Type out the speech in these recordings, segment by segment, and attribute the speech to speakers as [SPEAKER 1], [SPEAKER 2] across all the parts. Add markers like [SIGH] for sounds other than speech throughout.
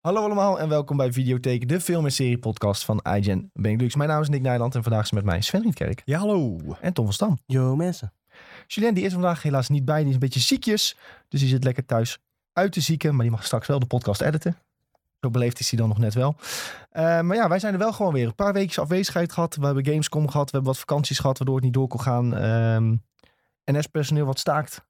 [SPEAKER 1] Hallo allemaal en welkom bij Videotheek, de film- en serie-podcast van iGen Benelux. Mijn naam is Nick Nijland en vandaag is met mij Sven Rietkerk
[SPEAKER 2] Ja, hallo.
[SPEAKER 1] en Tom van Stam.
[SPEAKER 3] Yo mensen.
[SPEAKER 1] Julien die is er vandaag helaas niet bij, die is een beetje ziekjes, dus die zit lekker thuis uit te zieken, maar die mag straks wel de podcast editen. Zo beleefd is hij dan nog net wel. Eh, maar ja, wij zijn er wel gewoon weer. Een paar weken afwezigheid gehad, we hebben Gamescom gehad, we hebben wat vakanties gehad, waardoor het niet door kon gaan. Ehm, NS-personeel wat staakt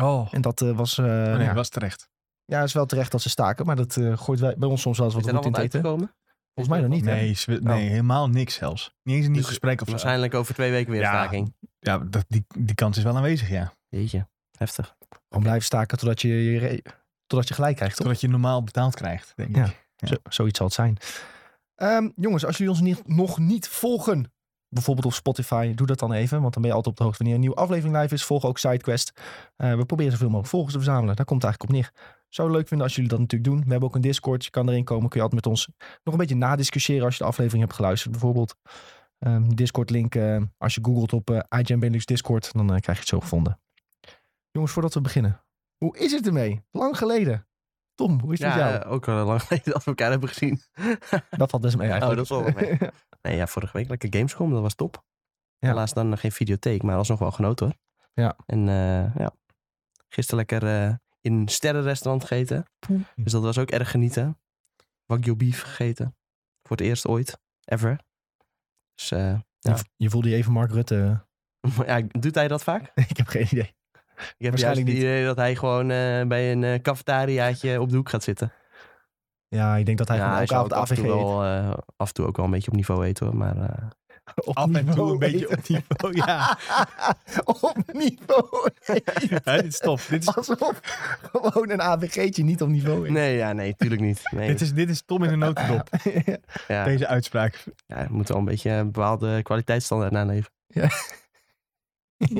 [SPEAKER 2] Oh,
[SPEAKER 1] en dat eh, was... eh, nou
[SPEAKER 2] nee,
[SPEAKER 1] ja,
[SPEAKER 2] was terecht.
[SPEAKER 1] ja, is wel terecht dat ze staken, maar dat eh, gooit wij, bij ons soms wel eens
[SPEAKER 3] Is
[SPEAKER 1] wat
[SPEAKER 3] er
[SPEAKER 1] roet
[SPEAKER 3] nog
[SPEAKER 1] in
[SPEAKER 3] wat
[SPEAKER 1] het eten.
[SPEAKER 3] uitgekomen?
[SPEAKER 1] Volgens mij nog niet, hè?
[SPEAKER 2] Nee, ze- nee
[SPEAKER 1] Oh.
[SPEAKER 2] helemaal niks zelfs. Niet eens een nieuw
[SPEAKER 3] Dus
[SPEAKER 2] gesprek of zo.
[SPEAKER 3] Waarschijnlijk over twee weken weer
[SPEAKER 2] eh, Ja.
[SPEAKER 3] staking.
[SPEAKER 2] Ja, dat, die, die kans is wel aanwezig, ja.
[SPEAKER 3] Jeetje, heftig.
[SPEAKER 1] Gewoon blijven staken totdat je, je re- totdat je gelijk krijgt, toch?
[SPEAKER 2] Totdat je normaal betaald krijgt, denk ik.
[SPEAKER 1] Ja. Zo, zoiets zal het zijn. Ehm, jongens, als jullie ons niet, nog niet volgen, bijvoorbeeld op Spotify, doe dat dan even. Want dan ben je altijd op de hoogte wanneer een nieuwe aflevering live is. Volg ook SideQuest. Eh, we proberen zoveel mogelijk volgers te verzamelen. Daar komt het eigenlijk op neer. Zou het leuk vinden als jullie dat natuurlijk doen. We hebben ook een Discord. Je kan erin komen. Kun je altijd met ons nog een beetje nadiscussiëren als je de aflevering hebt geluisterd. Bijvoorbeeld Ehm, Discord link. eh, als je googelt op eh IGN Benelux Discord, dan eh, krijg je het zo gevonden. Jongens, voordat we beginnen. Hoe is het ermee? Lang geleden. Tom, hoe is het
[SPEAKER 3] ja,
[SPEAKER 1] met jou?
[SPEAKER 3] eh, ook al lang [LAUGHS] geleden dat we elkaar hebben gezien.
[SPEAKER 1] Dat valt best mee
[SPEAKER 3] Oh, dat
[SPEAKER 1] eigenlijk.
[SPEAKER 3] is wel wat mee. Nee, ja, vorige week lekker Gamescom, dat was top.
[SPEAKER 1] Ja.
[SPEAKER 3] Helaas dan nog geen videotheek, maar alsnog wel genoten hoor.
[SPEAKER 1] Ja.
[SPEAKER 3] En eh, ja, gisteren lekker eh, in een sterrenrestaurant gegeten.
[SPEAKER 1] Poeh.
[SPEAKER 3] Dus dat was ook erg genieten. Wagyu beef gegeten. Voor het eerst ooit. Ever. Dus eh, [LAUGHS] Ja.
[SPEAKER 1] Je, je voelde je even Mark Rutte. [LAUGHS]
[SPEAKER 3] ja, doet hij dat vaak?
[SPEAKER 1] Ik heb geen idee.
[SPEAKER 3] Ik heb juist
[SPEAKER 1] Waarschijnlijk
[SPEAKER 3] het
[SPEAKER 1] niet.
[SPEAKER 3] idee dat hij gewoon eh, bij een eh, cafetariaatje op de hoek gaat zitten.
[SPEAKER 1] Ja, ik denk dat hij gewoon elke
[SPEAKER 3] zou
[SPEAKER 1] avond
[SPEAKER 3] ook af en
[SPEAKER 1] AVG
[SPEAKER 3] toe
[SPEAKER 1] eet.
[SPEAKER 3] wel, eh, af en toe ook wel een beetje op niveau eten hoor. Maar eh,
[SPEAKER 1] [LAUGHS] Op
[SPEAKER 2] Af en toe
[SPEAKER 1] niveau
[SPEAKER 2] een
[SPEAKER 1] [LAUGHS]
[SPEAKER 2] beetje
[SPEAKER 1] eten.
[SPEAKER 2] op niveau,
[SPEAKER 3] [LAUGHS]
[SPEAKER 2] ja.
[SPEAKER 1] op niveau. eten.
[SPEAKER 2] Hè, dit is tof. Dit is,
[SPEAKER 1] Alsof gewoon een AVG'tje niet op niveau is.
[SPEAKER 3] nee, ja, nee, tuurlijk
[SPEAKER 1] [LAUGHS]
[SPEAKER 3] niet. Nee,
[SPEAKER 2] dit, is, dit is Tom in een notendop,
[SPEAKER 3] ja,
[SPEAKER 2] deze uitspraak.
[SPEAKER 3] ja, je moet wel een beetje een bepaalde kwaliteitsstandaard naleven.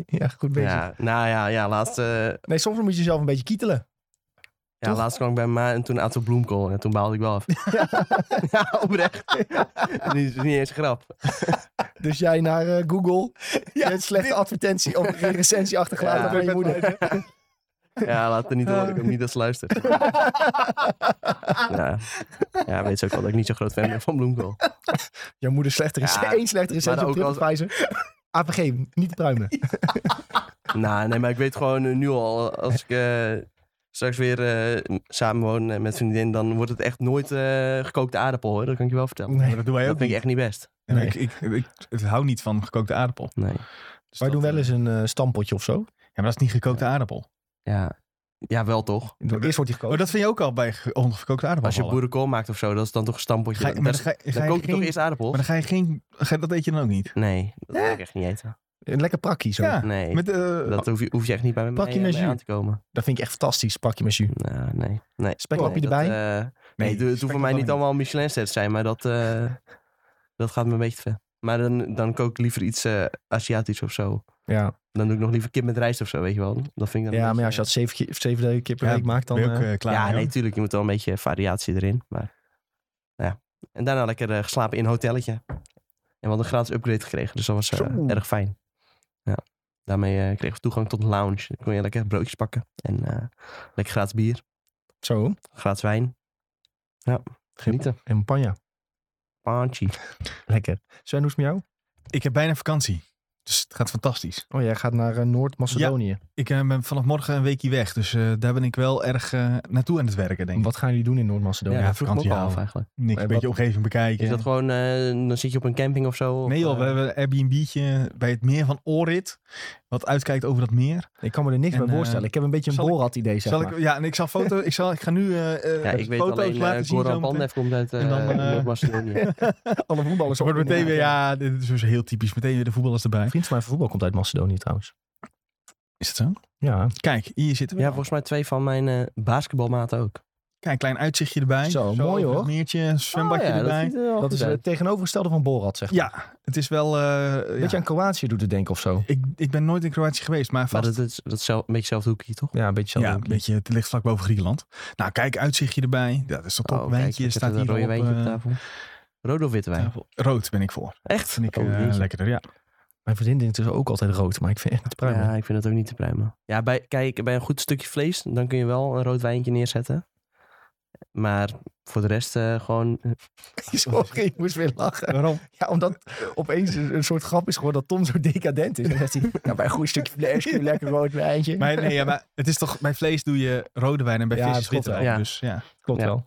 [SPEAKER 1] ja, goed bezig.
[SPEAKER 3] Ja, nou ja, ja, laatst, eh,
[SPEAKER 1] Nee, soms moet je jezelf een beetje kietelen.
[SPEAKER 3] ja,
[SPEAKER 1] Toch?
[SPEAKER 3] laatst kwam ik bij ma en toen at ze bloemkool. En toen baalde ik wel af.
[SPEAKER 1] [LAUGHS]
[SPEAKER 3] ja, oprecht. Dit is niet eens een grap.
[SPEAKER 1] Dus jij naar eh,
[SPEAKER 3] [LAUGHS]
[SPEAKER 1] Google. je hebt slechte advertentie of geen recensie achtergelaten
[SPEAKER 3] Ja.
[SPEAKER 1] van je moeder. [LAUGHS]
[SPEAKER 3] Ja, laat het niet horen. Ik hoop niet dat ze luistert. Ja. ja, weet ze ook wel dat ik niet zo'n groot fan ben van bloemkool.
[SPEAKER 1] Jouw moeder slechte recensie. [LAUGHS]
[SPEAKER 3] Ja.
[SPEAKER 1] Eén slechte recensie
[SPEAKER 3] Maar
[SPEAKER 1] op
[SPEAKER 3] ook als-
[SPEAKER 1] TripAdvisor. AVG, niet
[SPEAKER 3] [LAUGHS]
[SPEAKER 1] pruimen.
[SPEAKER 3] Nou, nee, maar ik weet gewoon eh, nu al, eh, als ik eh, straks weer eh, samenwoon eh, met vriendin, dan wordt het echt nooit eh, gekookte aardappel hoor. Dat kan ik je wel vertellen.
[SPEAKER 1] Nee.
[SPEAKER 2] Maar dat doen wij
[SPEAKER 3] dat
[SPEAKER 2] ook
[SPEAKER 3] vind ik echt
[SPEAKER 2] niet.
[SPEAKER 3] niet best.
[SPEAKER 2] En Ik, ik, ik, ik hou niet van gekookte aardappel.
[SPEAKER 3] Nee.
[SPEAKER 2] Dus
[SPEAKER 1] Wij
[SPEAKER 2] dat,
[SPEAKER 1] doen wel
[SPEAKER 2] eh,
[SPEAKER 1] eens een eh, stampotje of zo.
[SPEAKER 2] Ja, maar dat is niet gekookte aardappel.
[SPEAKER 3] Ja. ja, wel toch.
[SPEAKER 1] Eerst wordt die gekookt.
[SPEAKER 2] Oh, dat vind je ook al bij ge- ongekookte aardappel
[SPEAKER 3] Als je
[SPEAKER 2] vallen.
[SPEAKER 3] boerenkool maakt of zo, dat is dan toch een stampotje.
[SPEAKER 2] Ga je-
[SPEAKER 3] dan
[SPEAKER 2] maar
[SPEAKER 3] dan-
[SPEAKER 2] dan ga je-
[SPEAKER 3] dan
[SPEAKER 2] ga je
[SPEAKER 3] kook je toch
[SPEAKER 2] geen-
[SPEAKER 3] eerst aardappels?
[SPEAKER 2] Maar dan ga je geen... ga- Dat eet je dan ook niet.
[SPEAKER 3] Nee, dat
[SPEAKER 1] Ja.
[SPEAKER 3] wil ik echt niet eten.
[SPEAKER 1] Een lekker prakkie zo.
[SPEAKER 2] Ja,
[SPEAKER 3] Nee,
[SPEAKER 2] met... eh,
[SPEAKER 3] dat hoef je, hoef je echt niet bij mij
[SPEAKER 1] Pak je
[SPEAKER 3] eh,
[SPEAKER 1] met
[SPEAKER 3] bij
[SPEAKER 1] jus.
[SPEAKER 3] aan te komen.
[SPEAKER 1] Dat vind ik echt fantastisch, pakje met jus.
[SPEAKER 3] Nou, nee. nee.
[SPEAKER 1] Speklapje
[SPEAKER 3] nee,
[SPEAKER 1] erbij?
[SPEAKER 3] dat, eh, Nee, het- het
[SPEAKER 2] spek
[SPEAKER 3] hoeft voor
[SPEAKER 2] dat
[SPEAKER 3] mij
[SPEAKER 2] kan
[SPEAKER 3] niet allemaal Michelin sets zijn, maar dat, eh, dat gaat me een beetje te ver. Maar dan, dan kook ik liever iets eh, Aziatisch of zo.
[SPEAKER 1] Ja,
[SPEAKER 3] Dan doe ik nog liever kip met rijst of zo, weet je wel. Dat vind ik dan
[SPEAKER 1] ja
[SPEAKER 3] een
[SPEAKER 1] maar ja, als je
[SPEAKER 3] beetje- eh,
[SPEAKER 1] dat zeven, keer- zeven dagen keer per
[SPEAKER 2] Ja,
[SPEAKER 1] week maakt, dan...
[SPEAKER 2] Ben je ook
[SPEAKER 1] eh,
[SPEAKER 2] eh, klaar
[SPEAKER 3] Ja,
[SPEAKER 2] mee,
[SPEAKER 3] nee,
[SPEAKER 2] hoor.
[SPEAKER 3] tuurlijk. Je moet wel een beetje variatie erin. Maar, nou ja. En daarna lekker eh, geslapen in een hotelletje. En we hadden een gratis upgrade gekregen, dus dat was eh,
[SPEAKER 1] Zo.
[SPEAKER 3] erg fijn. Ja. Daarmee eh, kregen we toegang tot een lounge. Dan kon je lekker broodjes pakken. En eh, lekker gratis bier,
[SPEAKER 1] zo,
[SPEAKER 3] gratis wijn. Ja, genieten.
[SPEAKER 1] en panja.
[SPEAKER 3] Paantje.
[SPEAKER 1] Lekker. Sven, hoe is het met jou?
[SPEAKER 2] Ik heb bijna vakantie. Dus het gaat fantastisch.
[SPEAKER 1] Oh, jij gaat naar eh, Noord-Macedonië.
[SPEAKER 2] Ik eh, ben vanaf morgen een weekje weg. Dus eh, daar ben ik wel erg eh, naartoe aan het werken, denk ik.
[SPEAKER 1] Wat gaan jullie doen in Noord-Macedonië?
[SPEAKER 2] Ja,
[SPEAKER 3] dat vroeg ik me ook
[SPEAKER 2] vakantie
[SPEAKER 3] al af
[SPEAKER 2] houden.
[SPEAKER 3] eigenlijk.
[SPEAKER 2] Niks,
[SPEAKER 1] Eh,
[SPEAKER 2] een beetje omgeving bekijken.
[SPEAKER 3] Is dat gewoon, eh, dan zit je op een camping of zo? of,
[SPEAKER 2] nee joh, we
[SPEAKER 3] eh,
[SPEAKER 2] hebben een Airbnb'tje bij het meer van Orit. Wat uitkijkt over dat meer.
[SPEAKER 1] Ik kan me er niks
[SPEAKER 2] En,
[SPEAKER 1] bij
[SPEAKER 2] eh,
[SPEAKER 1] voorstellen. Ik heb een beetje een
[SPEAKER 2] zal ik-
[SPEAKER 1] Borat-idee, zeg
[SPEAKER 2] zal
[SPEAKER 1] maar.
[SPEAKER 2] ik, ja, en ik zal foto, ik, zal, ik ga nu eh, eh,
[SPEAKER 3] Ja, ik weet
[SPEAKER 2] foto's
[SPEAKER 3] alleen,
[SPEAKER 2] laten
[SPEAKER 3] eh,
[SPEAKER 2] zien.
[SPEAKER 3] Goran
[SPEAKER 2] zometeen.
[SPEAKER 3] Pandev komt uit
[SPEAKER 2] En dan,
[SPEAKER 3] eh,
[SPEAKER 2] eh,
[SPEAKER 3] Noord-Macedonië.
[SPEAKER 2] [LAUGHS]
[SPEAKER 3] [LAUGHS]
[SPEAKER 1] Alle voetballers
[SPEAKER 2] Dus er wordt
[SPEAKER 1] op-
[SPEAKER 2] meteen weer, ja, dit is dus heel typisch. Meteen weer de voetballers erbij.
[SPEAKER 1] Een vriend van mij van voetbal komt uit Macedonië trouwens.
[SPEAKER 2] Is het zo?
[SPEAKER 1] Ja,
[SPEAKER 2] Kijk, hier zitten we.
[SPEAKER 3] ja, volgens mij twee van mijn eh, basketbalmaten ook.
[SPEAKER 2] Kijk, klein uitzichtje erbij.
[SPEAKER 1] Zo, mooi,
[SPEAKER 2] over het
[SPEAKER 1] hoor.
[SPEAKER 2] Meertje, zwembadje
[SPEAKER 3] Oh ja,
[SPEAKER 2] erbij.
[SPEAKER 3] Dat, ziet er wel
[SPEAKER 1] dat
[SPEAKER 3] goed
[SPEAKER 1] is
[SPEAKER 3] uit.
[SPEAKER 1] het tegenovergestelde van Borat, zeg maar.
[SPEAKER 2] Ja, het is wel... eh, ja.
[SPEAKER 1] Beetje aan Kroatië doet het denken of zo.
[SPEAKER 2] Ik, ik ben nooit in Kroatië geweest, maar
[SPEAKER 3] maar
[SPEAKER 2] vast.
[SPEAKER 3] dat is, dat is zelf, een beetje hetzelfde hoekje, toch? Oh,
[SPEAKER 1] Ja, een beetje
[SPEAKER 2] ja,
[SPEAKER 1] zo.
[SPEAKER 2] een beetje, het ligt vlak boven Griekenland. Nou, kijk, uitzichtje erbij. Ja, dat is toch top.
[SPEAKER 3] Oh, kijk,
[SPEAKER 2] wijntje
[SPEAKER 3] er zit
[SPEAKER 2] staat
[SPEAKER 3] een
[SPEAKER 2] hier
[SPEAKER 3] rode
[SPEAKER 2] op,
[SPEAKER 3] wijntje op
[SPEAKER 2] eh,
[SPEAKER 3] tafel. Rode of witte wijn?
[SPEAKER 2] tafel. Rood ben ik voor.
[SPEAKER 3] Echt?
[SPEAKER 2] Vind ik
[SPEAKER 3] Oh,
[SPEAKER 2] eh,
[SPEAKER 3] jeetje.
[SPEAKER 2] lekkerder,
[SPEAKER 3] [LAUGHS]
[SPEAKER 2] ja.
[SPEAKER 1] Mijn vriendin drinkt dus ook altijd rood, maar ik vind echt niet pruimen. [LAUGHS]
[SPEAKER 3] Ja, ik vind het ook niet te pruimen. Ja, bij, kijk, bij een goed stukje vlees, dan kun je wel een rood wijntje neerzetten. Maar voor de rest eh, gewoon...
[SPEAKER 2] [LAUGHS]
[SPEAKER 1] Sorry, ik moest weer lachen.
[SPEAKER 2] Waarom?
[SPEAKER 1] Ja, omdat opeens een, een soort grap is geworden dat Tom zo decadent is. En dan zegt hij, ja, bij een goed stukje vlees kun je lekker rood wijntje.
[SPEAKER 2] Maar, nee, ja, maar het is toch, bij vlees doe je rode wijn en bij
[SPEAKER 1] Ja,
[SPEAKER 2] vis
[SPEAKER 1] dat
[SPEAKER 2] is
[SPEAKER 1] klopt
[SPEAKER 2] witte wijn.
[SPEAKER 3] wel. Ja.
[SPEAKER 2] Dus ja.
[SPEAKER 1] Klopt
[SPEAKER 3] Ja.
[SPEAKER 1] wel.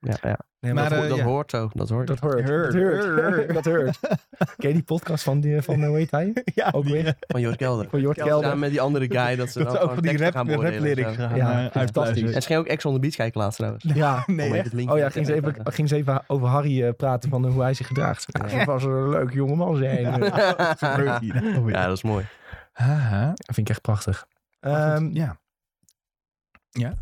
[SPEAKER 3] Ja, ja.
[SPEAKER 1] Nee, maar
[SPEAKER 2] Maar,
[SPEAKER 3] dat ho-
[SPEAKER 2] eh,
[SPEAKER 3] dat
[SPEAKER 2] ja.
[SPEAKER 3] hoort zo, dat hoort.
[SPEAKER 1] dat hoort.
[SPEAKER 2] Hurt.
[SPEAKER 1] Dat hoort. Dat hoort. [LAUGHS] Ken je die podcast van, die, van eh, hoe heet hij?
[SPEAKER 2] [LAUGHS] ja
[SPEAKER 1] Ook
[SPEAKER 2] die-
[SPEAKER 1] weer
[SPEAKER 3] Van Jort Kelder.
[SPEAKER 1] van Jort
[SPEAKER 3] Samen
[SPEAKER 1] Kelder.
[SPEAKER 3] met die andere guy dat ze dan
[SPEAKER 2] Dat is ook
[SPEAKER 3] gewoon
[SPEAKER 2] van die
[SPEAKER 3] teksten
[SPEAKER 2] rap,
[SPEAKER 3] gaan beoordelen. en
[SPEAKER 2] raplyrics
[SPEAKER 3] zo.
[SPEAKER 2] gaan eh,
[SPEAKER 1] Ja,
[SPEAKER 2] ja,
[SPEAKER 1] fantastisch.
[SPEAKER 2] uitluisteren. [LAUGHS]
[SPEAKER 3] En ze ging ook Ex on the Beach kijken laatst trouwens.
[SPEAKER 1] Ja.
[SPEAKER 3] Om
[SPEAKER 2] Nee,
[SPEAKER 3] even
[SPEAKER 2] echt.
[SPEAKER 3] het linkje
[SPEAKER 1] Oh ja,
[SPEAKER 3] te
[SPEAKER 1] ging ze, even,
[SPEAKER 3] zetten.
[SPEAKER 1] ging ze even over Harry eh, praten van hoe hij zich gedraagt. Nou, dat was een leuk jongeman zijn. Dat
[SPEAKER 3] [LAUGHS] Ja, dat is mooi.
[SPEAKER 2] Haha.
[SPEAKER 1] vind ik echt prachtig.
[SPEAKER 2] Maar
[SPEAKER 1] Ehm,
[SPEAKER 2] goed, ja.
[SPEAKER 1] nou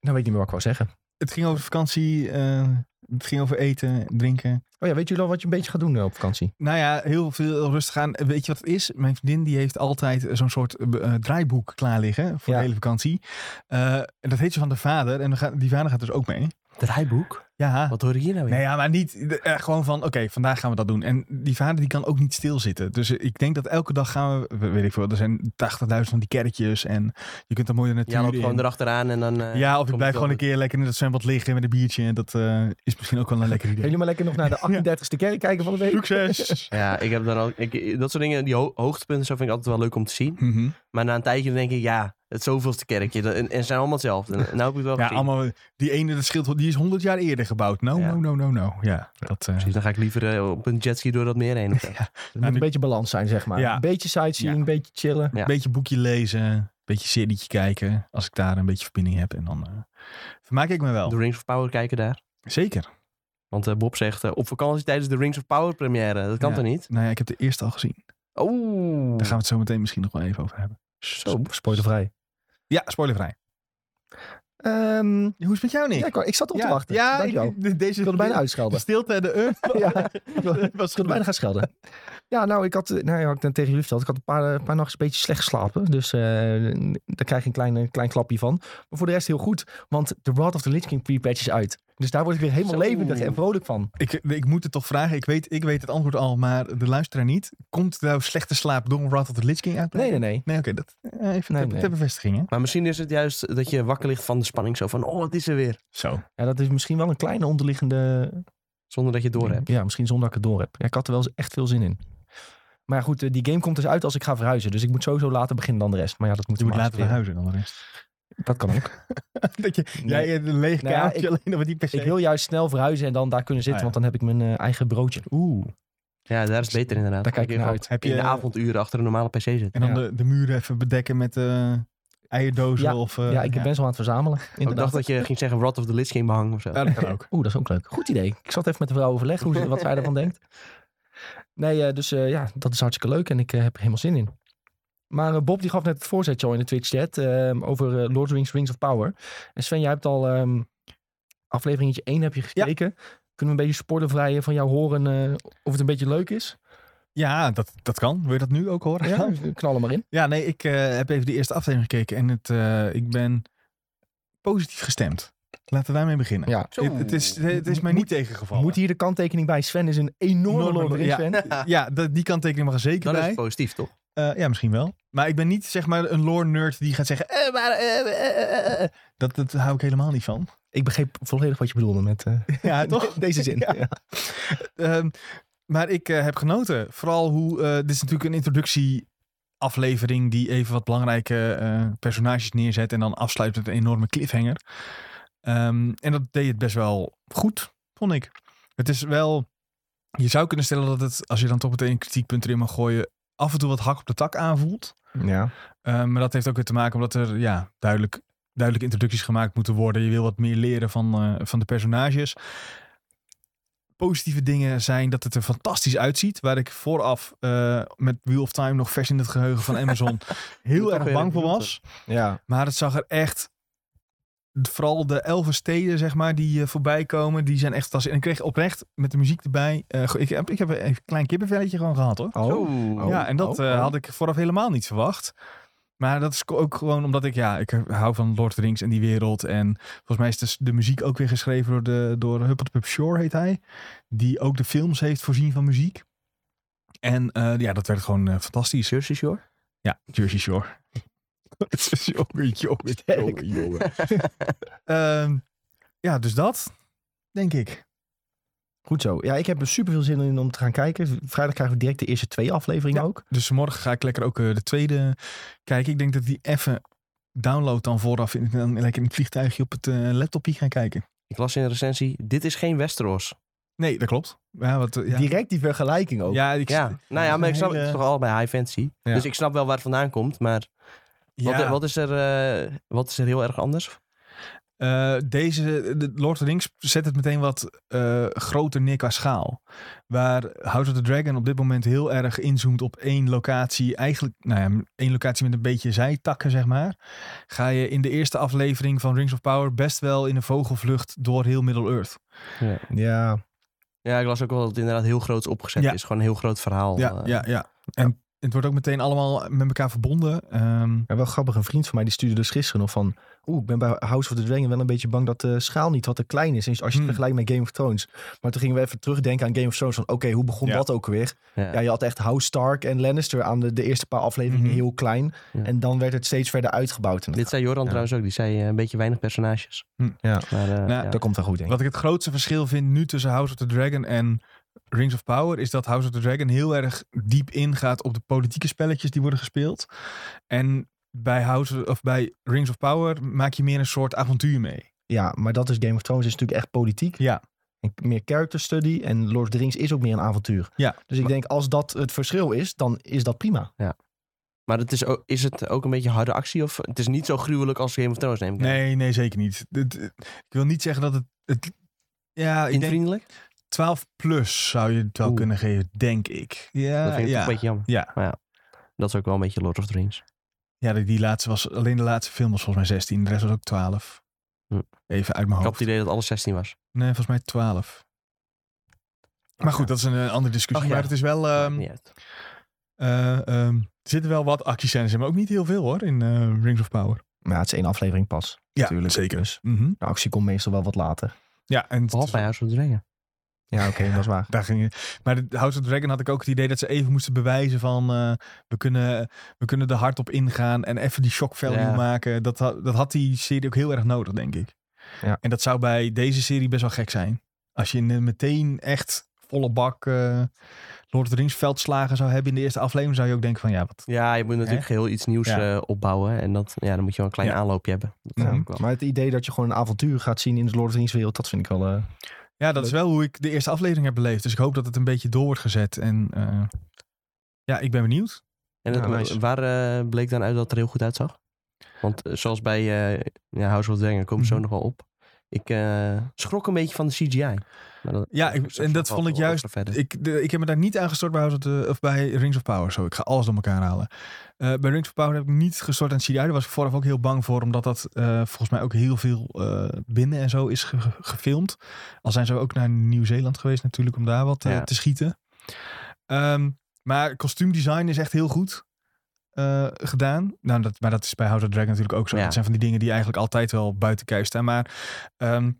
[SPEAKER 1] weet ik niet meer wat ik wou zeggen.
[SPEAKER 2] Het ging over vakantie, eh, het ging over eten, drinken.
[SPEAKER 1] Oh ja, weet jullie al wat je een beetje gaat doen eh, op vakantie?
[SPEAKER 2] Nou ja, heel veel rustig aan. Weet je wat het is? Mijn vriendin die heeft altijd zo'n soort eh, be- eh, draaiboek klaar liggen voor
[SPEAKER 1] Ja.
[SPEAKER 2] de hele vakantie. Eh, en dat heet ze van de vader. En dan gaat, die vader gaat dus ook mee.
[SPEAKER 3] Draaiboek?
[SPEAKER 2] Ja.
[SPEAKER 3] Wat hoor je hier nou
[SPEAKER 2] Nee, ja, maar niet de- eh, gewoon van, oké, vandaag gaan we dat doen. En die vader die kan ook niet stilzitten. Dus eh, ik denk dat elke dag gaan we, we- weet ik veel, er zijn 80.000 van die kerkjes. En je kunt er mooie natuur
[SPEAKER 3] Ja, loopt
[SPEAKER 2] in.
[SPEAKER 3] gewoon erachteraan en dan... eh,
[SPEAKER 2] ja, of ik
[SPEAKER 3] komt
[SPEAKER 2] blijf
[SPEAKER 3] het
[SPEAKER 2] gewoon een
[SPEAKER 3] wel
[SPEAKER 2] keer lekker in dat zwembad liggen met een biertje. En dat eh, is misschien ook wel een lekker idee.
[SPEAKER 1] Helemaal lekker nog naar de 38ste kerk kijken van de week.
[SPEAKER 3] [LAUGHS]
[SPEAKER 2] Succes!
[SPEAKER 3] goed. Ja, ik heb dan al... Ik, dat soort dingen, die ho- hoogtepunten, zo vind ik altijd wel leuk om te zien.
[SPEAKER 2] Mhm.
[SPEAKER 3] Maar na een tijdje denk ik, ja, het zoveelste kerkje. dat- en, en ze zijn allemaal
[SPEAKER 2] [LAUGHS]
[SPEAKER 3] hetzelfde. En, nou heb ik het wel
[SPEAKER 2] Ja,
[SPEAKER 3] gezien.
[SPEAKER 2] allemaal, die ene, dat scheelt, wel- die is 100 jaar eerder gebouwd. No,
[SPEAKER 3] Ja.
[SPEAKER 2] no, no, no, no. Ja, dat, eh,
[SPEAKER 3] Precies, dan ga ik liever eh, op een jetski door dat meer heen.
[SPEAKER 2] [LAUGHS]
[SPEAKER 3] of zo.
[SPEAKER 1] Het moet een beetje balans zijn, zeg maar.
[SPEAKER 2] Ja.
[SPEAKER 1] Een beetje sightseeing,
[SPEAKER 2] Ja.
[SPEAKER 1] een beetje chillen.
[SPEAKER 3] Ja.
[SPEAKER 2] Een beetje boekje lezen, een beetje serietje kijken. Als ik daar een beetje verbinding heb. En dan eh, vermaak ik me wel.
[SPEAKER 3] De Rings of Power kijken daar.
[SPEAKER 2] Zeker.
[SPEAKER 3] Want eh, Bob zegt, eh, op vakantie tijdens de Rings of Power première. Dat kan
[SPEAKER 2] Ja.
[SPEAKER 3] toch niet?
[SPEAKER 2] Nou ja, ik heb de eerste al gezien.
[SPEAKER 3] Oeh.
[SPEAKER 2] Daar gaan we het zo meteen misschien nog wel even over hebben. Zo.
[SPEAKER 1] Sp- Spoilervrij.
[SPEAKER 2] Ja, spoilervrij.
[SPEAKER 1] Ehm,
[SPEAKER 2] Hoe is het met jou, Nick?
[SPEAKER 1] ja, ik, wou- ik zat op te wachten.
[SPEAKER 2] ja
[SPEAKER 1] Dank je wel.
[SPEAKER 2] ik, de- deze,
[SPEAKER 1] Ik wilde bijna
[SPEAKER 2] De [LAUGHS]
[SPEAKER 1] uitschelden.
[SPEAKER 2] stilte en de
[SPEAKER 1] [LAUGHS]
[SPEAKER 2] uh,
[SPEAKER 1] ja, ik wilde, ik
[SPEAKER 2] was
[SPEAKER 1] wilde bijna gaan schelden. Ja, nou, ik had, eh, nou ja, wat ik net tegen jullie verteld, ik had een paar, eh, een paar nachts een beetje slecht geslapen. Dus eh, daar krijg je een klein, een klein klapje van. Maar voor de rest heel goed, want The Wrath of the Lich King pre-patch is uit. Dus daar word ik weer helemaal
[SPEAKER 3] Zo.
[SPEAKER 1] levendig en vrolijk van.
[SPEAKER 2] Ik, ik moet het toch vragen. Ik weet, ik weet het antwoord al, maar de luisteraar niet. Komt nou slechte slaap door Wrath of the Lich King uit?
[SPEAKER 1] Nee, nee, nee.
[SPEAKER 2] Nee, oké. dat eh, even
[SPEAKER 1] Nee,
[SPEAKER 2] ter,
[SPEAKER 1] nee.
[SPEAKER 2] ter bevestiging, hè?
[SPEAKER 3] Maar misschien is het juist dat je wakker ligt van de spanning. Zo van, oh, het is er weer.
[SPEAKER 2] Zo.
[SPEAKER 1] Ja, dat is misschien wel een kleine onderliggende
[SPEAKER 3] Zonder dat je het door
[SPEAKER 2] Mhm.
[SPEAKER 3] hebt.
[SPEAKER 1] Ja, misschien zonder dat ik het door heb. Ja, ik had er wel eens echt veel zin in. Maar ja, goed, eh, die game komt dus uit als ik ga verhuizen. Dus ik moet sowieso later beginnen dan de rest. Maar ja, dat moet
[SPEAKER 2] Je moet later naar huis en dan de rest.
[SPEAKER 1] Dat kan ook.
[SPEAKER 2] [LAUGHS] Dat je,
[SPEAKER 1] Nee.
[SPEAKER 2] jij een leeg
[SPEAKER 1] Nou ja,
[SPEAKER 2] kaartje
[SPEAKER 1] ik-
[SPEAKER 2] alleen maar die per se.
[SPEAKER 1] Ik wil juist snel verhuizen en dan daar kunnen zitten.
[SPEAKER 2] Ah,
[SPEAKER 1] Want dan heb ik mijn eh, eigen broodje.
[SPEAKER 2] Oeh.
[SPEAKER 3] Ja, daar is het beter inderdaad.
[SPEAKER 1] Daar kijk ik
[SPEAKER 3] Dan
[SPEAKER 1] naar
[SPEAKER 3] kun
[SPEAKER 1] uit.
[SPEAKER 3] je
[SPEAKER 2] Heb je,
[SPEAKER 3] gewoon In de avonduren achter een normale pc zitten.
[SPEAKER 2] en dan
[SPEAKER 1] ja.
[SPEAKER 2] de, de muren even bedekken met eh eierdozen
[SPEAKER 1] Ja,
[SPEAKER 2] of... eh,
[SPEAKER 1] ja, ik ben zo aan het verzamelen.
[SPEAKER 3] Ik dacht
[SPEAKER 1] Inderdaad.
[SPEAKER 3] dat je ging zeggen Rod of the Lich King behang of zo.
[SPEAKER 2] Ja, dat kan ook.
[SPEAKER 1] Oeh, dat is ook leuk. Goed idee. Ik zat even met de vrouw overleggen hoe ze, wat zij ervan denkt. Nee, eh, dus eh, ja, dat is hartstikke leuk en ik eh, heb er helemaal zin in. Maar eh, Bob die gaf net het voorzetje al in de Twitch-chat ehm, over eh, Lord of the Rings, Rings of Power. En Sven, jij hebt al ehm afleveringetje 1 heb je gekeken. Kunnen we een beetje spoilervrij eh, van jou horen eh, of het een beetje leuk is?
[SPEAKER 2] [LAUGHS] Ja, dat, dat kan. Wil je dat nu ook horen?
[SPEAKER 1] Ja, knal er maar in.
[SPEAKER 2] Ja, nee, ik eh, heb even de eerste aflevering gekeken en het, eh, ik ben positief gestemd. Laten we daarmee beginnen.
[SPEAKER 1] Ja.
[SPEAKER 3] Zo.
[SPEAKER 2] Het, het is,
[SPEAKER 3] [LAUGHS]
[SPEAKER 2] het is mij niet tegengevallen.
[SPEAKER 1] Moet hier de kanttekening bij. Sven is een enorme
[SPEAKER 2] Enorme
[SPEAKER 1] Lord of the Rings
[SPEAKER 2] Lord- [LAUGHS]
[SPEAKER 1] fan.
[SPEAKER 2] Ja, dat, die kanttekening mag er zeker
[SPEAKER 3] Dan is
[SPEAKER 2] bij.
[SPEAKER 3] het positief, toch?
[SPEAKER 2] Eh, ja, misschien wel. Maar ik ben niet zeg maar een lore nerd die gaat zeggen... eh, maar, eh, eh, eh, eh. Dat, dat hou ik helemaal niet van. [LAUGHS]
[SPEAKER 1] Ik begreep volledig wat je bedoelde met eh,
[SPEAKER 2] Ja, toch?
[SPEAKER 1] [LAUGHS] deze zin.
[SPEAKER 2] Ja.
[SPEAKER 1] Ja.
[SPEAKER 2] Ehm, maar ik eh, heb genoten. Vooral hoe. eh, dit is natuurlijk een introductieaflevering die even wat belangrijke eh, personages neerzet. En dan afsluit met een enorme cliffhanger. Ehm, en dat deed het best wel goed, vond ik. Het is wel. Je zou kunnen stellen dat het, als je dan toch meteen een kritiekpunt erin mag gooien. af en toe wat hak op de tak aanvoelt.
[SPEAKER 1] Ja.
[SPEAKER 2] Ehm, maar dat heeft ook weer te maken omdat er ja, duidelijk, duidelijk introducties gemaakt moeten worden. Je wil wat meer leren van, eh, van de personages. Positieve dingen zijn dat het er fantastisch uitziet. Waar ik vooraf eh, met Wheel of Time nog vers in het geheugen van Amazon
[SPEAKER 3] Moet
[SPEAKER 2] heel
[SPEAKER 3] toch
[SPEAKER 2] erg
[SPEAKER 3] weer
[SPEAKER 2] bang voor
[SPEAKER 3] even
[SPEAKER 2] was.
[SPEAKER 1] ja.
[SPEAKER 2] Maar het zag er echt... Vooral de elfen steden, zeg maar, die eh, voorbij komen, die zijn echt fantastisch. En ik kreeg oprecht met de muziek erbij... eh, go- ik, heb, ik heb een klein kippenvelletje gewoon gehad, hoor.
[SPEAKER 1] Oh.
[SPEAKER 3] Oeh.
[SPEAKER 1] Oh.
[SPEAKER 2] Ja, en dat
[SPEAKER 1] oh,
[SPEAKER 2] eh,
[SPEAKER 1] oh.
[SPEAKER 2] had ik vooraf helemaal niet verwacht. Maar dat is ko- ook gewoon omdat ik, ja, ik hou van Lord of the Rings en die wereld. En volgens mij is dus de muziek ook weer geschreven door, de, door Huppelpup Shore, heet hij. Die ook de films heeft voorzien van muziek. En eh, ja, dat werd gewoon eh, fantastisch.
[SPEAKER 3] Jersey Shore?
[SPEAKER 2] Ja, Jersey
[SPEAKER 1] [LAUGHS]
[SPEAKER 2] Shore. [LAUGHS] jongen, jongen, jongen, jongen. Ehm, ja, dus dat. denk ik.
[SPEAKER 1] Goed zo. Ja, ik heb er super veel zin in om te gaan kijken. Vrijdag krijgen we direct de eerste twee afleveringen
[SPEAKER 2] Ja.
[SPEAKER 1] ook.
[SPEAKER 2] Dus morgen ga ik lekker ook eh, de tweede kijken. Ik denk dat ik die even download dan vooraf. En dan lekker in het vliegtuigje op het eh, laptopje gaan kijken.
[SPEAKER 3] Ik las in een recensie, dit is geen Westeros.
[SPEAKER 2] Nee, dat klopt. Ja, wat, eh, ja.
[SPEAKER 1] Direct die vergelijking ook.
[SPEAKER 2] ja, ik,
[SPEAKER 3] Ja, nou ja, maar ik snap het is toch allebei high fantasy.
[SPEAKER 2] Ja.
[SPEAKER 3] Dus ik snap wel waar het vandaan komt, maar
[SPEAKER 2] ja.
[SPEAKER 3] wat, wat, is er, eh, wat is er heel erg anders?
[SPEAKER 2] Eh, deze, de Lord of the Rings zet het meteen wat eh, groter neer qua schaal. Waar House of the Dragon op dit moment heel erg inzoomt op één locatie. Eigenlijk, nou ja, één locatie met een beetje zijtakken, zeg maar. Ga je in de eerste aflevering van Rings of Power best wel in een vogelvlucht door heel Middle-earth.
[SPEAKER 1] ja.
[SPEAKER 3] Ja, ik las ook wel dat het inderdaad heel groot opgezet
[SPEAKER 2] Ja.
[SPEAKER 3] is. Gewoon een heel groot verhaal.
[SPEAKER 2] Ja,
[SPEAKER 3] eh.
[SPEAKER 2] ja, ja. En het wordt ook meteen allemaal met elkaar verbonden. Ehm,
[SPEAKER 1] Ja, wel grappig. Een vriend van mij die stuurde dus gisteren nog van... Oeh, ik ben bij House of the Dragon wel een beetje bang dat de schaal niet wat te klein is. Als je het
[SPEAKER 2] Hmm.
[SPEAKER 1] vergelijkt met Game of Thrones. Maar toen gingen we even terugdenken aan Game of Thrones. Van oké, hoe begon
[SPEAKER 2] Ja.
[SPEAKER 1] dat ook weer?
[SPEAKER 3] Ja.
[SPEAKER 1] Ja, je had echt House Stark en Lannister aan de, de eerste paar afleveringen
[SPEAKER 2] Mhm.
[SPEAKER 1] heel klein.
[SPEAKER 3] Ja.
[SPEAKER 1] En dan werd het steeds verder uitgebouwd. En dat,
[SPEAKER 3] Dit zei Joran
[SPEAKER 1] Ja.
[SPEAKER 3] trouwens ook. Die zei eh, een beetje weinig personages.
[SPEAKER 2] Hm,
[SPEAKER 1] ja.
[SPEAKER 3] Maar, eh,
[SPEAKER 2] Nou,
[SPEAKER 3] ja.
[SPEAKER 1] dat komt wel goed, denk ik.
[SPEAKER 2] Wat ik het grootste verschil vind nu tussen House of the Dragon en Rings of Power is dat House of the Dragon heel erg diep ingaat op de politieke spelletjes die worden gespeeld. En bij, House of, of bij Rings of Power maak je meer een soort avontuur mee.
[SPEAKER 1] Ja, maar dat is Game of Thrones. is natuurlijk echt politiek.
[SPEAKER 2] Ja.
[SPEAKER 1] En meer character study. En Lord of the Rings is ook meer een avontuur.
[SPEAKER 2] Ja.
[SPEAKER 1] Dus ik denk, als dat het verschil is, dan is dat prima.
[SPEAKER 3] Maar het is, ook, is het ook een beetje harde actie? Of het is niet zo gruwelijk als Game of Thrones, neem ik aan.
[SPEAKER 2] Nee, nee, zeker niet. Dit- ik wil niet zeggen dat het. het ja, ik denk
[SPEAKER 3] Kindvriendelijk?
[SPEAKER 2] 12 plus zou je het wel
[SPEAKER 3] Oeh.
[SPEAKER 2] kunnen geven, denk ik. Ja,
[SPEAKER 3] dat vind ik
[SPEAKER 2] ja.
[SPEAKER 3] toch een beetje jammer.
[SPEAKER 2] Ja.
[SPEAKER 3] Maar ja, dat is ook wel een beetje Lord of the Rings.
[SPEAKER 2] ja die, die laatste was alleen de laatste film was volgens mij 16, de rest was ook 12.
[SPEAKER 3] Hm.
[SPEAKER 2] Even uit mijn
[SPEAKER 3] Ik
[SPEAKER 2] hoofd.
[SPEAKER 3] had het idee dat alles 16 was.
[SPEAKER 2] Nee, volgens mij 12. Maar goed, dat is een, eh, andere discussie.
[SPEAKER 3] Ach, ja.
[SPEAKER 2] Maar het is wel.
[SPEAKER 3] Maakt
[SPEAKER 2] ehm,
[SPEAKER 3] niet uit.
[SPEAKER 2] eh, ehm, er zitten wel wat actiescènes in, maar ook niet heel veel hoor in eh, Rings of Power.
[SPEAKER 1] Maar ja, het is één aflevering pas.
[SPEAKER 2] Ja,
[SPEAKER 1] natuurlijk.
[SPEAKER 2] zeker.
[SPEAKER 1] Dus
[SPEAKER 2] Mhm.
[SPEAKER 1] de actie komt meestal wel wat later.
[SPEAKER 2] Ja, en het-
[SPEAKER 3] Behalve bij House of the Dragon.
[SPEAKER 1] Ja, oké, dat is waar.
[SPEAKER 2] daar ging je. Maar de House of Dragon had ik ook het idee dat ze even moesten bewijzen van eh, we, kunnen, we kunnen er hard op ingaan en even die shock value
[SPEAKER 3] Ja.
[SPEAKER 2] maken. Dat, ha- dat had die serie ook heel erg nodig, denk ik.
[SPEAKER 1] Ja.
[SPEAKER 2] En dat zou bij deze serie best wel gek zijn. Als je ne- meteen echt volle bak eh, Lord of the Rings veldslagen zou hebben in de eerste aflevering, zou je ook denken van ja, wat.
[SPEAKER 3] Ja, je moet natuurlijk heel iets nieuws
[SPEAKER 2] Ja.
[SPEAKER 3] eh, opbouwen. En dat, ja, Mhm. dan moet je wel een klein
[SPEAKER 2] Ja.
[SPEAKER 3] aanloopje hebben. Dat
[SPEAKER 2] Ja.
[SPEAKER 3] kan ook wel.
[SPEAKER 1] Maar het idee dat je gewoon een avontuur gaat zien in de Lord of the Rings wereld, dat vind ik wel... eh,
[SPEAKER 2] Ja, dat is wel hoe ik de eerste aflevering heb beleefd. Dus ik hoop dat het een beetje door wordt gezet. En eh, ja, ik ben benieuwd.
[SPEAKER 3] En het-
[SPEAKER 1] Ja, nice.
[SPEAKER 3] waar eh, bleek dan uit dat het er heel goed uitzag? Want eh, zoals bij eh, ja, House of the Dragon, daar komen we zo
[SPEAKER 2] Mhm.
[SPEAKER 3] nog wel op. Ik eh, schrok een beetje van de CGI. Maar dat-
[SPEAKER 2] Ja, ik- en dat
[SPEAKER 3] wel-
[SPEAKER 2] vond ik
[SPEAKER 3] wel
[SPEAKER 2] juist-
[SPEAKER 3] verder.
[SPEAKER 2] Ik, de- ik heb me daar niet aan gestort bij, House of the- of bij Rings of Power. Zo, ik ga alles door elkaar halen. Eh, bij Rings of Power heb ik niet gestort aan CGI. Daar was ik vooraf ook heel bang voor. Omdat dat eh, volgens mij ook heel veel eh, binnen en zo is ge- ge- gefilmd. Al zijn ze ook naar Nieuw-Zeeland geweest natuurlijk om daar wat eh,
[SPEAKER 3] Ja.
[SPEAKER 2] te schieten. Ehm, maar kostuumdesign is echt heel goed eh, gedaan. Nou, dat, maar dat is bij House of the Dragon natuurlijk ook zo.
[SPEAKER 3] Ja.
[SPEAKER 2] Dat zijn van die dingen die eigenlijk altijd wel buiten kijf staan. Maar ehm,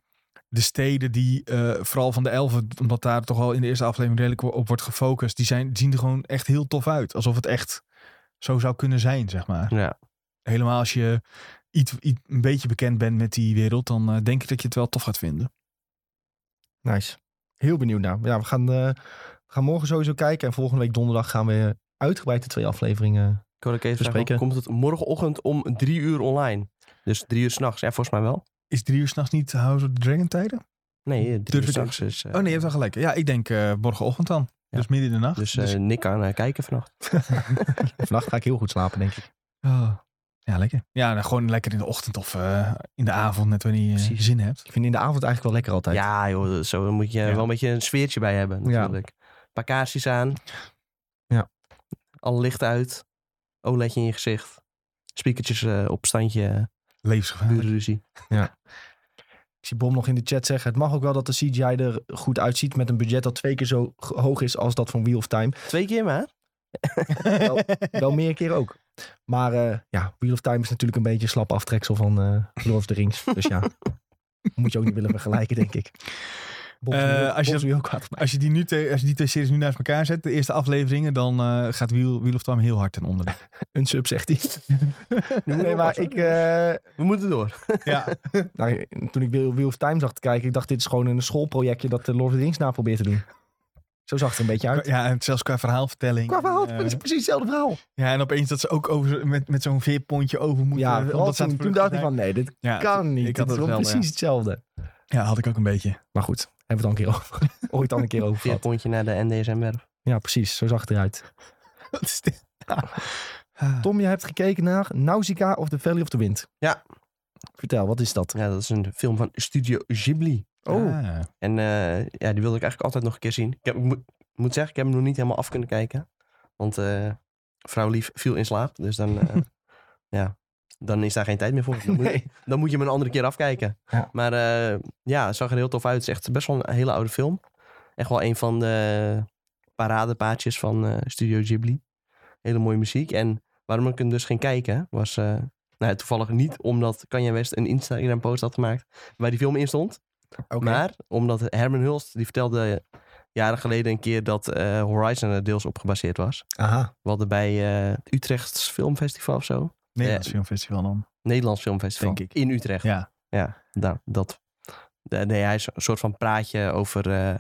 [SPEAKER 2] de steden die, eh, vooral van de elfen, omdat daar toch al in de eerste aflevering redelijk wo- op wordt gefocust, die zijn, zien er gewoon echt heel tof uit. Alsof het echt zo zou kunnen zijn, zeg maar.
[SPEAKER 3] Ja.
[SPEAKER 2] Helemaal als je iets, iets- een beetje bekend bent met die wereld, dan eh, denk ik dat je het wel tof gaat vinden.
[SPEAKER 1] Nice. Heel benieuwd naar. Ja, we gaan, eh, we gaan morgen sowieso kijken. En volgende week donderdag gaan we uitgebreid de twee afleveringen.
[SPEAKER 3] Ik wil ook even vragen,
[SPEAKER 1] Bespreken.
[SPEAKER 3] komt het morgenochtend om drie uur online? Dus drie uur s'nachts, ja, volgens mij wel.
[SPEAKER 2] Is drie uur s'nachts niet House of the Dragon tijden?
[SPEAKER 3] Nee, eh, drie
[SPEAKER 2] Durf
[SPEAKER 3] uur
[SPEAKER 2] ik
[SPEAKER 3] s'nachts is... eh,
[SPEAKER 2] Oh nee, je hebt wel gelijk. Ja, ik denk eh, morgenochtend dan.
[SPEAKER 3] Ja.
[SPEAKER 2] Dus midden in de nacht.
[SPEAKER 3] Dus, eh, Nick kan eh, kijken vannacht.
[SPEAKER 1] [LAUGHS] Vannacht ga ik heel goed slapen, denk ik.
[SPEAKER 2] Oh. Ja, lekker. Ja, dan gewoon lekker in de ochtend of eh, in de avond, net wanneer je
[SPEAKER 3] Precies.
[SPEAKER 2] zin hebt.
[SPEAKER 1] Ik vind in de avond eigenlijk wel lekker altijd.
[SPEAKER 3] Ja joh, zo moet je
[SPEAKER 2] Ja.
[SPEAKER 3] wel een beetje een sfeertje bij hebben
[SPEAKER 1] Ja.
[SPEAKER 3] natuurlijk. Een paar kaarsjes aan.
[SPEAKER 1] Ja.
[SPEAKER 3] Al licht uit. OLEDje in je gezicht. Speakertjes eh, op standje.
[SPEAKER 2] Levensgevaarlijk.
[SPEAKER 3] Burenruzie.
[SPEAKER 1] Ik zie Bom nog in de chat zeggen. Het mag ook wel dat de CGI er goed uitziet met een budget dat twee keer zo g- hoog is als dat van Wheel of [LAUGHS] Time.
[SPEAKER 3] Twee keer maar.
[SPEAKER 1] wel meer keer ook. Maar eh, ja, Wheel of Time is natuurlijk een beetje een slap [LAUGHS] aftreksel van eh Lord of the Rings. Dus ja, moet je ook niet willen vergelijken, denk ik. Bob,
[SPEAKER 2] Eh,
[SPEAKER 1] Wiel-
[SPEAKER 2] als
[SPEAKER 1] Bob
[SPEAKER 2] je dat-
[SPEAKER 1] Wiel kwaad.
[SPEAKER 2] Als je, die nu te- als je die twee series nu naast elkaar zet, de eerste afleveringen, dan eh, gaat Wheel, Wheel of Time heel hard ten onder.
[SPEAKER 1] [LAUGHS] Een sub, zegt hij. nee,
[SPEAKER 3] op,
[SPEAKER 1] maar
[SPEAKER 3] Arthur.
[SPEAKER 1] ik, eh,
[SPEAKER 3] We moeten door.
[SPEAKER 2] ja.
[SPEAKER 1] nou, toen ik Wheel, Wheel of Time zag te kijken, ik dacht dit is gewoon een schoolprojectje dat de Lord of the Rings na probeert te doen. Zo zag het er een beetje uit.
[SPEAKER 2] ja, en zelfs qua verhaalvertelling.
[SPEAKER 1] Qua verhaal,
[SPEAKER 2] Eh,
[SPEAKER 1] het is precies hetzelfde verhaal.
[SPEAKER 2] ja, en opeens dat ze ook over, met, met zo'n veerpontje over moeten.
[SPEAKER 1] ja,
[SPEAKER 2] eh,
[SPEAKER 1] vooral
[SPEAKER 2] omdat ze aan
[SPEAKER 1] toen,
[SPEAKER 2] het
[SPEAKER 1] toen dacht
[SPEAKER 2] vluchten
[SPEAKER 1] ik van, nee, dit
[SPEAKER 2] zijn. Ja,
[SPEAKER 1] kan niet.
[SPEAKER 2] ik
[SPEAKER 1] Ik had
[SPEAKER 2] had dat
[SPEAKER 1] het is wel
[SPEAKER 2] wel, ja.
[SPEAKER 1] precies hetzelfde.
[SPEAKER 2] Ja, had ik ook een beetje.
[SPEAKER 1] Maar goed, hebben we het al een keer over.
[SPEAKER 2] [LAUGHS]
[SPEAKER 1] Ooit al een keer over
[SPEAKER 3] Vier
[SPEAKER 1] gehad.
[SPEAKER 3] pontje naar de NDSM-werf.
[SPEAKER 1] Ja, precies. Zo zag het eruit.
[SPEAKER 2] [LAUGHS] Wat is dit? Ah.
[SPEAKER 1] [LAUGHS] Tom, je hebt gekeken naar Nausicaa of The Valley of the Wind.
[SPEAKER 3] Ja.
[SPEAKER 1] Vertel, wat is dat?
[SPEAKER 3] Ja, dat is een film van Studio Ghibli.
[SPEAKER 1] Oh,
[SPEAKER 2] Ah.
[SPEAKER 3] En eh, ja, die wilde ik eigenlijk altijd nog een keer zien. Ik, heb, ik moet- ik moet zeggen, ik heb hem nog niet helemaal af kunnen kijken. Want eh vrouw Lief viel in slaap. Dus dan,
[SPEAKER 1] [LAUGHS]
[SPEAKER 3] eh, ja, dan is daar geen tijd meer voor. Dan moet,
[SPEAKER 1] nee.
[SPEAKER 3] dan moet je hem een andere keer afkijken.
[SPEAKER 1] Ja.
[SPEAKER 3] Maar eh, ja, het zag er heel tof uit. Het is echt best wel een hele oude film. Echt wel een van de paradepaadjes van eh, Studio Ghibli. Hele mooie muziek. En waarom ik hem dus ging kijken was... eh, nou, ja, toevallig niet omdat Kanye West een Instagram-post had gemaakt... waar die film in stond.
[SPEAKER 1] Oké.
[SPEAKER 3] Maar omdat Herman Hulst, die vertelde jaren geleden een keer dat eh, Horizon er deels op gebaseerd was.
[SPEAKER 1] Aha.
[SPEAKER 3] We hadden bij eh, Utrechts Filmfestival of zo.
[SPEAKER 2] Nederlands
[SPEAKER 3] Eh,
[SPEAKER 2] Filmfestival dan.
[SPEAKER 3] Nederlands Filmfestival.
[SPEAKER 2] Denk ik.
[SPEAKER 3] In Utrecht.
[SPEAKER 2] Ja.
[SPEAKER 3] Ja, nou, dat. Daar deed hij zo- een soort van praatje over eh,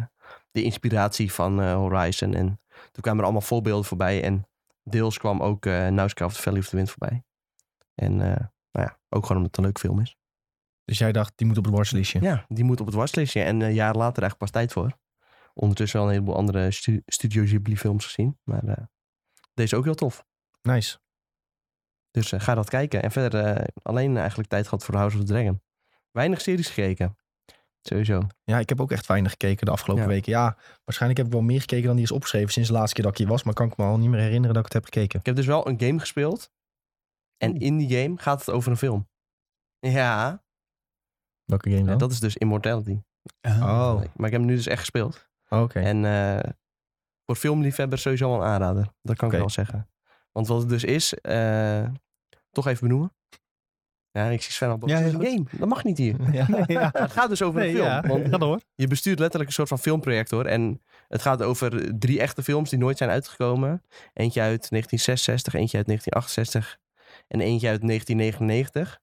[SPEAKER 3] de inspiratie van eh, Horizon. En toen kwamen er allemaal voorbeelden voorbij. En deels kwam ook eh Nausicaa of the Valley of the Wind voorbij. En eh, nou ja, ook gewoon omdat het een leuk film is.
[SPEAKER 1] Dus jij dacht, die moet op het watchlistje.
[SPEAKER 3] Ja, die moet op het waslijstje. En eh, een jaar later eigenlijk pas tijd voor. Ondertussen wel een heleboel andere stu- Studio Ghibli films gezien. Maar eh, deze ook heel tof.
[SPEAKER 1] Nice.
[SPEAKER 3] Dus eh, ga dat kijken. En verder eh, alleen eigenlijk tijd gehad voor House of the Dragon. Weinig series gekeken. Sowieso.
[SPEAKER 1] Ja, ik heb ook echt weinig gekeken de afgelopen
[SPEAKER 3] Ja.
[SPEAKER 1] weken. Ja, waarschijnlijk heb ik wel meer gekeken dan die is opgeschreven sinds de laatste keer dat ik hier was. Maar kan ik me al niet meer herinneren dat ik het heb gekeken.
[SPEAKER 3] Ik heb dus wel een game gespeeld. En in die game gaat het over een film. Ja,
[SPEAKER 1] Welke game dan?
[SPEAKER 3] dat is dus Immortality.
[SPEAKER 1] Oh,
[SPEAKER 3] Maar ik heb hem nu dus echt gespeeld.
[SPEAKER 1] oké.
[SPEAKER 3] En eh, voor filmliefhebbers sowieso wel een aanrader. Dat kan
[SPEAKER 1] Oké.
[SPEAKER 3] ik wel zeggen. Want wat het dus is, eh, toch even benoemen. Ja, ik zie Sven al boos.
[SPEAKER 2] Ja,
[SPEAKER 3] Dat is
[SPEAKER 2] heel
[SPEAKER 3] een game. Dat mag niet hier.
[SPEAKER 1] [LAUGHS]
[SPEAKER 2] [LAUGHS]
[SPEAKER 1] Ja.
[SPEAKER 3] Maar het gaat dus over een film. Want
[SPEAKER 2] Ga door.
[SPEAKER 3] je bestuurt letterlijk een soort van filmprojector. En het gaat over drie echte films die nooit zijn uitgekomen. Eentje uit 1966, eentje uit 1968 en eentje uit 1999.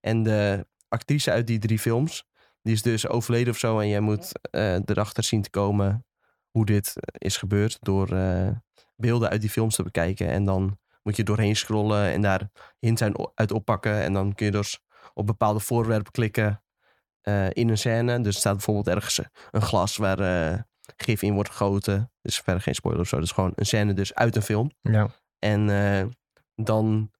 [SPEAKER 3] En de actrice uit die drie films, die is dus overleden of zo. En jij moet eh, erachter zien te komen hoe dit is gebeurd door eh, beelden uit die films te bekijken. En dan moet je doorheen scrollen en daar hints uit- uit oppakken. En dan kun je dus op bepaalde voorwerpen klikken eh, in een scène. Dus er staat bijvoorbeeld ergens een glas waar eh, gif in wordt gegoten. Dus verder geen spoiler of zo. Dus gewoon een scène dus uit een film.
[SPEAKER 1] ja.
[SPEAKER 3] En eh, dan,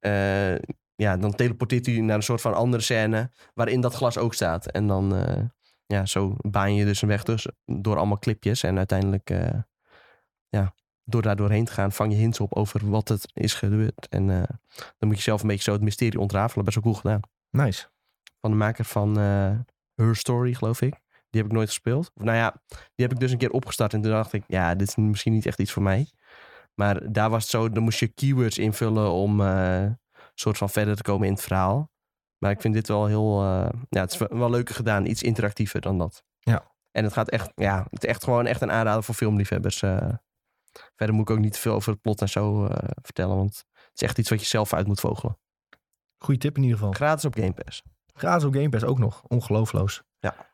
[SPEAKER 3] eh, ja, dan teleporteert hij naar een soort van andere scène waarin dat glas ook staat. En dan, eh, ja, zo baan je dus een weg dus door allemaal clipjes. En uiteindelijk, eh, ja, door daar doorheen te gaan, vang je hints op over wat het is gebeurd. En eh, dan moet je zelf een beetje zo het mysterie ontrafelen. Best wel cool gedaan
[SPEAKER 1] Nice.
[SPEAKER 3] van de maker van eh, Her Story, geloof ik. Die heb ik nooit gespeeld. Of, nou ja, die heb ik dus een keer opgestart. En toen dacht ik, ja, dit is misschien niet echt iets voor mij. Maar daar was het zo, dan moest je keywords invullen om eh, soort van verder te komen in het verhaal. Maar ik vind dit wel heel, eh, ja, het is wel- wel leuker gedaan. Iets interactiever dan dat.
[SPEAKER 1] Ja.
[SPEAKER 3] En het gaat echt, ja, het is echt gewoon echt een aanrader voor filmliefhebbers. eh. verder moet ik ook niet te veel over het plot en zo eh, vertellen. Want het is echt iets wat je zelf uit moet vogelen.
[SPEAKER 1] Goeie tip in ieder geval.
[SPEAKER 3] Gratis op Game Pass.
[SPEAKER 1] Gratis op Game Pass ook nog. Ongeloofloos.
[SPEAKER 3] Ja.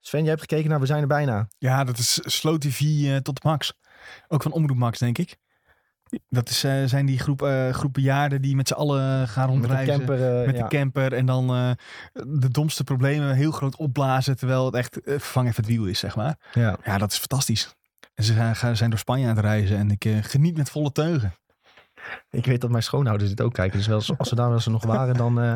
[SPEAKER 1] Sven, jij hebt gekeken naar We zijn er bijna.
[SPEAKER 2] Ja, dat is Slow TV eh, tot Max. Ook van Omroep Max, denk ik. Dat is, eh, zijn die groep, eh groep bejaarden die met z'n allen eh, gaan
[SPEAKER 1] Met de
[SPEAKER 2] rondreizen.
[SPEAKER 1] camper. eh,
[SPEAKER 2] met
[SPEAKER 1] ja.
[SPEAKER 2] de camper en dan eh, de domste problemen heel groot opblazen. Terwijl het echt eh, vervang even het wiel is, zeg maar.
[SPEAKER 1] ja.
[SPEAKER 2] Ja, dat is fantastisch. En ze gaan, gaan- zijn door Spanje aan het reizen en ik eh, geniet met volle teugen.
[SPEAKER 1] Ik weet dat mijn schoonouders dit ook kijken. Dus wel eens- als ze daar wel eens nog waren, dan eh,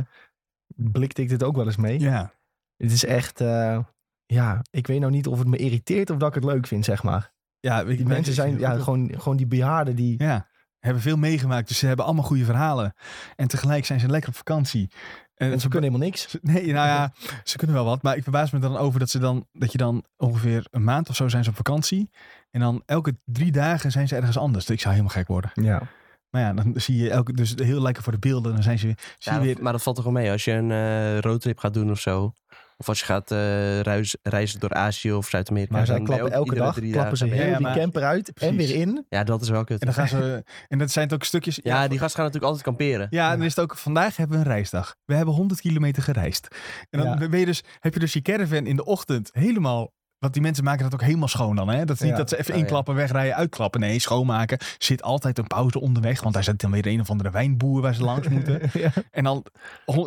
[SPEAKER 1] blikte ik dit ook wel eens mee.
[SPEAKER 2] Ja,
[SPEAKER 1] Het is echt... eh, ja, ik weet nou niet of het me irriteert of dat ik het leuk vind, zeg maar.
[SPEAKER 2] ja weet je,
[SPEAKER 1] Die mensen zijn ja, gewoon, gewoon die bejaarden die...
[SPEAKER 2] Ja, hebben veel meegemaakt. Dus ze hebben allemaal goede verhalen. En tegelijk zijn ze lekker op vakantie. Eh, En
[SPEAKER 1] En ze
[SPEAKER 2] ze-
[SPEAKER 1] kunnen helemaal niks.
[SPEAKER 2] ze- Nee, nou ja, ze kunnen wel wat. Maar ik verbaas me dan over dat, ze dan, dat je dan ongeveer een maand of zo zijn ze op vakantie. En dan elke drie dagen zijn ze ergens anders. Ik zou helemaal gek worden.
[SPEAKER 1] Ja.
[SPEAKER 2] Maar ja, dan zie je elke, dus heel lekker voor de beelden. Dan zijn ze, zie
[SPEAKER 3] Ja,
[SPEAKER 2] je
[SPEAKER 3] dat-
[SPEAKER 2] weer...
[SPEAKER 3] Maar dat valt toch wel mee. Als je een eh, roadtrip gaat doen of zo. Of als je gaat eh, ruis- reizen door Azië of Zuid-Amerika.
[SPEAKER 1] Maar zij
[SPEAKER 3] dan ben je
[SPEAKER 1] klappen
[SPEAKER 3] ook
[SPEAKER 1] elke
[SPEAKER 3] iedere
[SPEAKER 1] dag
[SPEAKER 3] drie
[SPEAKER 1] klappen ze
[SPEAKER 3] dagen-
[SPEAKER 1] heel
[SPEAKER 2] Ja,
[SPEAKER 1] die
[SPEAKER 2] maar-
[SPEAKER 1] camper uit en
[SPEAKER 2] Precies.
[SPEAKER 1] weer [LAUGHS] in.
[SPEAKER 3] Ja, dat is wel kut.
[SPEAKER 2] En dan gaan ze. en dat zijn het ook stukjes.
[SPEAKER 3] Ja, die gasten gaan natuurlijk altijd kamperen.
[SPEAKER 2] Ja, en dan is het ook, vandaag hebben we een reisdag. We hebben 100 kilometer gereisd. En dan
[SPEAKER 1] Ja.
[SPEAKER 2] ben je dus, heb je dus je caravan in de ochtend helemaal... Want die mensen maken dat ook helemaal schoon dan, hè? Dat is niet
[SPEAKER 1] Ja.
[SPEAKER 2] dat ze even
[SPEAKER 3] Oh, ja.
[SPEAKER 2] inklappen, wegrijden, uitklappen. Nee, schoonmaken. Zit altijd een pauze onderweg, want daar zit dan weer een of andere wijnboer waar ze
[SPEAKER 1] [LAUGHS]
[SPEAKER 2] langs moeten.
[SPEAKER 1] Ja.
[SPEAKER 2] En dan,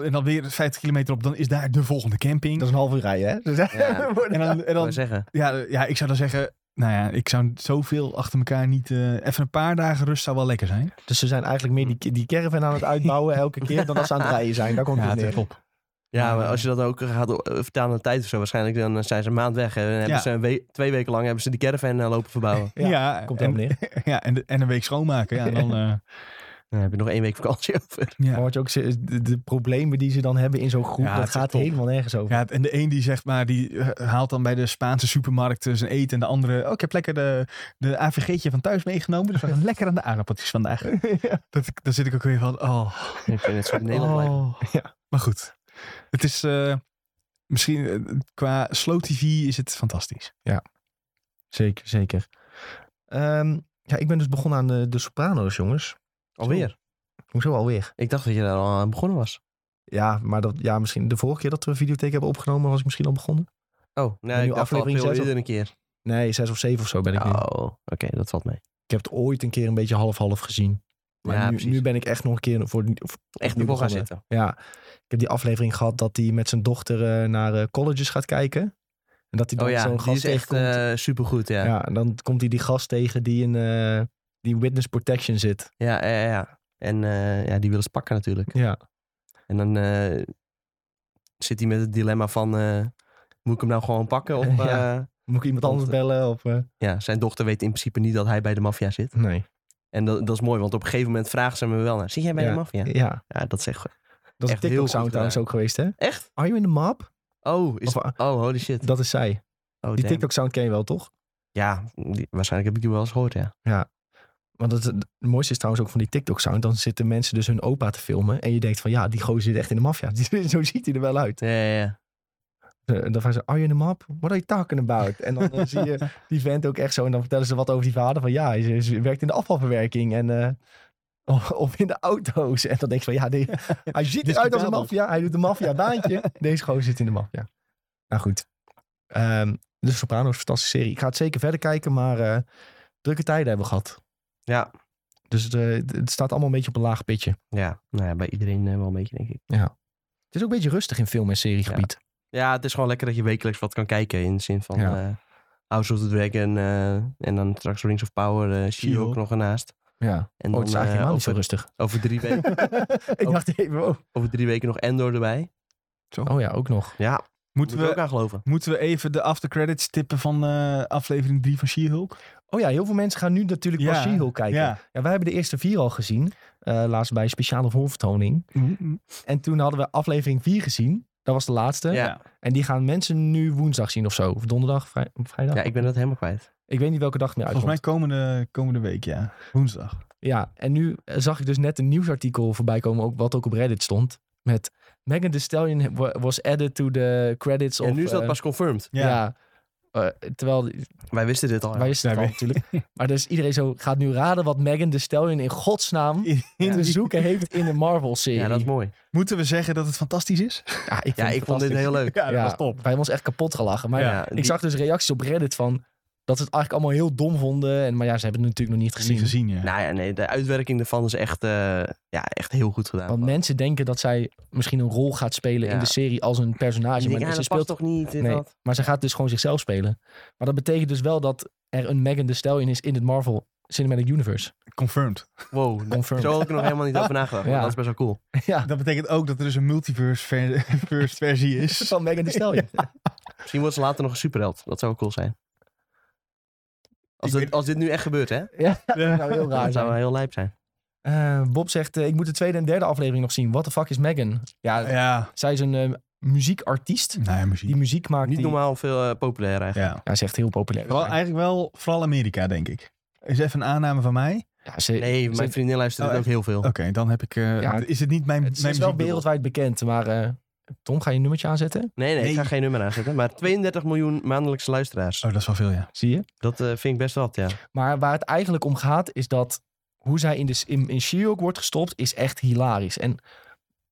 [SPEAKER 2] en dan weer 50 kilometer op, dan is daar de volgende camping.
[SPEAKER 1] Dat is een half uur rijden, hè? [LAUGHS] Dus-
[SPEAKER 3] Ja.
[SPEAKER 1] worden-
[SPEAKER 2] En dan, en
[SPEAKER 3] Kan
[SPEAKER 1] [LAUGHS]
[SPEAKER 2] dan
[SPEAKER 3] ik zeggen.
[SPEAKER 2] ja, ja, ik zou dan zeggen... Nou ja, ik zou zoveel achter elkaar niet... eh, even een paar dagen rust zou wel lekker zijn.
[SPEAKER 1] Dus ze zijn eigenlijk meer die, die caravan aan het uitbouwen elke keer dan dat ze aan het rijden zijn. Daar komt
[SPEAKER 2] Ja,
[SPEAKER 1] het neer.
[SPEAKER 2] top.
[SPEAKER 3] Ja, maar als je dat ook gaat eh, vertalen aan tijd of zo, waarschijnlijk dan eh, zijn ze een maand weg. En dan hebben
[SPEAKER 2] Ja.
[SPEAKER 3] ze een we- twee weken lang hebben ze die caravan eh, lopen
[SPEAKER 2] [LAUGHS]
[SPEAKER 3] verbouwen.
[SPEAKER 1] Ja, Komt
[SPEAKER 2] en,
[SPEAKER 1] helemaal neer.
[SPEAKER 2] Ja, en, de- en een week schoonmaken. Ja, en
[SPEAKER 1] [LAUGHS]
[SPEAKER 2] dan, eh,
[SPEAKER 3] Dan heb je nog één week vakantie [LAUGHS] over.
[SPEAKER 1] Maar
[SPEAKER 2] ja.
[SPEAKER 1] wat je ook zegt, de, de problemen die ze dan hebben in zo'n groep,
[SPEAKER 2] Ja, het
[SPEAKER 1] dat
[SPEAKER 2] is
[SPEAKER 1] gaat
[SPEAKER 2] top.
[SPEAKER 1] helemaal nergens over.
[SPEAKER 2] ja, en de een die zegt maar, die eh, haalt dan bij de Spaanse supermarkt eh, zijn eten. En de andere, oh, ik heb lekker de, de AVG'tje van thuis meegenomen. Dus we gaan [LAUGHS] lekker aan de aardappeltjes vandaag. Dat, ik- dan zit ik ook weer van, oh.
[SPEAKER 3] Ik vind het zo in Nederland blijven.
[SPEAKER 2] oh.
[SPEAKER 1] Ja.
[SPEAKER 2] Maar goed, het is eh, misschien eh, qua slow tv is het fantastisch.
[SPEAKER 1] [LAUGHS] Zeker, zeker. Ehm, ja, ik ben dus begonnen aan de, de Sopranos, jongens.
[SPEAKER 3] Alweer.
[SPEAKER 1] Hoezo alweer?
[SPEAKER 3] Ik dacht dat je daar al aan begonnen was.
[SPEAKER 1] Ja, maar dat, ja, misschien de vorige keer dat we een videotheek hebben opgenomen, was ik misschien al begonnen.
[SPEAKER 3] Oh,
[SPEAKER 1] nu
[SPEAKER 3] nee, ik dacht al
[SPEAKER 1] aflevering
[SPEAKER 3] veel
[SPEAKER 1] zes of-
[SPEAKER 3] eerder een keer.
[SPEAKER 1] Nee, zes of zeven of zo ben ik nu.
[SPEAKER 3] Oh, oké, dat valt mee.
[SPEAKER 1] Ik heb het ooit een keer een beetje half-half gezien. Maar
[SPEAKER 3] Ja,
[SPEAKER 1] nu,
[SPEAKER 3] precies.
[SPEAKER 1] nu ben ik echt nog een keer voor, voor-
[SPEAKER 3] Echt
[SPEAKER 1] nu
[SPEAKER 3] nu gaan
[SPEAKER 1] begonnen.
[SPEAKER 3] zitten.
[SPEAKER 1] Ja, ik heb die aflevering gehad dat hij met zijn dochter eh, naar eh, colleges gaat kijken. En dat hij dan
[SPEAKER 3] Oh ja,
[SPEAKER 1] zo'n
[SPEAKER 3] die
[SPEAKER 1] gast
[SPEAKER 3] is echt
[SPEAKER 1] tegenkomt.
[SPEAKER 3] eh, supergoed, ja. Ja,
[SPEAKER 1] ja, en dan komt hij die gast tegen die in eh, die witness protection zit.
[SPEAKER 3] ja, ja. ja. En eh, ja, die willen ze pakken natuurlijk.
[SPEAKER 1] Ja,
[SPEAKER 3] En dan eh, zit hij met het dilemma van... eh, moet ik hem nou gewoon pakken? Of,
[SPEAKER 1] [LAUGHS] Ja.
[SPEAKER 3] eh,
[SPEAKER 1] moet ik iemand anders bellen? Of, eh,
[SPEAKER 3] ja, zijn dochter weet in principe niet dat hij bij de maffia zit.
[SPEAKER 1] Nee.
[SPEAKER 3] En dat, dat is mooi, want op een gegeven moment vragen ze me wel naar... Zit jij bij
[SPEAKER 1] Ja.
[SPEAKER 3] de maffia?
[SPEAKER 1] Ja,
[SPEAKER 3] Ja, dat is echt goed.
[SPEAKER 1] dat is
[SPEAKER 3] Echt heel
[SPEAKER 1] TikTok
[SPEAKER 3] goed
[SPEAKER 1] sound trouwens
[SPEAKER 3] gedaan.
[SPEAKER 1] ook geweest, hè?
[SPEAKER 3] Echt?
[SPEAKER 1] Are you in the map?
[SPEAKER 3] Oh, is,
[SPEAKER 1] Of- ah,
[SPEAKER 3] oh holy shit.
[SPEAKER 1] Dat is zij.
[SPEAKER 3] Oh,
[SPEAKER 1] Die
[SPEAKER 3] damn.
[SPEAKER 1] TikTok sound ken je wel, toch?
[SPEAKER 3] Ja, die- waarschijnlijk heb ik die wel eens gehoord, ja.
[SPEAKER 1] Want het, het mooiste is trouwens ook van die TikTok sound. Dan zitten mensen dus hun opa te filmen. En je denkt van ja, die gozer zit echt in de maffia. [LAUGHS] Zo ziet hij er wel uit.
[SPEAKER 3] Ja, ja, ja.
[SPEAKER 1] Eh, En dan vragen ze, are you in the map? What are you talking about? En dan eh, zie
[SPEAKER 3] [LAUGHS]
[SPEAKER 1] je die vent ook echt zo. En dan vertellen ze wat over die vader. Van ja, hij, is- hij werkt in de afvalverwerking. En, eh, of, of in de auto's. En dan denk je van ja, die- hij ziet eruit als een
[SPEAKER 2] Discutabel.
[SPEAKER 1] maffia. Hij doet een maffia baantje. Deze gozer zit in de maffia. Nou goed. Ehm, de Sopranos, is een fantastische serie. Ik ga het zeker verder kijken. Maar eh, drukke tijden hebben we gehad.
[SPEAKER 3] Ja.
[SPEAKER 1] Dus het, eh, het staat allemaal een beetje op een laag pitje.
[SPEAKER 3] Ja, nou ja, bij iedereen eh, wel een beetje, denk ik.
[SPEAKER 1] Het is ook een beetje rustig in film- en seriegebied.
[SPEAKER 3] Ja, het is gewoon lekker dat je wekelijks wat kan kijken. In de zin van
[SPEAKER 1] Ja.
[SPEAKER 3] eh, House of the Dragon eh, en dan straks Rings of Power, eh She-Hulk
[SPEAKER 2] She-Hulk.
[SPEAKER 3] nog ernaast.
[SPEAKER 1] Ja.
[SPEAKER 3] En
[SPEAKER 1] Oh,
[SPEAKER 3] dan
[SPEAKER 1] het is eigenlijk
[SPEAKER 3] eh,
[SPEAKER 1] helemaal niet zo
[SPEAKER 3] over,
[SPEAKER 1] rustig.
[SPEAKER 3] over, drie
[SPEAKER 1] [LAUGHS]
[SPEAKER 3] weken,
[SPEAKER 1] ik dacht even, oh.
[SPEAKER 3] over drie weken nog Endor erbij.
[SPEAKER 1] Oh ja, ook nog.
[SPEAKER 3] Ja, moeten
[SPEAKER 2] Moeten
[SPEAKER 3] we ook
[SPEAKER 2] we,
[SPEAKER 3] aan geloven.
[SPEAKER 2] moeten we even de aftercredits tippen van eh, aflevering 3 van She-Hulk?
[SPEAKER 1] Oh ja, heel veel mensen gaan nu natuurlijk
[SPEAKER 2] Ja,
[SPEAKER 1] pas She-Hulk kijken. Ja.
[SPEAKER 2] Ja.
[SPEAKER 1] wij hebben de eerste vier al gezien. eh, laatst bij een speciale voorvertoning. En toen hadden we aflevering vier gezien. Dat was de laatste.
[SPEAKER 3] Ja.
[SPEAKER 1] En die gaan mensen nu woensdag zien of zo. Of donderdag, vrij- of vrijdag.
[SPEAKER 3] Ja, ik ben dat helemaal kwijt.
[SPEAKER 1] Ik weet niet welke dag het meer
[SPEAKER 2] Volgens mij
[SPEAKER 1] uitkomt.
[SPEAKER 2] komende, komende week, ja. Woensdag. [LAUGHS]
[SPEAKER 1] Ja, en nu eh, zag ik dus net een nieuwsartikel voorbij komen. Ook, wat ook op Reddit stond. Met Megan Thee Stallion wa- was added to the credits.
[SPEAKER 3] En
[SPEAKER 1] of,
[SPEAKER 3] nu is dat
[SPEAKER 1] eh,
[SPEAKER 3] pas confirmed.
[SPEAKER 1] Ja. Eh, terwijl,
[SPEAKER 3] Wij wisten dit al. Oh ja.
[SPEAKER 1] wij wisten het
[SPEAKER 2] Ja,
[SPEAKER 1] al
[SPEAKER 3] [LAUGHS]
[SPEAKER 1] natuurlijk. Maar dus iedereen zo gaat nu raden wat Megan Thee Stallion in godsnaam
[SPEAKER 3] Ja.
[SPEAKER 1] te zoeken heeft in de Marvel-serie.
[SPEAKER 3] Ja, dat is mooi.
[SPEAKER 2] Moeten we zeggen dat het fantastisch is?
[SPEAKER 1] Ja, ik
[SPEAKER 3] Ja, ik vond dit heel leuk.
[SPEAKER 2] [LAUGHS] Ja, dat
[SPEAKER 1] Ja,
[SPEAKER 2] was top.
[SPEAKER 1] Wij hebben ons echt kapot gelachen. Maar
[SPEAKER 2] Ja,
[SPEAKER 3] Ja,
[SPEAKER 1] ik
[SPEAKER 3] die-
[SPEAKER 1] zag dus reacties op Reddit van dat ze het eigenlijk allemaal heel dom vonden. En, maar ja, ze hebben het natuurlijk nog niet gezien.
[SPEAKER 2] Niet gezien, ja.
[SPEAKER 3] Nou ja, nee, de uitwerking ervan is echt, eh, ja, echt heel goed gedaan.
[SPEAKER 1] Want mensen denken dat zij misschien een rol gaat spelen in
[SPEAKER 3] Ja.
[SPEAKER 1] de serie als een personage.
[SPEAKER 3] Die denken,
[SPEAKER 1] maar
[SPEAKER 3] Dus ja,
[SPEAKER 1] ze
[SPEAKER 3] dat
[SPEAKER 1] speelt
[SPEAKER 3] past toch niet? dit,
[SPEAKER 1] Nee.
[SPEAKER 3] dat?
[SPEAKER 1] Maar ze gaat dus gewoon zichzelf spelen. Maar dat betekent dus wel dat er een Megan Thee Stallion is in het Marvel Cinematic Universe.
[SPEAKER 2] Confirmed.
[SPEAKER 1] [LAUGHS]
[SPEAKER 3] Wow,
[SPEAKER 1] Confirmed.
[SPEAKER 3] zo had ik er nog helemaal niet over nagedacht. maar
[SPEAKER 1] Ja.
[SPEAKER 3] Dat is best wel cool.
[SPEAKER 1] Ja,
[SPEAKER 2] Dat betekent ook dat er dus een multiverse ver- [LAUGHS] verse versie is.
[SPEAKER 1] van Megan Thee Stallion.
[SPEAKER 3] [LAUGHS] Misschien wordt ze later nog een superheld. Dat zou wel cool zijn. Als,
[SPEAKER 2] Ik
[SPEAKER 3] dit-
[SPEAKER 2] weet-
[SPEAKER 3] als dit nu echt gebeurt, hè?
[SPEAKER 1] Dat zou heel raar
[SPEAKER 3] Dat zou
[SPEAKER 1] zijn.
[SPEAKER 3] wel heel lijp zijn.
[SPEAKER 1] Eh, Bob zegt, eh, ik moet de tweede en derde aflevering nog zien. What the fuck is Megan? Ja,
[SPEAKER 2] Ja.
[SPEAKER 1] zij is een eh, muziekartiest.
[SPEAKER 2] Nou ja,
[SPEAKER 1] Die
[SPEAKER 2] muziek.
[SPEAKER 1] muziek maakt
[SPEAKER 3] Niet
[SPEAKER 1] die...
[SPEAKER 3] normaal veel eh, populair eigenlijk.
[SPEAKER 2] Ja.
[SPEAKER 1] Ja, ze is echt heel populair.
[SPEAKER 2] Wel, eigenlijk wel vooral Amerika, denk ik. Is even een aanname van mij.
[SPEAKER 1] Ja, ze,
[SPEAKER 3] Nee, mijn
[SPEAKER 1] ze,
[SPEAKER 3] vriendin luistert
[SPEAKER 2] Oh,
[SPEAKER 3] het ook heel veel.
[SPEAKER 2] Oké, dan heb ik... eh,
[SPEAKER 1] Ja,
[SPEAKER 2] is het niet mijn,
[SPEAKER 1] het is
[SPEAKER 2] mijn
[SPEAKER 1] wel
[SPEAKER 2] muziekbedoel?
[SPEAKER 1] wereldwijd bekend, maar eh, Tom, ga je een nummertje aanzetten?
[SPEAKER 3] Nee, nee, ik ga
[SPEAKER 2] Nee.
[SPEAKER 3] geen nummer aanzetten. Maar 32 miljoen maandelijkse luisteraars.
[SPEAKER 2] Oh, dat is wel veel, ja.
[SPEAKER 1] Zie je?
[SPEAKER 3] Dat eh, vind ik best wat, ja.
[SPEAKER 1] Maar waar het eigenlijk om gaat, is dat hoe zij in, de, in, in She-Hulk wordt gestopt, is echt hilarisch. En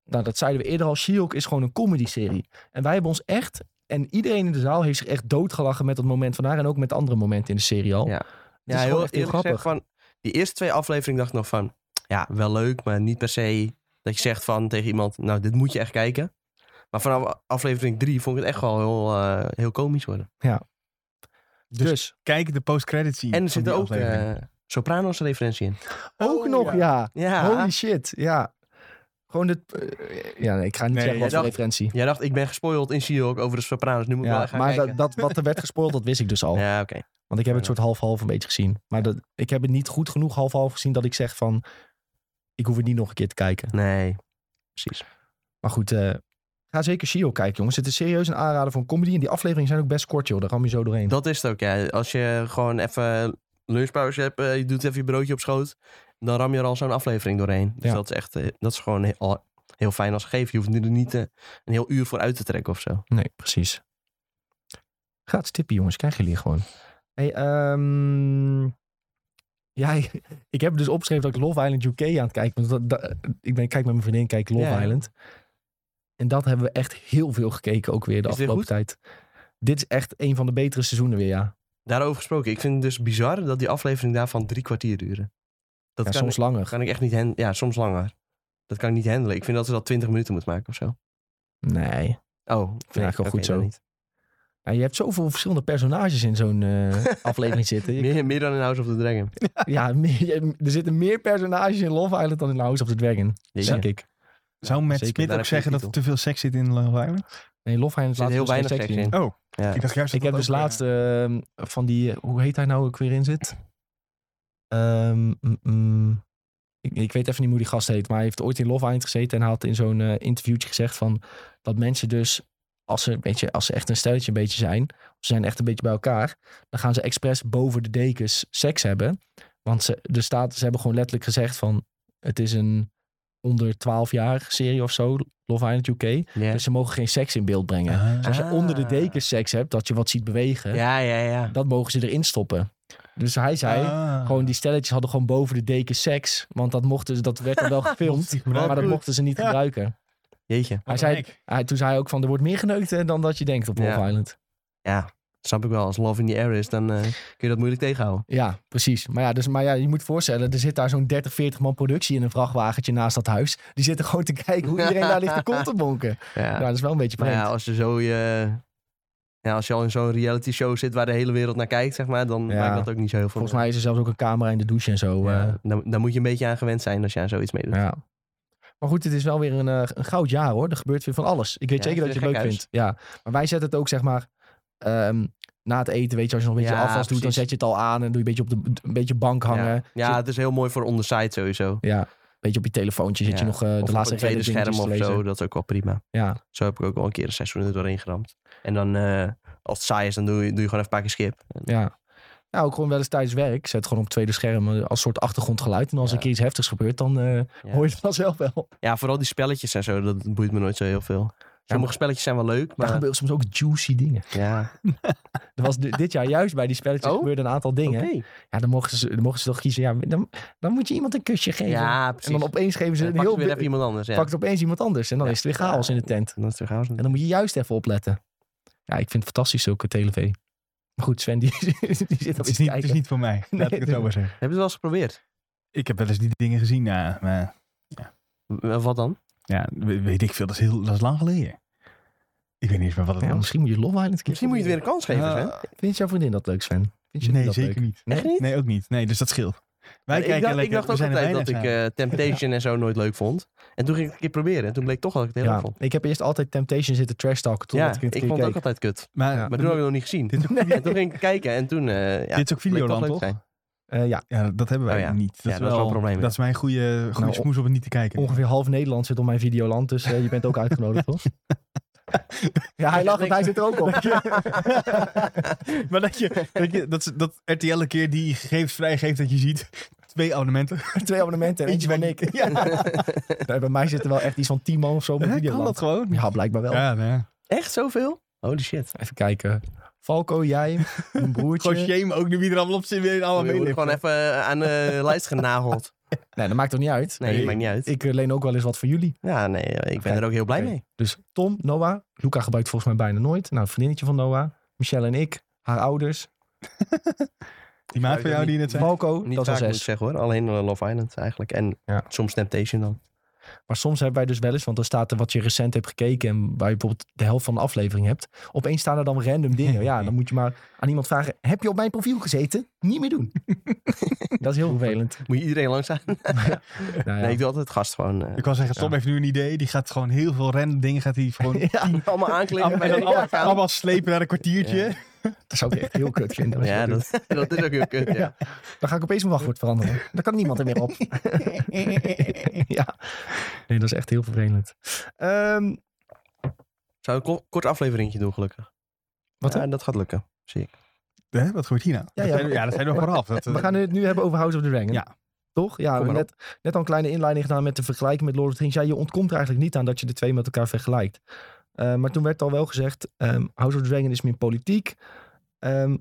[SPEAKER 1] nou, dat zeiden we eerder al, She-Hulk is gewoon een comedy-serie. En wij hebben ons echt, en iedereen in de zaal heeft zich echt doodgelachen met dat moment van haar en ook met andere momenten in de serie al.
[SPEAKER 3] Ja.
[SPEAKER 1] Het is gewoon echt heel
[SPEAKER 3] eerlijk
[SPEAKER 1] grappig.
[SPEAKER 3] gezegd, Van, die eerste twee afleveringen dacht ik nog van... Ja, wel leuk, maar niet per se dat je zegt van tegen iemand... Nou, dit moet je echt kijken. Maar vanaf aflevering drie vond ik het echt wel heel, eh, heel komisch worden.
[SPEAKER 1] Dus,
[SPEAKER 2] Kijk de post-credit scene.
[SPEAKER 3] En er
[SPEAKER 2] van
[SPEAKER 3] zit
[SPEAKER 2] die
[SPEAKER 3] ook
[SPEAKER 2] aflevering.
[SPEAKER 3] eh Sopranos referentie in.
[SPEAKER 1] ook nog, ja.
[SPEAKER 3] Ja,
[SPEAKER 1] Holy shit, ja. Gewoon dit... eh, ja, nee, ik ga niet zeggen
[SPEAKER 2] Nee,
[SPEAKER 1] wat
[SPEAKER 3] jij
[SPEAKER 1] voor
[SPEAKER 3] dacht-
[SPEAKER 1] referentie.
[SPEAKER 3] jij dacht ik ben gespoild in She-Hulk over de Sopranos. Nu moet ik wel
[SPEAKER 1] Ja,
[SPEAKER 3] echt gaan
[SPEAKER 1] maar
[SPEAKER 3] kijken.
[SPEAKER 1] dat, dat wat er werd gespoord, dat wist ik dus al.
[SPEAKER 3] Ja, oké.
[SPEAKER 1] Want ik heb het soort half-half een beetje gezien. Maar dat, ik heb het niet goed genoeg half-half gezien dat ik zeg van... Ik hoef het niet nog een keer te kijken.
[SPEAKER 3] Nee, precies.
[SPEAKER 1] Maar goed, eh, ga zeker Shio kijken, jongens. Het is serieus een aanrader voor een comedy. En die afleveringen zijn ook best kort, joh. Daar ram je zo doorheen.
[SPEAKER 3] Dat is het ook, ja. Als je gewoon even lunchpauze hebt, eh, je doet even je broodje op schoot, dan ram je er al zo'n aflevering doorheen. Dus
[SPEAKER 1] Ja.
[SPEAKER 3] dat is echt, eh, dat is gewoon he- al heel fijn als gegeven. Je hoeft er niet eh, een heel uur voor uit te trekken of zo.
[SPEAKER 1] Nee, precies. Gaat stippen, jongens. Krijgen jullie gewoon. Hey, ehm, ja, [LAUGHS] ik heb dus opgeschreven dat ik Love Island UK aan het kijken ben. Want Dat, dat- ik ben, ik kijk met mijn vriendin, kijk Love
[SPEAKER 3] Ja.
[SPEAKER 1] Island. En dat hebben we echt heel veel gekeken ook weer de
[SPEAKER 3] Is dit
[SPEAKER 1] afgelopen
[SPEAKER 3] goed?
[SPEAKER 1] tijd. Dit is echt een van de betere seizoenen weer, ja.
[SPEAKER 3] Daarover gesproken, ik vind het dus bizar dat die aflevering daarvan drie kwartier duren. Dat
[SPEAKER 1] ja
[SPEAKER 3] kan,
[SPEAKER 1] soms
[SPEAKER 3] ik,
[SPEAKER 1] langer.
[SPEAKER 3] kan ik echt niet handelen. Ja, soms langer. Dat kan ik niet handelen. Ik vind dat ze dat 20 minuten moet maken of zo.
[SPEAKER 1] Nee.
[SPEAKER 3] Oh, ik
[SPEAKER 1] eigenlijk wel goed zo. Ja, je hebt zoveel verschillende personages in zo'n eh,
[SPEAKER 3] [LAUGHS]
[SPEAKER 1] aflevering zitten. Je-
[SPEAKER 3] Meer, meer dan in House of the Dragon.
[SPEAKER 1] ja, meer- [LAUGHS] je- er zitten meer personages in Love Island dan in House of the Dragon.
[SPEAKER 3] Jeetje.
[SPEAKER 1] Denk ik.
[SPEAKER 2] Zou Matt
[SPEAKER 1] zeker.
[SPEAKER 2] Smith
[SPEAKER 3] Daar
[SPEAKER 2] ook
[SPEAKER 3] heb je
[SPEAKER 2] zeggen
[SPEAKER 3] de
[SPEAKER 2] dat er te veel seks zit in Love Island?
[SPEAKER 1] Nee, Love Island
[SPEAKER 3] Er zit
[SPEAKER 1] laat
[SPEAKER 3] heel
[SPEAKER 1] dus geen
[SPEAKER 3] weinig seks in.
[SPEAKER 2] Oh,
[SPEAKER 3] Ja.
[SPEAKER 2] ik dacht juist
[SPEAKER 1] Ik
[SPEAKER 2] dat
[SPEAKER 1] heb dus
[SPEAKER 2] dat ook, eh,
[SPEAKER 1] laatst ehm, van die, hoe heet hij nou ook weer in zit? Ehm, mm, mm. ik, ik weet even niet hoe die gast heet, maar hij heeft ooit in Love Island gezeten en had in zo'n eh, interviewtje gezegd van dat mensen dus, als ze, een beetje, als ze echt een stelletje een beetje zijn, of ze zijn echt een beetje bij elkaar, dan gaan ze expres boven de dekens seks hebben. Want ze, de staat, ze hebben gewoon letterlijk gezegd van het is een onder 12 jaar serie of zo, Love Island UK.
[SPEAKER 3] Ja.
[SPEAKER 1] Dus ze mogen geen seks in beeld brengen.
[SPEAKER 2] Ah.
[SPEAKER 1] Dus als je onder de
[SPEAKER 3] Ah.
[SPEAKER 1] dekens seks hebt, dat je wat ziet bewegen,
[SPEAKER 3] ja, ja, ja.
[SPEAKER 1] dat mogen ze erin stoppen. Dus hij zei,
[SPEAKER 2] Ah.
[SPEAKER 1] gewoon die stelletjes hadden gewoon boven de dekens seks. Want dat, mochten ze, dat werd dan
[SPEAKER 3] [LAUGHS]
[SPEAKER 1] wel gefilmd, maar dat
[SPEAKER 2] gebruiken.
[SPEAKER 1] mochten ze niet
[SPEAKER 2] Ja.
[SPEAKER 1] gebruiken.
[SPEAKER 3] Jeetje.
[SPEAKER 1] Hij
[SPEAKER 2] Wat
[SPEAKER 1] zei,
[SPEAKER 2] een hek.
[SPEAKER 1] hij, toen zei hij ook van, er wordt meer geneukt hè, dan dat je denkt op Love
[SPEAKER 3] Ja.
[SPEAKER 1] Island.
[SPEAKER 3] Ja, snap ik wel. Als love in the air is, dan eh, kun je dat moeilijk tegenhouden.
[SPEAKER 1] Ja, precies. Maar ja, dus, maar ja, je moet voorstellen, er zit daar zo'n 30, 40 man productie in een vrachtwagentje naast dat huis. Die zitten gewoon te kijken
[SPEAKER 3] [LAUGHS]
[SPEAKER 1] hoe iedereen daar ligt te kont te bonken.
[SPEAKER 3] Ja.
[SPEAKER 1] Ja, dat is wel een beetje
[SPEAKER 3] maar
[SPEAKER 1] vreemd.
[SPEAKER 3] ja, als je zo je... Ja, als je al in zo'n reality show zit waar de hele wereld naar kijkt, zeg maar, dan
[SPEAKER 1] Ja.
[SPEAKER 3] maakt dat ook niet zo heel veel.
[SPEAKER 1] Volgens mij is er zelfs ook een camera in de douche en zo.
[SPEAKER 3] Ja,
[SPEAKER 1] eh.
[SPEAKER 3] dan, dan moet je een beetje aan gewend zijn als je aan zoiets meedoet.
[SPEAKER 1] Ja. Maar goed, het is wel weer een, eh, een goud jaar hoor. Er gebeurt weer van alles. Ik weet
[SPEAKER 3] Ja,
[SPEAKER 1] zeker
[SPEAKER 3] het
[SPEAKER 1] dat
[SPEAKER 3] is
[SPEAKER 1] je
[SPEAKER 3] een
[SPEAKER 1] het leuk
[SPEAKER 3] gek
[SPEAKER 1] vindt. Ja. Maar wij zetten het ook zeg maar ehm, na het eten, weet je, als je nog een beetje
[SPEAKER 3] Ja,
[SPEAKER 1] afwas doet, dan
[SPEAKER 3] precies.
[SPEAKER 1] zet je het al aan en doe je een beetje op de een beetje bank hangen.
[SPEAKER 3] Ja. Ja,
[SPEAKER 1] Zit-
[SPEAKER 3] het is heel mooi voor on the side sowieso.
[SPEAKER 1] ja. Een beetje op je telefoontje zit je
[SPEAKER 3] Ja.
[SPEAKER 1] nog eh,
[SPEAKER 3] of
[SPEAKER 1] de
[SPEAKER 3] op
[SPEAKER 1] laatste
[SPEAKER 3] een tweede
[SPEAKER 1] Reddit dingetjes
[SPEAKER 3] scherm
[SPEAKER 1] te
[SPEAKER 3] of
[SPEAKER 1] lezen.
[SPEAKER 3] zo, dat is ook wel prima.
[SPEAKER 1] Ja.
[SPEAKER 3] Zo heb ik ook al een keer een seizoen er doorheen geramd. En dan, eh, als het saai is, dan doe je, doe je gewoon even een paar keer skip. En-
[SPEAKER 1] Ja. Ja, ook gewoon wel eens tijdens werk. Zet gewoon op het tweede scherm eh, als soort achtergrondgeluid. En als er
[SPEAKER 3] Ja.
[SPEAKER 1] een keer iets heftigs gebeurt, dan eh,
[SPEAKER 3] Ja.
[SPEAKER 1] hoor je het vanzelf wel.
[SPEAKER 3] Ja, vooral die spelletjes en zo, dat boeit me nooit zo heel veel. Sommige
[SPEAKER 1] maar-
[SPEAKER 3] spelletjes zijn wel leuk,
[SPEAKER 1] Maar er
[SPEAKER 3] maar...
[SPEAKER 1] gebeuren soms ook juicy dingen.
[SPEAKER 3] Ja,
[SPEAKER 1] Er was
[SPEAKER 3] [LAUGHS]
[SPEAKER 1] di- dit jaar juist bij die spelletjes
[SPEAKER 3] Oh?
[SPEAKER 1] gebeurde een aantal dingen.
[SPEAKER 3] Oké.
[SPEAKER 1] Ja, dan mochten ze, dan mochten ze toch kiezen. Ja, dan, dan moet je iemand een kusje geven.
[SPEAKER 3] Ja, precies.
[SPEAKER 1] En dan opeens geven ze
[SPEAKER 3] En
[SPEAKER 1] een
[SPEAKER 3] dan
[SPEAKER 1] heel...
[SPEAKER 3] pakt weer even iemand anders. Ja.
[SPEAKER 1] pakt opeens iemand anders. En dan
[SPEAKER 3] Ja.
[SPEAKER 1] is het weer chaos in de tent.
[SPEAKER 3] En dan is het weer chaos.
[SPEAKER 1] En dan moet je juist even opletten. Ja, ik vind het fantastisch, zulke televisie. Maar goed, Sven, die, [LAUGHS] die zit op
[SPEAKER 2] Het
[SPEAKER 1] iets
[SPEAKER 2] is,
[SPEAKER 1] te
[SPEAKER 2] niet, het is
[SPEAKER 1] kijken.
[SPEAKER 2] niet voor
[SPEAKER 1] [LAUGHS]
[SPEAKER 2] mij, laat ik het zo maar zeggen.
[SPEAKER 3] Heb je het wel eens geprobeerd?
[SPEAKER 2] Ik heb wel eens die dingen gezien, ja, maar
[SPEAKER 3] W- Wat dan?
[SPEAKER 2] ja, we- weet ik veel, dat is, heel, dat is lang geleden. Ik weet niet eens meer wat het
[SPEAKER 1] Ja,
[SPEAKER 2] was.
[SPEAKER 1] misschien moet je Love Island een keer
[SPEAKER 3] Misschien moet je het weer een kans geven, hè?
[SPEAKER 2] Eh,
[SPEAKER 1] proberen. Vindt jouw vriendin dat leuk, Sven? Vind je
[SPEAKER 2] nee,
[SPEAKER 1] dat
[SPEAKER 2] zeker
[SPEAKER 1] leuk?
[SPEAKER 2] niet.
[SPEAKER 1] Nee?
[SPEAKER 3] Echt niet?
[SPEAKER 2] Nee, ook niet. Nee, dus dat scheelt. Wij
[SPEAKER 3] ik
[SPEAKER 2] kijken
[SPEAKER 3] dacht, ik
[SPEAKER 2] lekker,
[SPEAKER 3] dacht
[SPEAKER 2] we
[SPEAKER 3] ook
[SPEAKER 2] zijn er
[SPEAKER 3] altijd dat ik
[SPEAKER 2] weinig aan.
[SPEAKER 3] eh, Temptation en zo nooit leuk vond. En toen ging ik het een keer proberen. En toen bleek toch dat ik het heel
[SPEAKER 1] Ja,
[SPEAKER 3] leuk vond.
[SPEAKER 1] ik heb eerst altijd Temptation zitten trash talken. Toen
[SPEAKER 3] Ja,
[SPEAKER 1] dat
[SPEAKER 3] ik
[SPEAKER 1] ik het een
[SPEAKER 3] vond
[SPEAKER 1] keer
[SPEAKER 3] het ook
[SPEAKER 1] keek.
[SPEAKER 3] altijd kut.
[SPEAKER 2] Maar,
[SPEAKER 1] Ja.
[SPEAKER 3] Maar toen heb ik het nog niet gezien.
[SPEAKER 2] dit, is ook,
[SPEAKER 1] [LAUGHS]
[SPEAKER 3] En toen ging ik kijken en toen... eh ja,
[SPEAKER 2] dit is ook
[SPEAKER 3] bleek
[SPEAKER 2] Videoland,
[SPEAKER 3] leuk
[SPEAKER 2] toch?
[SPEAKER 3] zijn.
[SPEAKER 1] Eh, ja,
[SPEAKER 2] Ja, dat hebben wij
[SPEAKER 3] Oh ja.
[SPEAKER 2] niet. Dat,
[SPEAKER 3] Ja,
[SPEAKER 2] is wel, een probleem.
[SPEAKER 3] ja.
[SPEAKER 2] Dat is mijn goede, goede
[SPEAKER 1] Nou,
[SPEAKER 2] smoes om het niet te kijken. [LAUGHS]
[SPEAKER 1] ongeveer half Nederland zit op mijn videoland. Dus eh, je bent ook uitgenodigd, toch? Ja, hij lacht, want hij zit er ook
[SPEAKER 2] [LAUGHS]
[SPEAKER 1] op.
[SPEAKER 2] maar dat je, dat, je dat, ze- dat RTL een keer die gegevens vrijgeeft dat je ziet. [LAUGHS] twee abonnementen.
[SPEAKER 1] Twee abonnementen en eentje
[SPEAKER 2] Eentje
[SPEAKER 1] van ik. [LAUGHS] Ja. Nee, bij mij zitten wel echt iets van tien man of zo. op mijn
[SPEAKER 2] Hè,
[SPEAKER 1] video
[SPEAKER 2] kan dat
[SPEAKER 1] land.
[SPEAKER 2] gewoon?
[SPEAKER 1] Ja, blijkbaar wel.
[SPEAKER 2] Ja, nee.
[SPEAKER 3] Echt zoveel? Holy shit.
[SPEAKER 1] Even kijken. Falco, jij, mijn broertje.
[SPEAKER 2] Gewoon shame ook nu wie er allemaal op zit. wie er allemaal
[SPEAKER 3] We worden
[SPEAKER 2] meelipt.
[SPEAKER 3] Oh, gewoon even eh, aan
[SPEAKER 2] [LAUGHS]
[SPEAKER 3] de lijst genageld.
[SPEAKER 1] Nee, dat maakt toch niet uit.
[SPEAKER 3] Nee,
[SPEAKER 2] Nee.
[SPEAKER 3] maakt niet uit.
[SPEAKER 1] Ik eh, leen ook wel eens wat voor jullie.
[SPEAKER 3] Ja, nee, eh, ik ben
[SPEAKER 1] Oké,
[SPEAKER 3] er ook heel blij
[SPEAKER 1] oké.
[SPEAKER 3] mee.
[SPEAKER 1] Dus Tom, Noah. Luca gebruikt volgens mij bijna nooit. Nou, een vriendinnetje van Noah. Michelle en ik. Haar ouders.
[SPEAKER 2] Die maat van jou die je net zei.
[SPEAKER 1] Falco,
[SPEAKER 3] Niet
[SPEAKER 1] dat is
[SPEAKER 3] vaak
[SPEAKER 1] al
[SPEAKER 3] moet ik
[SPEAKER 1] zes.
[SPEAKER 3] zeggen hoor. Alleen eh, Love Island eigenlijk. En
[SPEAKER 1] Ja.
[SPEAKER 3] soms Temptation dan.
[SPEAKER 1] Maar soms hebben wij dus wel eens, want dan staat er wat je recent hebt gekeken en waar je bijvoorbeeld de helft van de aflevering hebt. Opeens staan er dan random dingen. Ja, dan moet je maar aan iemand vragen, heb je op mijn profiel gezeten? Niet meer doen. [LAUGHS] dat is heel vervelend.
[SPEAKER 3] Moet je iedereen langs aan?
[SPEAKER 1] Nou ja.
[SPEAKER 3] Nee, ik doe altijd het gast gewoon. eh,
[SPEAKER 2] Ik wou zeggen, Tom heeft nu een idee. Die gaat gewoon heel veel random dingen. Gaat hij gewoon
[SPEAKER 1] ja,
[SPEAKER 3] [LAUGHS] allemaal aanklikken en
[SPEAKER 2] allemaal,
[SPEAKER 3] dan allemaal gaan.
[SPEAKER 2] allemaal slepen naar een kwartiertje.
[SPEAKER 3] Ja.
[SPEAKER 1] dat zou ik echt heel kut vinden. als je
[SPEAKER 3] Ja,
[SPEAKER 1] dat doet.
[SPEAKER 3] dat, dat is ook heel
[SPEAKER 1] [LAUGHS]
[SPEAKER 3] kut. Ja.
[SPEAKER 1] Dan ga ik opeens mijn wachtwoord veranderen. Dan kan niemand er meer
[SPEAKER 3] [LAUGHS]
[SPEAKER 1] op. ja. Nee, dat is echt heel vervelend. Ehm,
[SPEAKER 3] Zou ik een ko- kort afleveringetje doen, gelukkig.
[SPEAKER 1] Wat
[SPEAKER 3] Ja, dat gaat lukken, zie ik.
[SPEAKER 2] Hè, wat gebeurt hier nou?
[SPEAKER 1] Ja,
[SPEAKER 2] Dat
[SPEAKER 1] ja.
[SPEAKER 2] zijn we- dat zijn we vooraf. Dat, eh,
[SPEAKER 1] we gaan het nu hebben over House of the Dragon.
[SPEAKER 2] Ja.
[SPEAKER 1] Toch? Ja,
[SPEAKER 3] Kom maar
[SPEAKER 1] net, net al een kleine inleiding gedaan met de vergelijking met Lord of the Rings. Ja, je ontkomt er eigenlijk niet aan dat je de twee met elkaar vergelijkt. Eh, maar toen werd al wel gezegd, ehm, House of the Dragon is meer politiek. Ehm,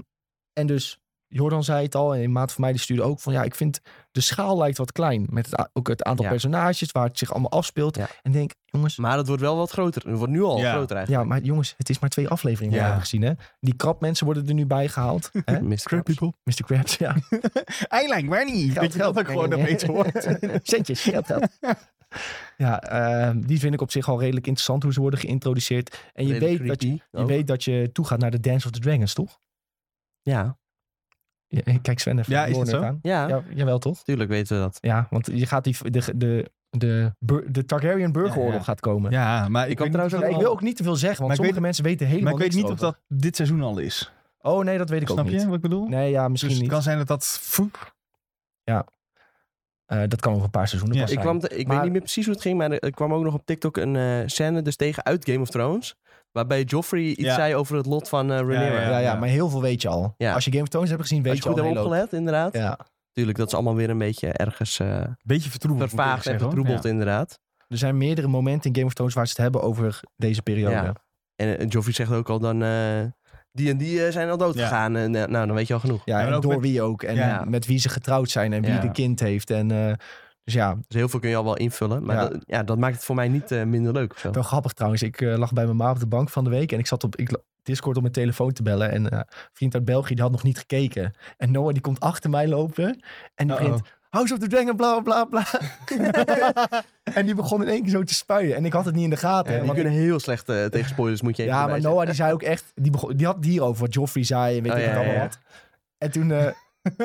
[SPEAKER 1] en dus, Jordan zei het al, en in Maat van mij die stuurde ook van... Ja, ik vind de schaal lijkt wat klein. Met het, a- ook het aantal
[SPEAKER 3] Ja.
[SPEAKER 1] personages, waar het zich allemaal afspeelt.
[SPEAKER 3] Ja.
[SPEAKER 1] En denk, jongens...
[SPEAKER 3] Maar het wordt wel wat groter. Het wordt nu al
[SPEAKER 2] Ja.
[SPEAKER 3] groter eigenlijk.
[SPEAKER 1] Ja, maar jongens, het is maar twee afleveringen die
[SPEAKER 2] Ja.
[SPEAKER 1] we hebben gezien, hè? Die krapmensen worden er nu bij gehaald.
[SPEAKER 3] [LAUGHS]
[SPEAKER 1] hè?
[SPEAKER 3] Mr.
[SPEAKER 2] Crap
[SPEAKER 3] Krabs.
[SPEAKER 2] people.
[SPEAKER 1] Mr. Krabs, ja.
[SPEAKER 2] Eiland, waar niet?
[SPEAKER 1] Geld,
[SPEAKER 2] Dat je dat
[SPEAKER 1] geld.
[SPEAKER 2] ook gewoon
[SPEAKER 1] Nee, nee,
[SPEAKER 2] opeens
[SPEAKER 1] [LAUGHS]
[SPEAKER 2] hoort. [LAUGHS]
[SPEAKER 1] Centjes, geld, geld. [LAUGHS] Ja, ehm, die vind ik op zich al redelijk interessant hoe ze worden geïntroduceerd. En je,
[SPEAKER 3] Redelijk
[SPEAKER 1] weet dat je,
[SPEAKER 3] creepy
[SPEAKER 1] je
[SPEAKER 3] ook.
[SPEAKER 1] weet dat je toegaat naar de Dance of the Dragons, toch?
[SPEAKER 3] Ja.
[SPEAKER 1] Ja, kijk Sven even
[SPEAKER 2] Ja,
[SPEAKER 1] de
[SPEAKER 2] is dat
[SPEAKER 1] doornurk
[SPEAKER 2] zo?
[SPEAKER 1] aan.
[SPEAKER 3] Ja,
[SPEAKER 1] Ja, jawel, toch?
[SPEAKER 3] tuurlijk weten we dat.
[SPEAKER 1] Ja, want je gaat die, de, de, de, bur- de Targaryen burgeroorlog
[SPEAKER 2] Ja, ja.
[SPEAKER 1] gaat komen.
[SPEAKER 2] Ja, maar ik,
[SPEAKER 3] kan
[SPEAKER 2] weet
[SPEAKER 3] trouwens
[SPEAKER 2] niet
[SPEAKER 1] Nee,
[SPEAKER 2] of
[SPEAKER 1] ik
[SPEAKER 2] dat
[SPEAKER 1] wil
[SPEAKER 2] al-
[SPEAKER 1] ook niet te veel zeggen, want
[SPEAKER 2] Maar ik
[SPEAKER 1] sommige mensen
[SPEAKER 2] weet-
[SPEAKER 1] weten helemaal
[SPEAKER 2] Maar ik weet
[SPEAKER 1] niks
[SPEAKER 2] niet of
[SPEAKER 1] erover.
[SPEAKER 2] dat dit seizoen al is.
[SPEAKER 1] Oh nee, dat weet ik ook
[SPEAKER 2] Snap
[SPEAKER 1] niet.
[SPEAKER 2] je wat ik bedoel?
[SPEAKER 1] Nee, ja, misschien
[SPEAKER 2] dus het
[SPEAKER 1] niet.
[SPEAKER 2] kan zijn dat dat... foep,
[SPEAKER 1] Eh, dat kan over een paar seizoenen
[SPEAKER 2] Ja.
[SPEAKER 1] pas
[SPEAKER 3] Ik,
[SPEAKER 1] zijn.
[SPEAKER 3] kwam te- ik
[SPEAKER 1] Maar-
[SPEAKER 3] weet niet meer precies hoe het ging, maar er- er kwam ook nog op TikTok een eh, scène dus tegen uit Game of Thrones. Waarbij Joffrey iets
[SPEAKER 2] Ja.
[SPEAKER 3] zei over het lot van eh Rhaenyra.
[SPEAKER 2] Ja,
[SPEAKER 1] Ja, ja, maar heel veel weet je al.
[SPEAKER 3] Ja.
[SPEAKER 1] Als je Game of Thrones hebt gezien, weet
[SPEAKER 3] Als je goed
[SPEAKER 1] al
[SPEAKER 3] hebt
[SPEAKER 1] heel
[SPEAKER 3] opgelet, inderdaad.
[SPEAKER 1] veel. Ja.
[SPEAKER 3] Tuurlijk, dat is allemaal weer een beetje ergens eh,
[SPEAKER 2] Beetje vertroebeld. moet ik
[SPEAKER 3] vervaagd en
[SPEAKER 2] zeggen, hoor.
[SPEAKER 3] vertroebeld, inderdaad.
[SPEAKER 1] Er zijn meerdere momenten in Game of Thrones waar ze het hebben over deze periode.
[SPEAKER 3] Ja.
[SPEAKER 1] Ja,
[SPEAKER 3] En eh, Joffrey zegt ook al dan, eh, die en die eh, zijn al dood
[SPEAKER 2] Ja.
[SPEAKER 3] gegaan. En, eh, nou, dan weet je al genoeg.
[SPEAKER 2] Ja,
[SPEAKER 1] en
[SPEAKER 2] en ook
[SPEAKER 1] door
[SPEAKER 2] met-
[SPEAKER 1] wie ook. En
[SPEAKER 2] Ja.
[SPEAKER 1] met wie ze getrouwd zijn en wie
[SPEAKER 3] Ja.
[SPEAKER 1] de kind heeft. En, eh, dus ja,
[SPEAKER 3] Dus heel veel kun je al wel invullen. Maar
[SPEAKER 1] Ja.
[SPEAKER 3] Dat, ja, dat maakt het voor mij niet eh, minder leuk of zo.
[SPEAKER 1] wel grappig trouwens. Ik eh, lag bij mijn ma op de bank van de week en ik zat op ik, la- Discord om mijn telefoon te bellen. En eh, een vriend uit België die had nog niet gekeken. En Noah die komt achter mij lopen en die
[SPEAKER 2] Uh-oh.
[SPEAKER 1] begint... House of the Dragon, bla bla bla.
[SPEAKER 2] [LAUGHS]
[SPEAKER 1] [LAUGHS] bla." en die begon in één keer zo te spuien. En ik had het niet in de gaten. hè,
[SPEAKER 3] Ja, Eh, die
[SPEAKER 1] want
[SPEAKER 3] kunnen heel slecht
[SPEAKER 1] [LAUGHS]
[SPEAKER 3] eh, tegen spoilers, moet je even
[SPEAKER 1] Ja, maar
[SPEAKER 3] erbij
[SPEAKER 1] Noah die zei ook echt, die, begon, die had het hierover, wat Joffrey zei en weet
[SPEAKER 3] Oh,
[SPEAKER 1] ik
[SPEAKER 3] ja,
[SPEAKER 1] wat allemaal
[SPEAKER 3] ja, ja.
[SPEAKER 1] wat. En toen,
[SPEAKER 3] [LAUGHS]
[SPEAKER 1] eh,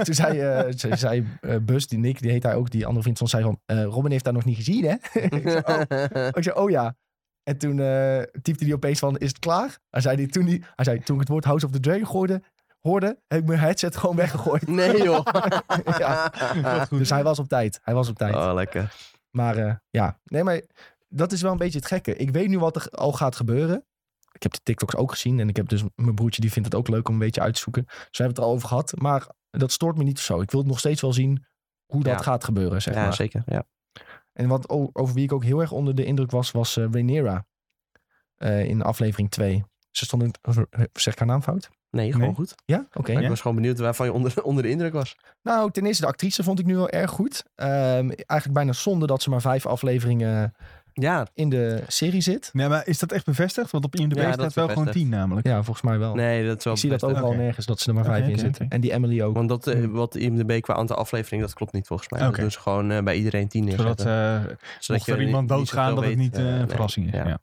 [SPEAKER 1] toen zei, eh, ze- zei eh, Bus, die Nick, die heet hij ook, die andere vriend van ons, zei van, eh, Robin heeft daar nog niet gezien hè? [LAUGHS]
[SPEAKER 3] zeggen.
[SPEAKER 1] ik zei, oh ja. En toen eh, typte hij opeens van, is het klaar? Hij zei, die, toen, die, hij zei, toen ik het woord House of the Dragon gooide, hoorde, heb ik mijn headset gewoon weggegooid.
[SPEAKER 3] [LAUGHS]
[SPEAKER 1] [LAUGHS]
[SPEAKER 3] nee, joh. [LAUGHS]
[SPEAKER 1] Ja.
[SPEAKER 2] Dat is goed.
[SPEAKER 1] Dus hij was op tijd, hij was op tijd.
[SPEAKER 3] Oh, lekker.
[SPEAKER 1] Maar eh, ja, nee, maar dat is wel een beetje het gekke. Ik weet nu wat er al gaat gebeuren. Ik heb de TikToks ook gezien en ik heb dus mijn broertje die vindt het ook leuk om een beetje uit te zoeken. Dus we hebben het er al over gehad, maar dat stoort me niet of zo. Ik wil nog steeds wel zien hoe dat
[SPEAKER 3] Ja.
[SPEAKER 1] gaat gebeuren, zeg
[SPEAKER 3] ja,
[SPEAKER 1] maar.
[SPEAKER 3] zeker. Ja.
[SPEAKER 1] En wat o- over wie ik ook heel erg onder de indruk was, was eh Rhaenyra Eh, in aflevering 2. Ze stond in, eh, zeg ik haar naam fout?
[SPEAKER 3] Nee, gewoon
[SPEAKER 2] Nee.
[SPEAKER 3] goed.
[SPEAKER 1] Ja, oké.
[SPEAKER 3] Maar
[SPEAKER 2] Ja.
[SPEAKER 3] ik was gewoon benieuwd waarvan je onder, [LAUGHS] onder de indruk was.
[SPEAKER 1] Nou, ten eerste de actrice vond ik nu wel erg goed. Ehm, eigenlijk bijna zonde dat ze maar vijf afleveringen
[SPEAKER 3] Ja,
[SPEAKER 1] in de serie zit.
[SPEAKER 2] Nee, maar is dat echt bevestigd? Want op IMDb
[SPEAKER 3] Ja, dat
[SPEAKER 2] staat
[SPEAKER 3] is
[SPEAKER 2] wel gewoon
[SPEAKER 3] bevestigd.
[SPEAKER 2] 10 namelijk.
[SPEAKER 1] Ja, volgens mij wel.
[SPEAKER 3] nee, dat is wel
[SPEAKER 1] Ik zie dat ook
[SPEAKER 3] bevestigd.
[SPEAKER 1] wel
[SPEAKER 2] Oké.
[SPEAKER 1] nergens, dat ze er maar
[SPEAKER 2] Oké,
[SPEAKER 1] vijf in
[SPEAKER 2] oké,
[SPEAKER 1] zitten.
[SPEAKER 2] oké.
[SPEAKER 1] En die Emily ook.
[SPEAKER 3] Want dat, eh, wat IMDB qua aantal aflevering, dat klopt niet volgens mij. Dat
[SPEAKER 2] Hm. Oké.
[SPEAKER 3] doen ze gewoon eh, bij iedereen tien neerzetten.
[SPEAKER 2] Zodat eh mocht
[SPEAKER 3] je
[SPEAKER 2] er
[SPEAKER 3] niet
[SPEAKER 2] iemand
[SPEAKER 3] zoveel
[SPEAKER 2] doodgaan, dat het
[SPEAKER 3] weet,
[SPEAKER 2] niet eh,
[SPEAKER 3] eh,
[SPEAKER 2] een
[SPEAKER 3] nee.
[SPEAKER 2] verrassing is.
[SPEAKER 3] Ja.
[SPEAKER 2] Ja.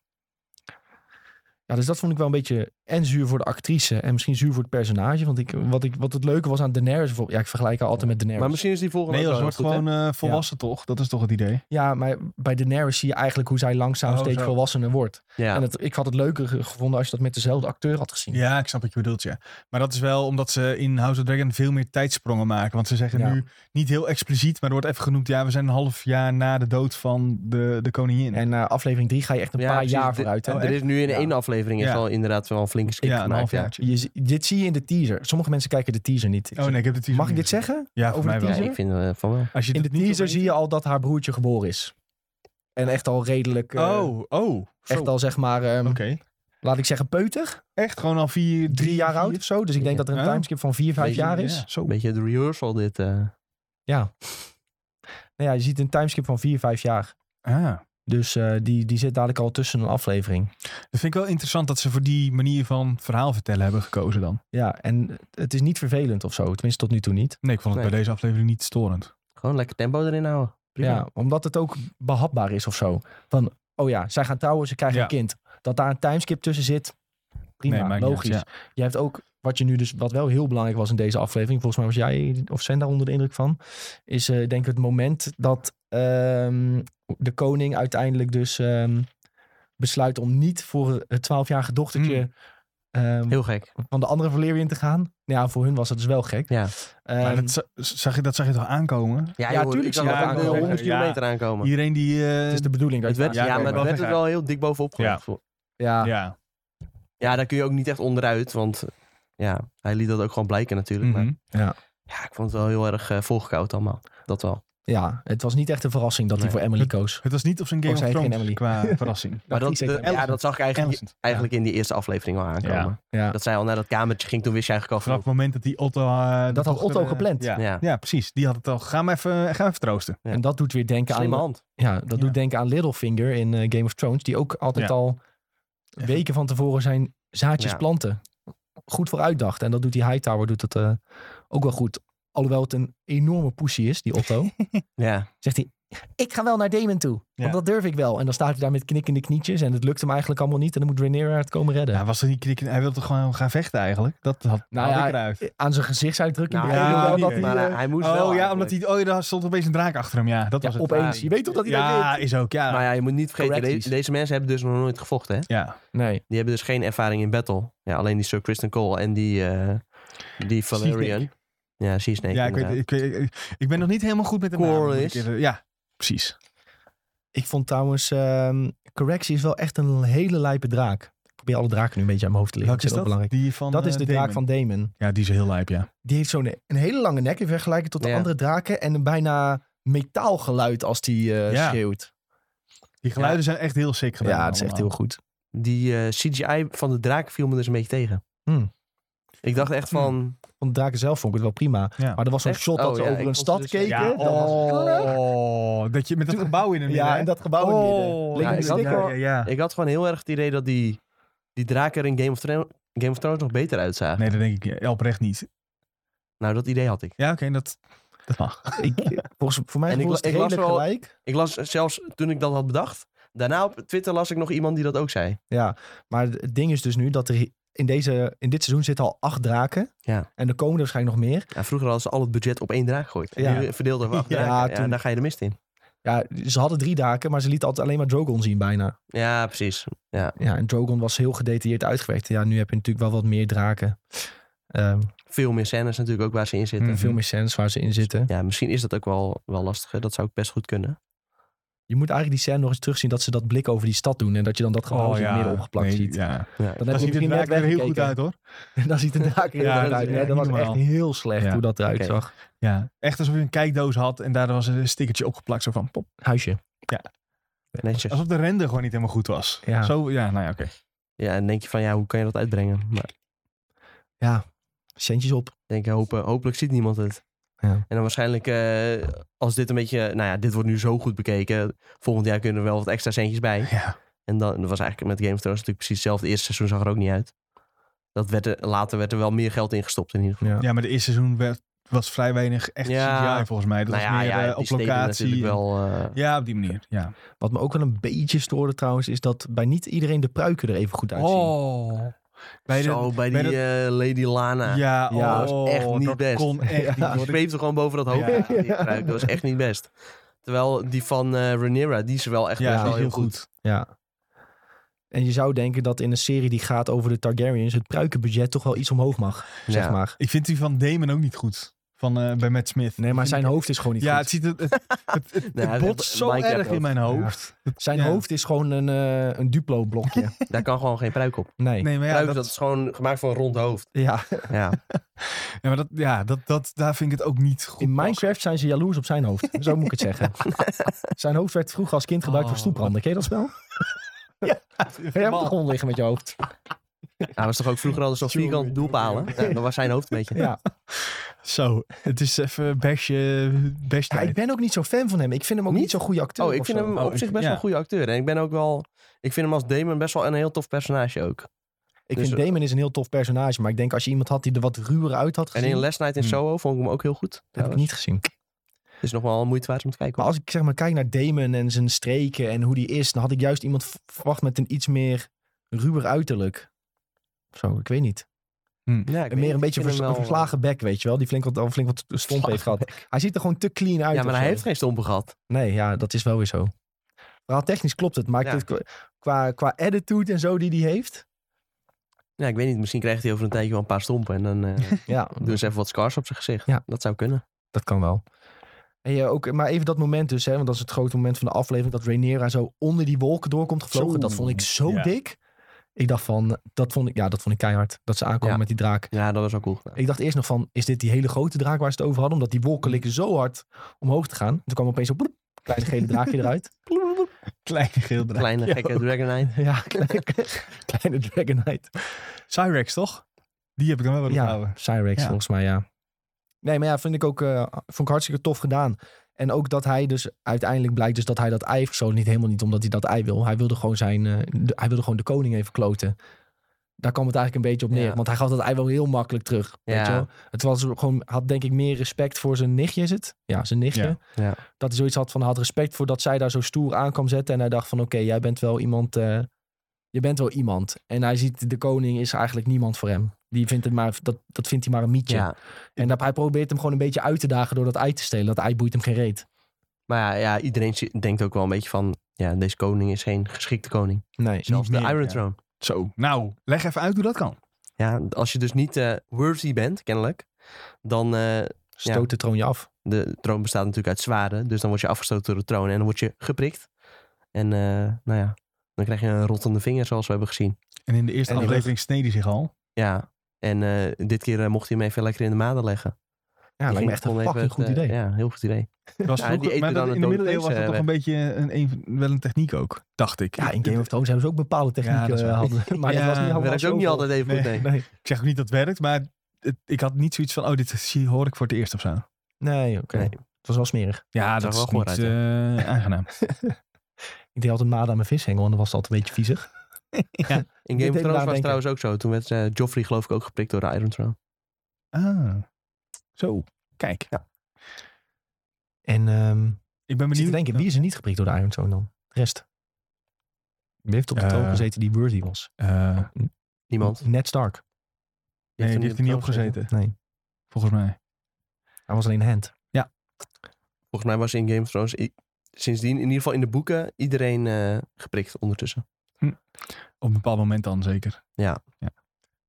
[SPEAKER 1] Ja, dus dat vond ik wel een beetje en zuur voor de actrice en misschien zuur voor het personage. Want ik, wat, ik, wat het leuke was aan Daenerys bijvoorbeeld. Ja, ik vergijk haar altijd met Daenerys.
[SPEAKER 3] Maar misschien is die volgende
[SPEAKER 2] Nee,
[SPEAKER 3] ook
[SPEAKER 2] dat
[SPEAKER 3] wel
[SPEAKER 2] wordt
[SPEAKER 3] heel goed, hè?
[SPEAKER 2] gewoon eh, volwassen toch? Dat is toch het idee?
[SPEAKER 1] Ja, maar bij Daenerys zie je eigenlijk hoe zij langzaam
[SPEAKER 2] Oh,
[SPEAKER 1] steeds
[SPEAKER 2] zo.
[SPEAKER 1] volwassener wordt.
[SPEAKER 3] Ja.
[SPEAKER 1] En het, ik had het leuker ge- gevonden als je dat met dezelfde acteur had gezien.
[SPEAKER 2] Ja, ik snap wat je bedoelt, ja. Maar dat is wel omdat ze in House of Dragon veel meer tijdsprongen maken. Want ze zeggen
[SPEAKER 1] Ja.
[SPEAKER 2] nu niet heel expliciet, maar er wordt even genoemd... ja, we zijn een half jaar na de dood van de, de koningin.
[SPEAKER 1] En na aflevering 3 ga je echt een
[SPEAKER 3] Ja,
[SPEAKER 1] paar
[SPEAKER 3] precies.
[SPEAKER 1] jaar
[SPEAKER 3] Dit-
[SPEAKER 2] oh,
[SPEAKER 1] vooruit. Hè?
[SPEAKER 3] Oh, er is nu in
[SPEAKER 1] Ja.
[SPEAKER 3] één aflevering is
[SPEAKER 2] Ja.
[SPEAKER 3] wel inderdaad wel een flink skip
[SPEAKER 2] ja, een
[SPEAKER 3] gemaakt.
[SPEAKER 2] half
[SPEAKER 3] Ja.
[SPEAKER 2] jaartje.
[SPEAKER 1] Je, zi- dit zie je in de teaser. Sommige mensen kijken de teaser niet. Ik
[SPEAKER 2] Oh
[SPEAKER 1] zeg-
[SPEAKER 2] nee, ik heb de teaser
[SPEAKER 1] Mag ik
[SPEAKER 2] niet
[SPEAKER 1] dit
[SPEAKER 2] gezien.
[SPEAKER 1] zeggen?
[SPEAKER 2] Ja,
[SPEAKER 1] over
[SPEAKER 2] voor
[SPEAKER 1] de
[SPEAKER 2] mij wel.
[SPEAKER 3] Ja,
[SPEAKER 1] teaser?
[SPEAKER 3] ik vind eh, van wel.
[SPEAKER 2] Als je
[SPEAKER 1] In de
[SPEAKER 2] dit niet
[SPEAKER 1] teaser
[SPEAKER 2] opeens-
[SPEAKER 1] zie je al dat haar broertje geboren is. En echt al redelijk, eh,
[SPEAKER 2] Oh, oh. zo.
[SPEAKER 1] echt al zeg maar, ehm,
[SPEAKER 2] Oké.
[SPEAKER 1] laat ik zeggen peuter.
[SPEAKER 2] Echt gewoon al vier,
[SPEAKER 1] Drie, jaar oud of zo. Dus ik denk dat er een
[SPEAKER 2] Ja.
[SPEAKER 1] timeskip van vier, vijf
[SPEAKER 3] Beetje,
[SPEAKER 1] jaar is.
[SPEAKER 2] Ja, zo.
[SPEAKER 3] Een beetje de rehearsal dit. eh.
[SPEAKER 1] Nou ja, je ziet een timeskip van vier, vijf jaar.
[SPEAKER 2] Ah.
[SPEAKER 1] Dus eh, die, die zit dadelijk al tussen een aflevering.
[SPEAKER 2] Dat vind ik wel interessant dat ze voor die manier van verhaal vertellen hebben gekozen dan.
[SPEAKER 1] Ja, en het is niet vervelend of zo. Tenminste, tot nu toe niet.
[SPEAKER 2] Nee, ik vond het
[SPEAKER 3] Nee.
[SPEAKER 2] bij deze aflevering niet storend.
[SPEAKER 3] Gewoon lekker tempo erin houden. Prima.
[SPEAKER 1] Ja, omdat het ook behapbaar is of zo. Van, oh ja, zij gaan trouwen, ze krijgen
[SPEAKER 2] Ja.
[SPEAKER 1] een kind. Dat daar een timeskip tussen zit,
[SPEAKER 2] Nee,
[SPEAKER 1] prima,
[SPEAKER 2] maakt niet uit,
[SPEAKER 1] logisch. Je hebt ook, wat je nu dus, wat wel heel belangrijk was in deze aflevering, volgens mij was jij of Sen daar onder de indruk van, is eh, denk ik het moment dat ehm, de koning uiteindelijk dus ehm, besluit om niet voor het twaalfjarige dochtertje
[SPEAKER 2] Mm.
[SPEAKER 1] ehm,
[SPEAKER 3] Heel gek.
[SPEAKER 1] van de andere Valerian te gaan. Nou Ja, voor hun was het dus wel gek.
[SPEAKER 3] Ja.
[SPEAKER 2] maar
[SPEAKER 1] Ehm,
[SPEAKER 2] dat, za- zag je, dat zag je toch aankomen?
[SPEAKER 3] Ja,
[SPEAKER 1] Ja,
[SPEAKER 3] joh,
[SPEAKER 1] tuurlijk
[SPEAKER 3] ik zag
[SPEAKER 1] zie
[SPEAKER 2] je
[SPEAKER 3] dat
[SPEAKER 2] dat
[SPEAKER 3] ook
[SPEAKER 2] aankomen.
[SPEAKER 3] 100
[SPEAKER 2] Ja.
[SPEAKER 3] kilometer aankomen.
[SPEAKER 2] Iedereen die... eh,
[SPEAKER 1] het is de bedoeling dat
[SPEAKER 3] Het werd,
[SPEAKER 1] je-
[SPEAKER 3] ja,
[SPEAKER 2] Ja, oké,
[SPEAKER 3] maar het
[SPEAKER 2] maar
[SPEAKER 3] werd
[SPEAKER 2] weg,
[SPEAKER 3] er
[SPEAKER 2] ja.
[SPEAKER 3] wel heel dik bovenop
[SPEAKER 2] Ja.
[SPEAKER 3] gelegd.
[SPEAKER 1] ja,
[SPEAKER 2] ja.
[SPEAKER 3] Ja, daar kun je ook niet echt onderuit, want eh, ja, hij liet dat ook gewoon blijken natuurlijk.
[SPEAKER 2] Mhm.
[SPEAKER 3] Maar ja, ik vond het wel heel erg eh, volgekoud allemaal. Dat wel.
[SPEAKER 1] ja, het was niet echt een verrassing dat hij
[SPEAKER 3] Nee.
[SPEAKER 1] voor Emily koos.
[SPEAKER 2] Het was niet op zijn Game
[SPEAKER 1] Oh,
[SPEAKER 2] of
[SPEAKER 1] zij heeft geen
[SPEAKER 2] Thrones
[SPEAKER 1] [LAUGHS]
[SPEAKER 2] qua verrassing.
[SPEAKER 3] Maar dat,
[SPEAKER 1] niet zeker.
[SPEAKER 3] dat- ja, dat zag ik eigenlijk,
[SPEAKER 2] Ellicent.
[SPEAKER 3] eigenlijk in die eerste aflevering al aankomen.
[SPEAKER 1] Ja.
[SPEAKER 3] Dat zij al naar dat kamertje ging, toen wist je eigenlijk al
[SPEAKER 2] Vanaf het
[SPEAKER 3] van...
[SPEAKER 2] moment dat die Otto... eh, de
[SPEAKER 1] Dat had
[SPEAKER 2] dochter,
[SPEAKER 1] Otto
[SPEAKER 2] eh,
[SPEAKER 1] gepland.
[SPEAKER 2] Ja.
[SPEAKER 3] Ja,
[SPEAKER 2] ja, precies. Die had het al. Ga hem even, ga hem even troosten.
[SPEAKER 3] Ja.
[SPEAKER 1] En dat doet weer denken
[SPEAKER 3] slimme
[SPEAKER 1] aan,
[SPEAKER 3] hand.
[SPEAKER 1] ja, dat
[SPEAKER 2] Ja.
[SPEAKER 1] doet denken aan Littlefinger in eh, Game of Thrones, die ook altijd
[SPEAKER 2] Ja.
[SPEAKER 1] al weken van tevoren zijn zaadjes
[SPEAKER 3] Ja.
[SPEAKER 1] planten. Goed voor uitdacht. En dat doet die Hightower doet het eh, ook wel goed. Alhoewel het een enorme pussy is, die Otto.
[SPEAKER 3] Ja,
[SPEAKER 1] zegt hij, ik ga wel naar Damon toe. Want
[SPEAKER 2] Ja.
[SPEAKER 1] dat durf ik wel. En dan staat hij daar met knikkende knietjes. En het lukt hem eigenlijk allemaal niet. En dan moet Rhaenyra het komen redden.
[SPEAKER 2] Ja, was er niet knikken. Hij wilde toch gewoon gaan vechten eigenlijk? Dat had,
[SPEAKER 1] Nou
[SPEAKER 2] had
[SPEAKER 1] ja,
[SPEAKER 2] ik eruit.
[SPEAKER 1] Aan zijn gezichtsuitdrukking.
[SPEAKER 3] nou,
[SPEAKER 1] begreep ik
[SPEAKER 2] ja,
[SPEAKER 1] wel
[SPEAKER 3] hij,
[SPEAKER 2] niet,
[SPEAKER 1] dat hij,
[SPEAKER 3] maar
[SPEAKER 1] eh,
[SPEAKER 3] hij, hij moest
[SPEAKER 2] oh
[SPEAKER 3] wel
[SPEAKER 2] ja,
[SPEAKER 3] eigenlijk.
[SPEAKER 2] omdat hij... Oh, daar stond opeens een draak achter hem. Ja, dat
[SPEAKER 1] ja,
[SPEAKER 2] was het.
[SPEAKER 1] opeens. Je weet toch dat hij dat
[SPEAKER 2] Ja,
[SPEAKER 1] deed?
[SPEAKER 2] is ook. Ja.
[SPEAKER 3] Maar ja, je moet niet vergeten,
[SPEAKER 1] Correcties.
[SPEAKER 3] de- deze mensen hebben dus nog nooit gevochten. Hè?
[SPEAKER 2] ja.
[SPEAKER 1] Nee.
[SPEAKER 3] Die hebben dus geen ervaring in battle. Ja, alleen die Sir Kristen Cole en die, eh, die Valerian. Ja, Seasnake.
[SPEAKER 2] Ja, ik, weet, ik, weet- ik ben nog niet helemaal goed met de namen, moet ik
[SPEAKER 3] Corlys.
[SPEAKER 2] eerlijk- Ja, precies.
[SPEAKER 1] Ik vond trouwens, ehm, correctie is wel echt een hele lijpe draak. Ik probeer alle draken nu een beetje aan mijn hoofd te liggen.
[SPEAKER 2] Welke is dat?
[SPEAKER 1] belangrijk.
[SPEAKER 2] Die van,
[SPEAKER 1] dat is
[SPEAKER 2] eh,
[SPEAKER 1] de draak
[SPEAKER 2] Damon.
[SPEAKER 1] van Damon.
[SPEAKER 2] Ja, die is heel lijp, ja.
[SPEAKER 1] Die heeft zo'n een hele lange nek in vergelijking tot de
[SPEAKER 3] Ja.
[SPEAKER 1] andere draken. En een bijna metaalgeluid als die eh,
[SPEAKER 2] Ja.
[SPEAKER 1] schreeuwt.
[SPEAKER 2] Die geluiden zijn echt heel sick gedaan.
[SPEAKER 1] Ja, dat is echt heel
[SPEAKER 2] allemaal.
[SPEAKER 1] goed.
[SPEAKER 3] Die eh, CGI van de draak viel me dus een beetje tegen.
[SPEAKER 1] Hmm.
[SPEAKER 3] Ik dacht echt van...
[SPEAKER 1] Want de draken zelf vond ik het wel prima.
[SPEAKER 2] Ja.
[SPEAKER 1] Maar er was zo'n
[SPEAKER 3] Echt?
[SPEAKER 1] shot dat
[SPEAKER 3] Oh,
[SPEAKER 1] ze
[SPEAKER 3] ja,
[SPEAKER 1] over
[SPEAKER 3] ik
[SPEAKER 1] een
[SPEAKER 3] vond ze
[SPEAKER 1] stad
[SPEAKER 3] dus-
[SPEAKER 1] keken.
[SPEAKER 2] Ja,
[SPEAKER 1] dat was-
[SPEAKER 2] oh, dat je met dat gebouw in hem
[SPEAKER 1] ja, en dat gebouw in het midden. Leek
[SPEAKER 3] Oh. ja,
[SPEAKER 1] een
[SPEAKER 3] ik had-
[SPEAKER 1] sticker.
[SPEAKER 3] ja,
[SPEAKER 2] Oh. ja, ja.
[SPEAKER 3] Ik had gewoon heel erg het idee dat die, die draken er in Game of, Thro- Game of Thrones nog beter uitzagen.
[SPEAKER 2] Nee, dat denk ik eh, oprecht niet.
[SPEAKER 3] Nou, dat idee had ik.
[SPEAKER 2] Ja, oké, dat, dat mag.
[SPEAKER 1] Ik- volgens, voor mij
[SPEAKER 3] En ik
[SPEAKER 1] was het
[SPEAKER 3] la- ik las
[SPEAKER 1] redelijk
[SPEAKER 3] wel-
[SPEAKER 1] gelijk.
[SPEAKER 3] Ik las zelfs toen ik dat had bedacht. Daarna op Twitter las ik nog iemand die dat ook zei.
[SPEAKER 1] Ja, maar het ding is dus nu dat er in, deze, in dit seizoen zitten al acht draken.
[SPEAKER 3] Ja.
[SPEAKER 1] En er komen er waarschijnlijk nog meer.
[SPEAKER 3] Ja, vroeger hadden ze al het budget op één draak gegooid. En
[SPEAKER 1] Ja.
[SPEAKER 3] Nu verdeeld over
[SPEAKER 1] [LAUGHS]
[SPEAKER 3] acht
[SPEAKER 1] Ja,
[SPEAKER 3] draken. Ja,
[SPEAKER 1] toen-
[SPEAKER 3] daar ga je de mist in.
[SPEAKER 1] Ja, ze hadden drie daken, maar ze lieten altijd alleen maar Drogon zien bijna.
[SPEAKER 3] Ja, precies.
[SPEAKER 1] Ja, en Drogon was heel gedetailleerd uitgewerkt. Ja, nu heb je natuurlijk wel wat meer draken. Ehm,
[SPEAKER 3] Veel meer scènes natuurlijk ook waar ze in zitten.
[SPEAKER 2] Mhm.
[SPEAKER 1] Veel meer scènes waar ze in zitten.
[SPEAKER 3] Ja, misschien is dat ook wel, wel lastiger. Dat zou ook best goed kunnen.
[SPEAKER 1] Je moet eigenlijk die scène nog eens terugzien dat ze dat blik over die stad doen. En dat je dan dat gebouw in het midden opgeplakt
[SPEAKER 2] Oh, nee,
[SPEAKER 1] ziet.
[SPEAKER 2] Ja.
[SPEAKER 3] Ja,
[SPEAKER 1] Dan heb
[SPEAKER 2] Dat
[SPEAKER 1] je
[SPEAKER 2] ziet er
[SPEAKER 1] misschien net
[SPEAKER 2] draak er heel goed
[SPEAKER 1] weggekeken.
[SPEAKER 2] uit, hoor.
[SPEAKER 1] [LAUGHS] Dan ziet de draak er heel
[SPEAKER 2] Ja,
[SPEAKER 1] goed
[SPEAKER 2] dat is
[SPEAKER 1] uit. Nee,
[SPEAKER 2] echt
[SPEAKER 1] dat was
[SPEAKER 2] niet
[SPEAKER 1] echt
[SPEAKER 2] normaal.
[SPEAKER 1] heel slecht
[SPEAKER 2] Ja.
[SPEAKER 1] hoe dat eruit
[SPEAKER 3] Oké.
[SPEAKER 1] zag.
[SPEAKER 2] Ja, echt alsof je een kijkdoos had en daar was een stickertje opgeplakt. Zo van, pop.
[SPEAKER 1] Huisje.
[SPEAKER 3] netjes.
[SPEAKER 2] Alsof de render gewoon niet helemaal goed was.
[SPEAKER 1] Ja.
[SPEAKER 2] Zo, ja, nou ja, oké.
[SPEAKER 3] Ja, en dan denk je van, ja, hoe kan je dat uitbrengen? Maar
[SPEAKER 1] Ja, centjes op.
[SPEAKER 3] ik denk, hopen, hopelijk ziet niemand het.
[SPEAKER 1] Ja.
[SPEAKER 3] En dan waarschijnlijk, eh, als dit een beetje... Nou ja, dit wordt nu zo goed bekeken. Volgend jaar kunnen er wel wat extra centjes bij.
[SPEAKER 2] Ja.
[SPEAKER 3] En dan dat was eigenlijk met Game of Thrones natuurlijk precies hetzelfde. Het eerste seizoen zag er ook niet uit. Dat werd er, later werd er wel meer geld ingestopt in ieder geval.
[SPEAKER 2] ja, maar de eerste seizoen werd, was vrij weinig echt
[SPEAKER 3] Ja.
[SPEAKER 2] CGI volgens mij. Dat
[SPEAKER 3] nou
[SPEAKER 2] was
[SPEAKER 3] ja,
[SPEAKER 2] meer
[SPEAKER 3] ja,
[SPEAKER 2] eh,
[SPEAKER 3] die
[SPEAKER 2] op
[SPEAKER 3] steden
[SPEAKER 2] locatie.
[SPEAKER 3] natuurlijk wel... eh,
[SPEAKER 2] Ja, op die manier, ja.
[SPEAKER 1] Wat me ook wel een beetje stoorde trouwens, is dat bij niet iedereen de pruiken er even goed uitzien.
[SPEAKER 2] Oh. Bij de,
[SPEAKER 3] zo, bij die
[SPEAKER 2] bij dat-
[SPEAKER 3] eh, Lady [LAUGHS] Lana.
[SPEAKER 2] ja,
[SPEAKER 1] Ja,
[SPEAKER 2] oh,
[SPEAKER 3] dat was echt niet
[SPEAKER 2] dat
[SPEAKER 3] best.
[SPEAKER 2] kon echt
[SPEAKER 1] Ja.
[SPEAKER 2] niet.
[SPEAKER 3] Die zweefde gewoon boven dat hoofd.
[SPEAKER 2] Ja.
[SPEAKER 3] Die pruik, Dat was echt niet best. Terwijl die van eh Rhaenyra, die is wel echt
[SPEAKER 2] Ja,
[SPEAKER 3] best
[SPEAKER 2] die
[SPEAKER 3] wel
[SPEAKER 2] is heel goed.
[SPEAKER 1] Ja. En je zou denken dat in een serie die gaat over de Targaryens het pruikenbudget toch wel iets omhoog mag,
[SPEAKER 3] Ja.
[SPEAKER 1] zeg maar.
[SPEAKER 2] Ik vind die van Damon ook niet goed. van, eh, bij Matt Smith.
[SPEAKER 1] Nee, maar zijn hoofd is gewoon niet
[SPEAKER 2] Ja,
[SPEAKER 1] goed.
[SPEAKER 2] het, ziet, het, het, het, het
[SPEAKER 3] Nou,
[SPEAKER 2] botst
[SPEAKER 3] het-
[SPEAKER 2] zo
[SPEAKER 3] Minecraft
[SPEAKER 2] erg in
[SPEAKER 3] ook.
[SPEAKER 2] mijn hoofd.
[SPEAKER 1] Zijn
[SPEAKER 2] Ja.
[SPEAKER 1] hoofd is gewoon een, eh, een duplo blokje.
[SPEAKER 3] Daar kan gewoon geen pruik op.
[SPEAKER 1] Nee.
[SPEAKER 2] [LAUGHS] Nee, maar ja,
[SPEAKER 3] pruik,
[SPEAKER 2] dat,
[SPEAKER 3] dat... is gewoon gemaakt voor een rond hoofd.
[SPEAKER 1] Ja.
[SPEAKER 3] Ja.
[SPEAKER 2] ja, maar dat, ja dat, dat, daar vind ik het ook niet goed.
[SPEAKER 1] In Minecraft zijn ze jaloers op zijn hoofd. Zo moet ik het
[SPEAKER 2] [LAUGHS]
[SPEAKER 1] zeggen. Zijn hoofd werd vroeger als kind gebruikt voor
[SPEAKER 2] Oh,
[SPEAKER 1] stoepranden. Ken je dat spel? Ga jij op de
[SPEAKER 2] Man.
[SPEAKER 1] grond liggen met je hoofd?
[SPEAKER 3] Nou, was toch ook vroeger al zo'n vierkant doelpalen? Ja, dat was zijn hoofd een beetje.
[SPEAKER 1] Ja.
[SPEAKER 2] Zo, het is even besje, besje
[SPEAKER 1] ja. Ik ben ook niet zo'n fan van hem. Ik vind hem ook niet,
[SPEAKER 3] Niet?
[SPEAKER 1] zo'n goede acteur.
[SPEAKER 3] Oh, ik
[SPEAKER 1] of
[SPEAKER 3] vind
[SPEAKER 1] zo.
[SPEAKER 3] hem
[SPEAKER 2] Oh,
[SPEAKER 3] op
[SPEAKER 2] ik-
[SPEAKER 3] zich best
[SPEAKER 2] ja.
[SPEAKER 3] wel een goede acteur. En ik ben ook wel... Ik vind hem als Damon best wel een heel tof personage ook.
[SPEAKER 1] Ik
[SPEAKER 3] dus-
[SPEAKER 1] vind Damon is een heel tof personage. Maar ik denk als je iemand had die er wat ruwer uit had
[SPEAKER 3] En
[SPEAKER 1] gezien... Hm.
[SPEAKER 3] in Last Night in
[SPEAKER 2] Hmm.
[SPEAKER 3] Soho vond ik hem ook heel goed.
[SPEAKER 1] dat heb ik
[SPEAKER 3] trouwens.
[SPEAKER 1] niet gezien.
[SPEAKER 3] Is nog wel moeite waard om te kijken.
[SPEAKER 1] Maar als ik zeg maar kijk naar Damon en zijn streken en hoe die is... dan had ik juist iemand v- verwacht met een iets meer ruwer uiterlijk. Zo, ik weet niet.
[SPEAKER 3] hoor. Ja, ik
[SPEAKER 1] meer
[SPEAKER 3] weet-
[SPEAKER 1] een
[SPEAKER 3] ik
[SPEAKER 1] beetje
[SPEAKER 3] vind
[SPEAKER 1] vers-
[SPEAKER 3] hem
[SPEAKER 1] een
[SPEAKER 3] wel-
[SPEAKER 1] verslagen bek, weet je wel. Die flink wat, al flink wat stomp heeft gehad. Hij ziet er gewoon te clean uit.
[SPEAKER 3] Ja, maar
[SPEAKER 1] of
[SPEAKER 3] hij
[SPEAKER 1] zo.
[SPEAKER 3] heeft geen stompen gehad.
[SPEAKER 1] Nee, ja, dat is wel weer zo. Verhaal technisch klopt het, maar ik
[SPEAKER 3] Ja.
[SPEAKER 1] vind het qua- qua, qua attitude en zo die hij heeft.
[SPEAKER 3] Ja, ik weet niet. Misschien krijgt hij over een tijdje wel een paar stompen. En dan
[SPEAKER 1] [LAUGHS]
[SPEAKER 3] eh [LAUGHS]
[SPEAKER 1] Ja,
[SPEAKER 3] doen ze even wat scars op zijn gezicht.
[SPEAKER 1] Ja.
[SPEAKER 3] Dat zou kunnen.
[SPEAKER 1] dat kan wel. En ja, ook, maar even dat moment dus, hè, want dat is het grote moment van de aflevering. Dat Rhaenyra zo onder die wolken door komt gevlogen.
[SPEAKER 2] Zo.
[SPEAKER 1] Dat vond ik zo
[SPEAKER 2] Ja.
[SPEAKER 1] dik. Ik dacht van, dat vond ik, ja, dat vond ik keihard. Dat ze aankomen
[SPEAKER 3] Ja.
[SPEAKER 1] met die draak.
[SPEAKER 3] Ja, dat was wel cool
[SPEAKER 1] [LAUGHS]
[SPEAKER 3] gedaan.
[SPEAKER 1] Ik dacht eerst nog van, is dit die hele grote draak waar ze het over hadden? Omdat die wolken likken zo hard omhoog te gaan. Toen kwam opeens zo'n bloep, kleine gele draakje eruit.
[SPEAKER 2] Kleine geel draai.
[SPEAKER 3] Kleine gekke Dragonite.
[SPEAKER 1] Ja, [LAUGHS] kleine, kleine Dragonite.
[SPEAKER 2] Cyrex, toch? Die heb ik dan wel weer
[SPEAKER 1] Ja,
[SPEAKER 2] onthouden.
[SPEAKER 1] Cyrex
[SPEAKER 2] Ja.
[SPEAKER 1] volgens mij, ja. Nee, maar ja, vind ik ook eh, vond ik hartstikke tof gedaan. En ook dat hij dus uiteindelijk blijkt dus dat hij dat ei heeft gestolen. Niet helemaal niet omdat hij dat ei wil. Hij wilde gewoon, zijn, eh, de, hij wilde gewoon de koning even kloten. Daar kwam het eigenlijk een beetje op neer.
[SPEAKER 3] Ja.
[SPEAKER 1] Want hij gaf dat ei wel heel makkelijk terug. Weet
[SPEAKER 3] Ja.
[SPEAKER 1] je wel? Het was gewoon, had denk ik meer respect voor zijn nichtje is het? Ja, zijn nichtje.
[SPEAKER 3] Ja. Ja.
[SPEAKER 1] Dat hij zoiets had van, hij had respect voor dat zij daar zo stoer aan kwam zetten. En hij dacht van, oké, jij bent wel iemand... eh, je bent wel iemand. En hij ziet, de koning is eigenlijk niemand voor hem. Die vindt het maar, dat, dat vindt hij maar een mietje.
[SPEAKER 3] Ja.
[SPEAKER 1] En dat, hij probeert hem gewoon een beetje uit te dagen door dat ei te stelen. Dat ei boeit hem geen reet.
[SPEAKER 3] Maar ja, ja, iedereen zi- denkt ook wel een beetje van... Ja, deze koning is geen geschikte koning.
[SPEAKER 1] Nee.
[SPEAKER 3] Zelfs de
[SPEAKER 2] meer,
[SPEAKER 3] Iron
[SPEAKER 2] ja.
[SPEAKER 3] Throne.
[SPEAKER 2] Zo, nou, leg even uit hoe dat kan.
[SPEAKER 3] Ja, als je dus niet eh, worthy bent, kennelijk... Dan... eh,
[SPEAKER 1] Dus Stoot de troon je af.
[SPEAKER 3] de troon bestaat natuurlijk uit zwaarden. Dus dan word je afgestoten door de troon en dan word je geprikt. En eh, nou ja, dan krijg je een rottende vinger zoals we hebben gezien.
[SPEAKER 2] En in de eerste
[SPEAKER 1] En die
[SPEAKER 2] aflevering sneed hij zich al.
[SPEAKER 3] Ja, en eh, dit keer eh, mocht hij hem even lekker in de maden leggen.
[SPEAKER 1] Ja,
[SPEAKER 3] Die
[SPEAKER 1] lijkt
[SPEAKER 3] ging
[SPEAKER 1] me echt een
[SPEAKER 3] gewoon even
[SPEAKER 1] fucking goed
[SPEAKER 3] het, eh,
[SPEAKER 1] idee.
[SPEAKER 3] Ja, heel goed idee.
[SPEAKER 2] Het Was
[SPEAKER 3] Ja,
[SPEAKER 2] vroeger-
[SPEAKER 3] die eten
[SPEAKER 2] maar
[SPEAKER 3] dan
[SPEAKER 2] dat-
[SPEAKER 3] het
[SPEAKER 2] in de
[SPEAKER 3] Donald
[SPEAKER 2] middeleeuwen
[SPEAKER 3] Faze,
[SPEAKER 2] was dat toch
[SPEAKER 3] eh,
[SPEAKER 2] een beetje een, een, wel een techniek ook, dacht ik.
[SPEAKER 1] Ja, in Game of
[SPEAKER 2] ik,
[SPEAKER 1] Thrones hebben ze ook bepaalde technieken
[SPEAKER 2] dat is waar.
[SPEAKER 1] eh, hadden. Maar
[SPEAKER 2] eh, Ja,
[SPEAKER 1] dat was niet
[SPEAKER 3] Dat
[SPEAKER 2] dat
[SPEAKER 1] allemaal
[SPEAKER 3] werkt ook niet
[SPEAKER 1] zoveel.
[SPEAKER 3] altijd even goed, nee.
[SPEAKER 1] Nee.
[SPEAKER 2] ik zeg ook niet dat het werkt, maar het- ik had niet zoiets van, oh, dit zie- hoor ik voor het eerst of zo.
[SPEAKER 1] Nee, oké.
[SPEAKER 3] Nee.
[SPEAKER 1] Het was wel smerig.
[SPEAKER 2] Ja,
[SPEAKER 3] Het
[SPEAKER 2] dat
[SPEAKER 3] zag
[SPEAKER 2] is
[SPEAKER 3] wel
[SPEAKER 2] niet
[SPEAKER 3] goed uit,
[SPEAKER 2] eh,
[SPEAKER 3] [LAUGHS]
[SPEAKER 2] aangenaam.
[SPEAKER 1] Ik deed altijd maden aan mijn vishengel en dan was het altijd een beetje viezig.
[SPEAKER 3] In
[SPEAKER 1] Dit
[SPEAKER 3] Game
[SPEAKER 1] deed me
[SPEAKER 3] of Thrones was
[SPEAKER 1] nadenken.
[SPEAKER 3] het trouwens ook zo. Toen werd eh, Joffrey geloof ik ook geprikt door de Iron Throne.
[SPEAKER 2] Ah, zo, kijk.
[SPEAKER 1] En ehm, Ik zit
[SPEAKER 2] Ik ben benieuwd.
[SPEAKER 1] te denken, wie is er niet geprikt door de Iron Throne dan? De rest. Wie heeft op de
[SPEAKER 2] Eh,
[SPEAKER 1] troon gezeten die worthy was?
[SPEAKER 2] Eh,
[SPEAKER 3] Niemand.
[SPEAKER 1] Ned Stark.
[SPEAKER 2] nee, die heeft er niet op
[SPEAKER 3] gezeten.
[SPEAKER 2] gezeten,
[SPEAKER 1] Nee,
[SPEAKER 2] volgens mij.
[SPEAKER 1] hij was alleen hand.
[SPEAKER 3] Volgens mij was in Game of Thrones i- sindsdien, in ieder geval in de boeken, iedereen eh, geprikt ondertussen.
[SPEAKER 2] Op een bepaald moment dan zeker.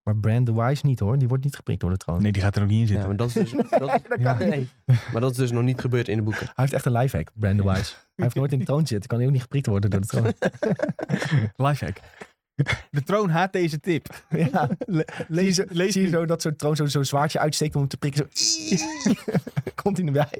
[SPEAKER 1] Maar Bran the Wise niet hoor, die wordt niet geprikt door de troon.
[SPEAKER 2] Nee, die gaat er ook niet in
[SPEAKER 3] Ja,
[SPEAKER 2] zitten.
[SPEAKER 3] maar dat is dus, dat, [LAUGHS]
[SPEAKER 2] Ja.
[SPEAKER 3] nee. maar dat is dus nog niet gebeurd in de boeken.
[SPEAKER 1] Hij heeft echt een lifehack, Bran the Wise. hij heeft nooit in de troon zitten, kan hij ook niet geprikt worden door de troon.
[SPEAKER 2] [LAUGHS] Lifehack. De troon haat deze tip.
[SPEAKER 1] ja, lees,
[SPEAKER 2] Zie- lees
[SPEAKER 1] zie je
[SPEAKER 2] nu.
[SPEAKER 1] zo dat zo'n troon zo- zo'n zwaardje uitsteekt om hem te prikken. Zo. [LAUGHS] Komt hij erbij.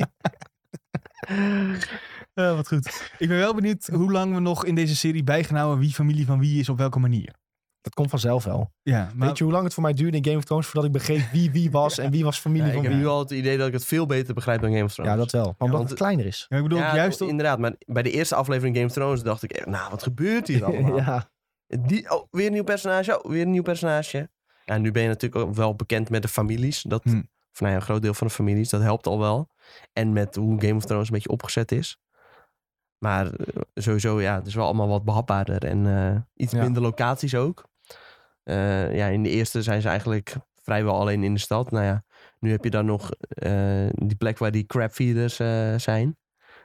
[SPEAKER 2] Eh, wat goed. Ik ben wel benieuwd hoe lang we nog in deze serie bijgenhouden wie familie van wie is op welke manier.
[SPEAKER 1] Dat komt vanzelf wel.
[SPEAKER 2] Ja, maar
[SPEAKER 1] Weet je hoe lang het voor mij duurde in Game of Thrones voordat ik begreep wie wie was en wie was familie
[SPEAKER 3] Ja, ik
[SPEAKER 1] van
[SPEAKER 3] heb
[SPEAKER 1] wie?
[SPEAKER 3] nu al het idee dat ik het veel beter begrijp dan Game of Thrones.
[SPEAKER 1] Ja, dat wel. Maar omdat
[SPEAKER 3] want-
[SPEAKER 1] het kleiner is.
[SPEAKER 2] [LAUGHS] Ja, ik bedoel,
[SPEAKER 3] Ja,
[SPEAKER 2] juist op-
[SPEAKER 3] inderdaad. Maar bij de eerste aflevering Game of Thrones dacht ik echt, nou, wat gebeurt hier allemaal?
[SPEAKER 1] [LAUGHS] ja.
[SPEAKER 3] Die, oh, weer een nieuw personage, oh, weer een nieuw personage. Ja, nu ben je natuurlijk ook wel bekend met de families. Dat,
[SPEAKER 2] Hmm.
[SPEAKER 3] Of nou ja, een groot deel van de families, dat helpt al wel. En met hoe Game of Thrones een beetje opgezet is. Maar eh, sowieso, ja, het is wel allemaal wat behapbaarder. En eh, iets
[SPEAKER 1] Ja.
[SPEAKER 3] minder locaties ook. Eh, ja, in de eerste zijn ze eigenlijk vrijwel alleen in de stad. Nou ja, nu heb je dan nog eh, die plek waar die crabfeeders eh, zijn.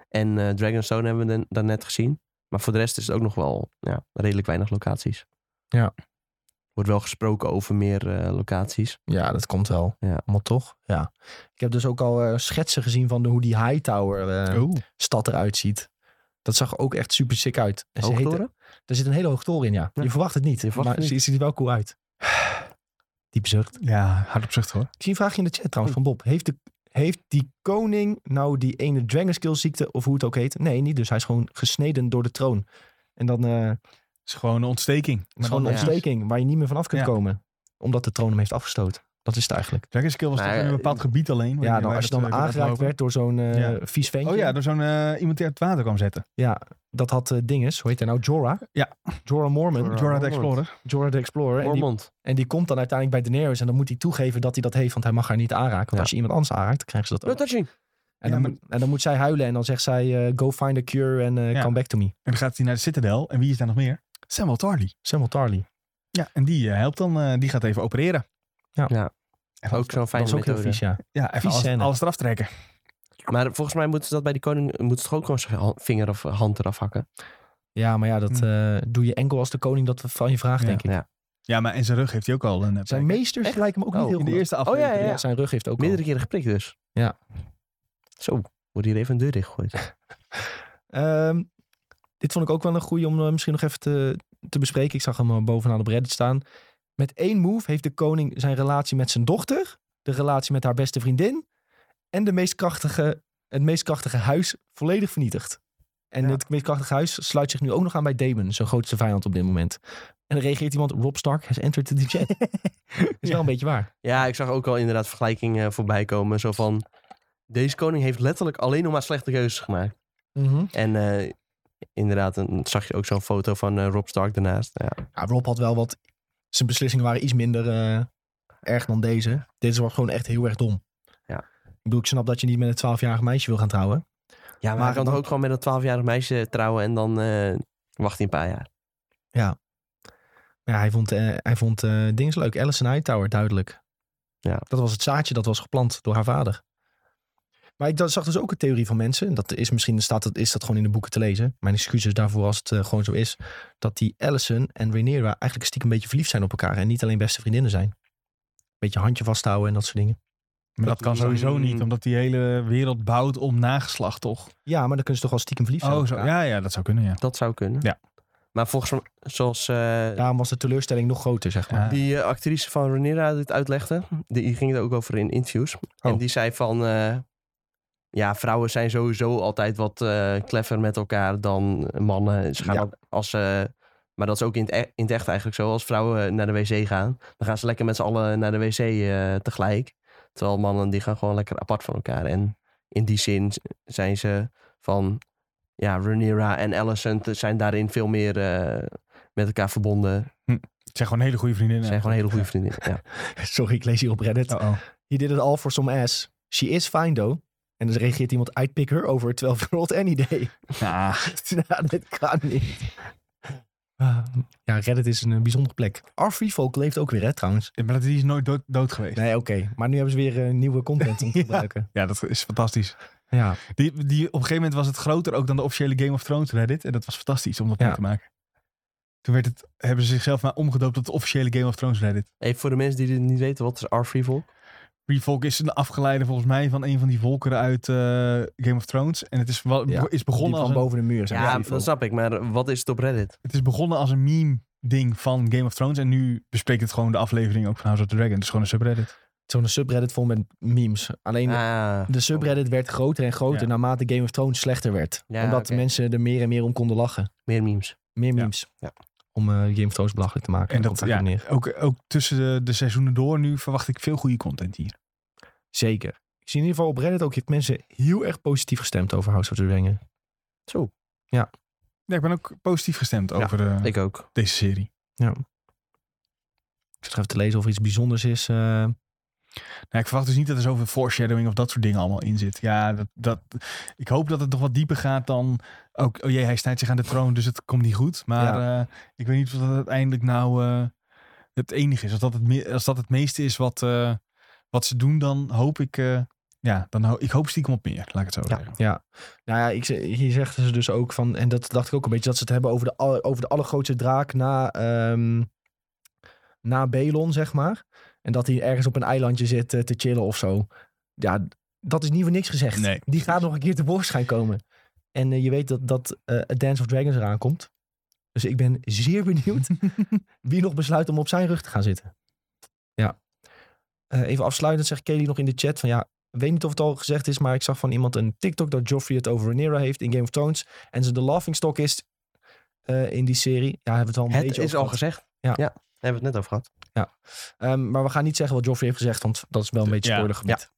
[SPEAKER 3] En eh, Dragonstone hebben we dan, dan net gezien. Maar voor de rest is het ook nog wel ja, redelijk weinig locaties. wordt wel gesproken over meer eh, locaties.
[SPEAKER 1] Ja, dat komt wel.
[SPEAKER 3] Ja.
[SPEAKER 1] Allemaal toch? Ja. Ik heb dus ook al eh, schetsen gezien van de, hoe die Hightower eh,
[SPEAKER 2] Oeh.
[SPEAKER 1] stad eruit ziet. Dat zag er ook echt super sick uit. En ze heette-
[SPEAKER 3] Hoogtoren?
[SPEAKER 1] er zit een hele hoge toren in, ja.
[SPEAKER 3] Ja.
[SPEAKER 1] Je verwacht het niet,
[SPEAKER 3] Je verwacht
[SPEAKER 1] maar
[SPEAKER 3] het
[SPEAKER 1] ze ziet er wel cool uit. Diep zucht.
[SPEAKER 2] Ja, hard op zucht hoor.
[SPEAKER 1] Ik zie een vraagje in de chat trouwens van Bob. Heeft, de, heeft die koning nou die ene Dragon Skill ziekte of hoe het ook heet? Nee, niet dus. Hij is gewoon gesneden door de troon. En dan eh,
[SPEAKER 2] Het is gewoon een ontsteking.
[SPEAKER 1] het is gewoon een
[SPEAKER 3] dan- ja.
[SPEAKER 1] ontsteking waar je niet meer vanaf kunt
[SPEAKER 2] Ja.
[SPEAKER 1] komen. Omdat de troon hem heeft afgestoten. Dat is het eigenlijk.
[SPEAKER 2] Dragon Skill was
[SPEAKER 3] Nou,
[SPEAKER 2] toch in een
[SPEAKER 3] ja,
[SPEAKER 2] bepaald gebied alleen.
[SPEAKER 1] Ja, dan, als je
[SPEAKER 2] eh,
[SPEAKER 1] dan aangeraakt werd door zo'n eh,
[SPEAKER 2] Ja.
[SPEAKER 1] vies ventje.
[SPEAKER 2] Oh ja, door zo'n eh, iemand die uit het water kwam zetten.
[SPEAKER 1] Ja, dat had eh, dinges. Hoe heet hij nou? Jorah?
[SPEAKER 2] Ja.
[SPEAKER 1] Jorah Mormon.
[SPEAKER 3] Jorah.
[SPEAKER 2] Jorah de
[SPEAKER 3] Mormont.
[SPEAKER 2] Explorer.
[SPEAKER 1] Jorah de Explorer. En die,
[SPEAKER 3] Ormond.
[SPEAKER 1] en die komt dan uiteindelijk bij Daenerys. En dan moet hij toegeven dat hij dat heeft. Want hij mag haar niet aanraken. Want
[SPEAKER 3] Ja.
[SPEAKER 1] als je iemand anders aanraakt, dan krijgen ze dat
[SPEAKER 3] No
[SPEAKER 1] ook.
[SPEAKER 3] touching.
[SPEAKER 1] En,
[SPEAKER 2] Ja,
[SPEAKER 1] dan,
[SPEAKER 2] maar-
[SPEAKER 1] moet- en dan moet zij huilen. En dan zegt zij, eh, go find a cure en eh,
[SPEAKER 2] Ja.
[SPEAKER 1] come back to me.
[SPEAKER 2] En dan gaat hij naar de Citadel. En wie is daar nog meer? Samuel Tarly.
[SPEAKER 1] Samuel Tarly.
[SPEAKER 2] Ja, en die eh, helpt dan. eh, die gaat even opereren.
[SPEAKER 1] Ja.
[SPEAKER 3] Ja.
[SPEAKER 2] En
[SPEAKER 3] Ook zo'n
[SPEAKER 1] Dat
[SPEAKER 3] fijne
[SPEAKER 1] is ook heel
[SPEAKER 3] methode.
[SPEAKER 1] vies, ja.
[SPEAKER 2] Ja, even
[SPEAKER 1] Vies
[SPEAKER 2] alles,
[SPEAKER 1] scène.
[SPEAKER 2] alles eraf trekken.
[SPEAKER 3] Maar volgens mij moeten ze dat bij die koning moeten ze toch ook gewoon zijn ha- vinger of hand eraf hakken.
[SPEAKER 1] Ja, maar ja, dat
[SPEAKER 2] Hm.
[SPEAKER 1] eh, doe je enkel als de koning dat van je vraagt,
[SPEAKER 2] Ja.
[SPEAKER 1] denk ik.
[SPEAKER 3] Ja.
[SPEAKER 2] Ja, maar en zijn rug heeft hij ook al een... eh,
[SPEAKER 1] Zijn
[SPEAKER 2] plek.
[SPEAKER 1] meesters
[SPEAKER 3] Echt?
[SPEAKER 1] lijken me ook
[SPEAKER 3] Oh,
[SPEAKER 1] niet heel
[SPEAKER 2] In de
[SPEAKER 1] goed.
[SPEAKER 2] eerste aflevering.
[SPEAKER 3] ja, ja.
[SPEAKER 1] Ja, Zijn rug heeft ook
[SPEAKER 3] Meerdere
[SPEAKER 1] al.
[SPEAKER 3] keren geprikt dus.
[SPEAKER 1] Ja.
[SPEAKER 3] Zo, wordt hier even een deur
[SPEAKER 1] [LAUGHS]
[SPEAKER 3] dichtgegooid.
[SPEAKER 1] Ehm, dit vond ik ook wel een goede om eh, misschien nog even te, te bespreken. Ik zag hem eh, bovenaan op Reddit staan. Met één move heeft de koning zijn relatie met zijn dochter, de relatie met haar beste vriendin en de meest krachtige, het meest krachtige huis volledig vernietigd. En
[SPEAKER 3] Ja.
[SPEAKER 1] het meest krachtige huis sluit zich nu ook nog aan bij Damon, zijn grootste vijand op dit moment. En dan reageert iemand, Rob Stark has entered the chat.
[SPEAKER 3] [LAUGHS]
[SPEAKER 1] Dat is wel een beetje waar.
[SPEAKER 3] Ja, ik zag ook al inderdaad vergelijkingen eh, voorbij komen. Zo van, deze koning heeft letterlijk alleen nog maar slechte keuzes gemaakt. En eh, inderdaad, dan zag je ook zo'n foto van eh, Rob Stark daarnaast. Ja.
[SPEAKER 1] Ja, Rob had wel wat, zijn beslissingen waren iets minder eh, erg dan deze. Deze was gewoon echt heel erg dom.
[SPEAKER 3] Ja.
[SPEAKER 1] Ik bedoel, ik snap dat je niet met een 12-jarig meisje wil gaan trouwen.
[SPEAKER 3] ja, maar,
[SPEAKER 1] Maar
[SPEAKER 3] hij kan
[SPEAKER 1] dan-
[SPEAKER 3] toch ook gewoon met een 12-jarig meisje trouwen en dan eh, wacht hij een paar jaar.
[SPEAKER 1] Maar ja, hij vond, eh hij vond eh Dings leuk. Alison Hightower, duidelijk.
[SPEAKER 3] Ja.
[SPEAKER 1] Dat was het zaadje dat was geplant door haar vader. Maar ik dat, zag dus ook een theorie van mensen. en Dat is misschien staat dat, is dat gewoon in de boeken te lezen. Mijn excuses daarvoor als het eh, gewoon zo is. Dat die Allison en Rhaenyra eigenlijk stiekem een beetje verliefd zijn op elkaar. En niet alleen beste vriendinnen zijn. Beetje handje vasthouden en dat soort dingen.
[SPEAKER 2] Maar dat kan sowieso
[SPEAKER 3] Mm.
[SPEAKER 2] niet, omdat die hele wereld bouwt om nageslacht, toch?
[SPEAKER 1] Ja, maar dan kunnen ze toch wel stiekem verliefd zijn
[SPEAKER 2] Oh,
[SPEAKER 1] op
[SPEAKER 2] zo.
[SPEAKER 1] elkaar.
[SPEAKER 2] Ja, ja, dat zou kunnen, ja.
[SPEAKER 3] Dat zou kunnen.
[SPEAKER 2] Ja.
[SPEAKER 3] Maar volgens mij, zoals eh,
[SPEAKER 1] Daarom was de teleurstelling nog groter, zeg maar.
[SPEAKER 2] Ja.
[SPEAKER 3] die eh, actrice van Renera dit uitlegde, die, die ging er ook over in interviews. En
[SPEAKER 1] Oh.
[SPEAKER 3] die zei van, eh, ja, vrouwen zijn sowieso altijd wat eh clever met elkaar dan eh, mannen. Ze gaan
[SPEAKER 1] Ja.
[SPEAKER 3] al- als ze, maar dat is ook in het, e- in het echt eigenlijk zo. Als vrouwen eh, naar de wc gaan, dan gaan ze lekker met z'n allen naar de wc eh, tegelijk. Terwijl mannen die gaan gewoon lekker apart van elkaar. En in die zin z- zijn ze van, ja, Rhaenyra en Alicent zijn daarin veel meer eh, met elkaar verbonden.
[SPEAKER 2] Het zijn gewoon hele goede vriendinnen.
[SPEAKER 3] Ze zijn gewoon hele goede vriendinnen. Ja.
[SPEAKER 1] [LAUGHS] Sorry, ik lees hier op Reddit.
[SPEAKER 2] Oh, oh.
[SPEAKER 1] He did it all for some ass. She is fine though. En dan reageert iemand, I'd pick her over a 12-year-old any day. [LAUGHS]
[SPEAKER 2] Ja,
[SPEAKER 1] nou, dat kan niet. Ah, ja, Reddit is een eh, bijzondere plek. Arfree Folk leeft ook weer, hè, trouwens.
[SPEAKER 2] maar die is nooit dood, dood geweest.
[SPEAKER 1] Nee, oké. Maar nu hebben ze weer eh, nieuwe content om te
[SPEAKER 2] [LAUGHS] Ja.
[SPEAKER 1] gebruiken.
[SPEAKER 2] Ja, dat is fantastisch.
[SPEAKER 1] Ja.
[SPEAKER 2] Die, die, op een gegeven moment was het groter ook dan de officiële Game of Thrones Reddit. En dat was fantastisch om dat
[SPEAKER 1] Ja.
[SPEAKER 2] mee te maken. Toen werd het, hebben ze zichzelf maar omgedoopt tot de officiële Game of Thrones Reddit.
[SPEAKER 3] Even voor de mensen die dit niet weten, wat is Arfreevol?
[SPEAKER 2] Revolk is een afgeleide volgens mij van een van die volkeren uit eh, Game of Thrones. En het is, wel,
[SPEAKER 1] Ja,
[SPEAKER 2] is,
[SPEAKER 1] Die
[SPEAKER 2] begonnen als
[SPEAKER 1] van
[SPEAKER 2] een,
[SPEAKER 1] boven de muur zijn.
[SPEAKER 3] Ja,
[SPEAKER 1] Arfree
[SPEAKER 3] dat
[SPEAKER 1] Folk.
[SPEAKER 3] snap ik, maar eh, wat is het op Reddit?
[SPEAKER 2] het is begonnen als een meme ding van Game of Thrones. En nu bespreekt het gewoon de aflevering ook van House of the Dragon. Dus gewoon een subreddit.
[SPEAKER 1] Zo'n subreddit vol met memes. Alleen
[SPEAKER 3] Ah,
[SPEAKER 1] de subreddit werd groter en groter
[SPEAKER 2] Ja.
[SPEAKER 1] naarmate Game of Thrones slechter werd.
[SPEAKER 3] Ja,
[SPEAKER 1] omdat
[SPEAKER 3] oké.
[SPEAKER 1] mensen er meer en meer om konden lachen.
[SPEAKER 3] meer memes.
[SPEAKER 1] Meer
[SPEAKER 2] Ja.
[SPEAKER 1] memes.
[SPEAKER 3] Ja.
[SPEAKER 1] Om eh, Game of Thrones belachelijk te maken.
[SPEAKER 2] En dat,
[SPEAKER 1] Komt daar
[SPEAKER 2] ja,
[SPEAKER 1] neer.
[SPEAKER 2] ook, ook tussen de, de seizoenen door nu verwacht ik veel goede content hier.
[SPEAKER 1] Zeker. Ik zie in ieder geval op Reddit ook dat mensen heel erg positief gestemd over House of the Dragon.
[SPEAKER 3] Zo,
[SPEAKER 2] Ja, ik ben ook positief gestemd
[SPEAKER 3] Ja,
[SPEAKER 2] over eh,
[SPEAKER 3] ik ook.
[SPEAKER 2] deze serie.
[SPEAKER 1] Ik zit even te lezen of er iets bijzonders is. eh.
[SPEAKER 2] Nou, ik verwacht dus niet dat er zoveel foreshadowing of dat soort dingen allemaal in zit. Ja, dat, dat, ik hoop dat het nog wat dieper gaat dan... Ook, oh jee, hij snijdt zich aan de troon, dus het komt niet goed. Maar eh, ik weet niet of dat uiteindelijk nou eh, het enige is. Als dat het, me- als dat het meeste is wat, eh, wat ze doen, dan hoop ik... eh, ja, dan ho- ik hoop stiekem op meer, laat ik het zo
[SPEAKER 3] Ja.
[SPEAKER 2] zeggen.
[SPEAKER 1] ja. Nou ja, ik, ze- hier zeggen ze dus ook van, en dat dacht ik ook een beetje, dat ze het hebben over de, aller- over de allergrootste draak na, ehm, na Belon, zeg maar. En dat hij ergens op een eilandje zit eh, te chillen of zo. Ja, dat is niet voor niks gezegd.
[SPEAKER 2] Nee,
[SPEAKER 1] Die gaat nog een keer tevoorschijn komen. En eh, je weet dat, dat eh, A Dance of Dragons eraan komt. Dus ik ben zeer benieuwd wie nog besluit om op zijn rug te gaan zitten. Ja. Eh, even afsluitend zegt Kelly nog in de chat van ja, ik weet niet of het al gezegd is, maar ik zag van iemand een TikTok dat Joffrey het over Rhaenyra heeft in Game of Thrones. En ze de laughingstock is eh, in die serie. Ja, hebben we het al een
[SPEAKER 3] Het
[SPEAKER 1] beetje
[SPEAKER 3] is
[SPEAKER 1] over
[SPEAKER 3] al
[SPEAKER 1] gehad.
[SPEAKER 3] gezegd.
[SPEAKER 1] Ja.
[SPEAKER 3] Daar hebben we het net over gehad.
[SPEAKER 1] Ehm, maar we gaan niet zeggen wat Joffrey heeft gezegd, want dat is wel een beetje
[SPEAKER 2] Ja.
[SPEAKER 1] spoilergebied.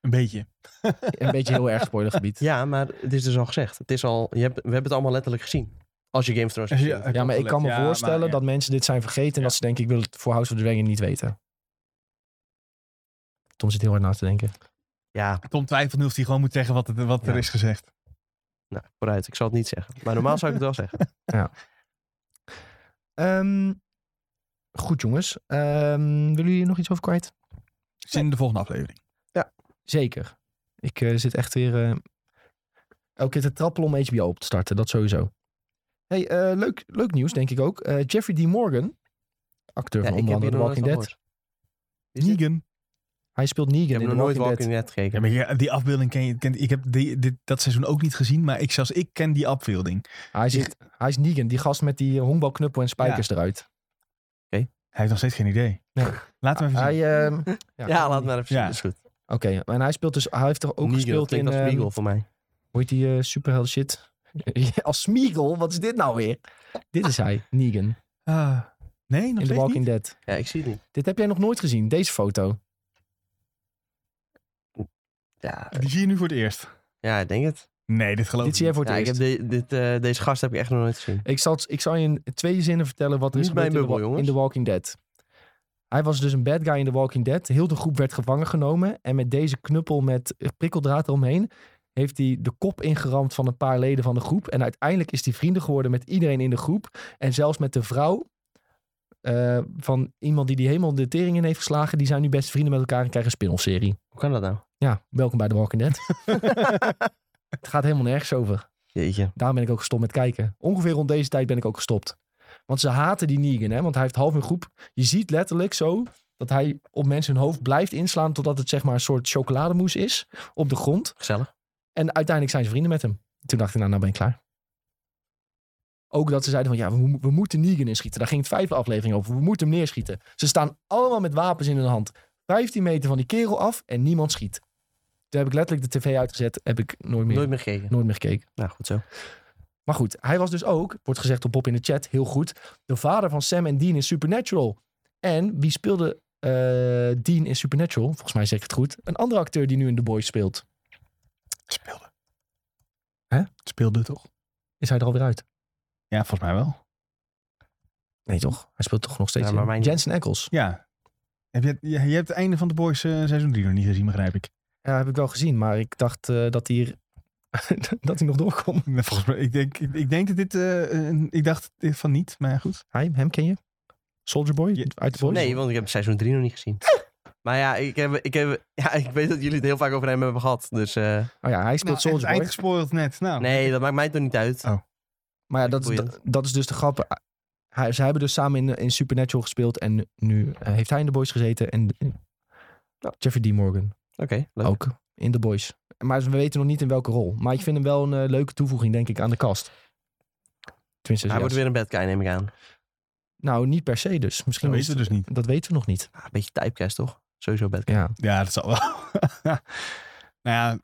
[SPEAKER 2] een beetje.
[SPEAKER 1] [LAUGHS] Een beetje heel erg [LAUGHS] spoilergebied.
[SPEAKER 3] Ja, maar het is dus al gezegd. Het is al, je hebt, we hebben het allemaal letterlijk gezien. Als je Game
[SPEAKER 1] [LAUGHS]
[SPEAKER 3] of Thrones hebt gezien.
[SPEAKER 1] Ja, maar ik kan me voorstellen dat mensen dit zijn vergeten. En
[SPEAKER 2] Ja.
[SPEAKER 1] dat ze denken, ik wil het voor House of the Dragon niet weten. Tom zit heel hard na te denken.
[SPEAKER 3] Ja,
[SPEAKER 2] Tom twijfelt nu of hij gewoon moet zeggen wat, het, wat
[SPEAKER 1] Ja.
[SPEAKER 2] er is gezegd.
[SPEAKER 3] nou, vooruit. Ik zal het niet zeggen. Maar normaal zou ik het wel zeggen.
[SPEAKER 1] Ehm, goed jongens. Ehm, willen jullie hier nog iets over kwijt?
[SPEAKER 2] Zin in de volgende aflevering.
[SPEAKER 1] Zeker. Ik eh, zit echt weer eh, elke keer te trappelen om HBO op te starten. Dat sowieso. Hey, eh, leuk, leuk nieuws denk ik ook. Eh, Jeffrey D. Morgan, acteur
[SPEAKER 3] Ja,
[SPEAKER 1] van
[SPEAKER 3] ik
[SPEAKER 1] onder
[SPEAKER 3] heb
[SPEAKER 1] andere
[SPEAKER 3] hier
[SPEAKER 1] The
[SPEAKER 3] nog nooit
[SPEAKER 1] Walking
[SPEAKER 3] van
[SPEAKER 1] Dead.
[SPEAKER 3] gehoord. Is dit-
[SPEAKER 1] Hij speelt
[SPEAKER 3] Ik
[SPEAKER 1] Negan
[SPEAKER 3] heb
[SPEAKER 1] in The
[SPEAKER 3] nog nooit
[SPEAKER 1] Walking,
[SPEAKER 3] Walking
[SPEAKER 1] Dead.
[SPEAKER 3] Dead
[SPEAKER 2] Ja,
[SPEAKER 3] gekeken.
[SPEAKER 2] maar ja, die afbeelding ken je. Ken, ik heb die, dit, dat seizoen ook niet gezien, maar ik, zelfs ik ken die afbeelding.
[SPEAKER 1] Hij, zit, hij is Negan, die gast met die eh, honkbalknuppel en spijkers eruit.
[SPEAKER 2] Hij heeft nog steeds geen idee.
[SPEAKER 1] Nee.
[SPEAKER 2] Laten we even zien.
[SPEAKER 1] Hij, ehm,
[SPEAKER 3] [LAUGHS] Ja,
[SPEAKER 1] kan
[SPEAKER 3] laat
[SPEAKER 1] niet.
[SPEAKER 3] maar even zien.
[SPEAKER 2] Ja.
[SPEAKER 3] Dat is goed.
[SPEAKER 1] Oké, en hij speelt dus, hij heeft toch ook
[SPEAKER 3] Meagle,
[SPEAKER 1] gespeeld in,
[SPEAKER 3] klinkt als
[SPEAKER 1] ehm,
[SPEAKER 3] Meagle voor mij.
[SPEAKER 1] hoe heet die eh superheld shit? [LAUGHS] als Smeagol, wat is dit nou weer? Dit is hij, Negan,
[SPEAKER 2] Ah, nee, nog
[SPEAKER 1] in The
[SPEAKER 2] steeds
[SPEAKER 1] Walking
[SPEAKER 2] niet?
[SPEAKER 1] Dead.
[SPEAKER 3] Ja, ik zie het niet.
[SPEAKER 1] Dit heb jij nog nooit gezien, deze foto.
[SPEAKER 3] Ja,
[SPEAKER 2] Die zie je nu voor het eerst.
[SPEAKER 3] ja ik denk het.
[SPEAKER 2] Nee, dit geloof
[SPEAKER 1] Dit
[SPEAKER 2] ik
[SPEAKER 1] zie jij
[SPEAKER 2] niet.
[SPEAKER 1] voor het
[SPEAKER 3] Ja, ik
[SPEAKER 1] eerst.
[SPEAKER 3] heb
[SPEAKER 1] Ik,
[SPEAKER 3] de- dit, eh, deze gast heb ik echt nog nooit gezien.
[SPEAKER 1] zal, ik zal je in twee zinnen vertellen wat er is
[SPEAKER 3] Niet mijn
[SPEAKER 1] gebeurd in, de
[SPEAKER 3] bubbel,
[SPEAKER 1] wa- in
[SPEAKER 3] jongens.
[SPEAKER 1] The Walking Dead. Hij was dus een bad guy in The Walking Dead. Heel de groep werd gevangen genomen. En met deze knuppel met eh, prikkeldraad eromheen... heeft hij de kop ingeramd van een paar leden van de groep. En uiteindelijk is hij vrienden geworden met iedereen in de groep. En zelfs met de vrouw eh, van iemand die die helemaal de tering in heeft geslagen. Die zijn nu beste vrienden met elkaar en krijgen een spin-off serie.
[SPEAKER 3] Hoe kan dat nou?
[SPEAKER 1] Ja, welkom bij The Walking
[SPEAKER 3] [LAUGHS]
[SPEAKER 1] Dead. het gaat helemaal nergens over.
[SPEAKER 3] Jeetje.
[SPEAKER 1] Daarom ben ik ook gestopt met kijken. Ongeveer rond deze tijd ben ik ook gestopt. Want ze haten die Negan, hè? want hij heeft half een groep. Je ziet letterlijk zo dat hij op mensen hun hoofd blijft inslaan... totdat het zeg maar een soort chocolademousse is op de grond.
[SPEAKER 3] Gezellig.
[SPEAKER 1] En uiteindelijk zijn ze vrienden met hem. Toen dacht ik, nou, nou ben ik klaar. Ook dat ze zeiden van, ja, we, mo- we moeten Negan inschieten. Daar ging het vijfde aflevering over. We moeten hem neerschieten. Ze staan allemaal met wapens in hun hand. 15 meter van die kerel af en niemand schiet. Toen heb ik letterlijk de tv uitgezet. Heb ik nooit meer,
[SPEAKER 3] Nooit
[SPEAKER 1] nooit,
[SPEAKER 3] meer gekeken.
[SPEAKER 1] meer gekeken.
[SPEAKER 3] Nou, goed zo.
[SPEAKER 1] Maar goed, hij was dus ook, wordt gezegd door Bob in de chat, heel goed. De vader van Sam en Dean in Supernatural. En wie speelde eh, Dean in Supernatural? Volgens mij zeg ik het goed. Een andere acteur die nu in The Boys speelt.
[SPEAKER 2] Speelde.
[SPEAKER 1] Hè?
[SPEAKER 2] Speelde toch?
[SPEAKER 1] Is hij er alweer uit?
[SPEAKER 2] Ja, volgens mij wel.
[SPEAKER 1] Nee, toch? Hij speelt toch nog steeds
[SPEAKER 3] Ja, maar
[SPEAKER 1] in.
[SPEAKER 3] mijn-
[SPEAKER 1] Jensen Ackles.
[SPEAKER 2] Ja. Heb je, je, je hebt het einde van de Boys eh, seizoen 3 nog niet gezien, begrijp ik. [LAUGHS]
[SPEAKER 1] Ja, heb ik wel gezien, maar ik dacht eh, dat hij hier... [LAUGHS] dat hij nog doorkomt.
[SPEAKER 2] Nee, Nou, Volgens mij, ik denk, ik, ik denk dat dit, eh, een- ik dacht dit van niet, maar goed.
[SPEAKER 1] Hij, hem ken je? Soldier Boy?
[SPEAKER 2] Ja,
[SPEAKER 1] uit de boys?
[SPEAKER 3] Nee, want ik heb seizoen 3 nog niet gezien. Maar ja ik, heb, ik heb, ja, ik weet dat jullie het heel vaak over hem hebben gehad. Dus eh,
[SPEAKER 1] Oh ja, hij speelt
[SPEAKER 2] nou,
[SPEAKER 1] Soldier Boy.
[SPEAKER 2] uitgespoord net. Nou,
[SPEAKER 3] nee, dat maakt mij toch niet uit.
[SPEAKER 2] Oh.
[SPEAKER 1] Maar ja, dat, is-
[SPEAKER 3] Boeiend.
[SPEAKER 1] dat, dat is dus de grap. Hij, ze hebben dus samen in, in Supernatural gespeeld en nu eh, heeft hij in de boys gezeten en Jeffrey D. Morgan
[SPEAKER 3] Oké,
[SPEAKER 2] Oh,
[SPEAKER 3] leuk.
[SPEAKER 1] ook in de boys. Maar we weten nog niet in welke rol. Maar ik vind hem wel een eh, leuke toevoeging, denk ik, aan de cast.
[SPEAKER 2] dus
[SPEAKER 1] Tenminste,
[SPEAKER 3] Hij
[SPEAKER 1] ja.
[SPEAKER 3] wordt weer een bad guy, neem ik aan.
[SPEAKER 1] nou, niet per se dus. Misschien
[SPEAKER 2] dat
[SPEAKER 1] wel-
[SPEAKER 2] weten we dus niet.
[SPEAKER 1] dat weten we nog niet.
[SPEAKER 3] Ah, een beetje typecast, toch? Sowieso bad guy.
[SPEAKER 1] Ja.
[SPEAKER 2] Ja, dat zal wel. [LAUGHS] nou ja,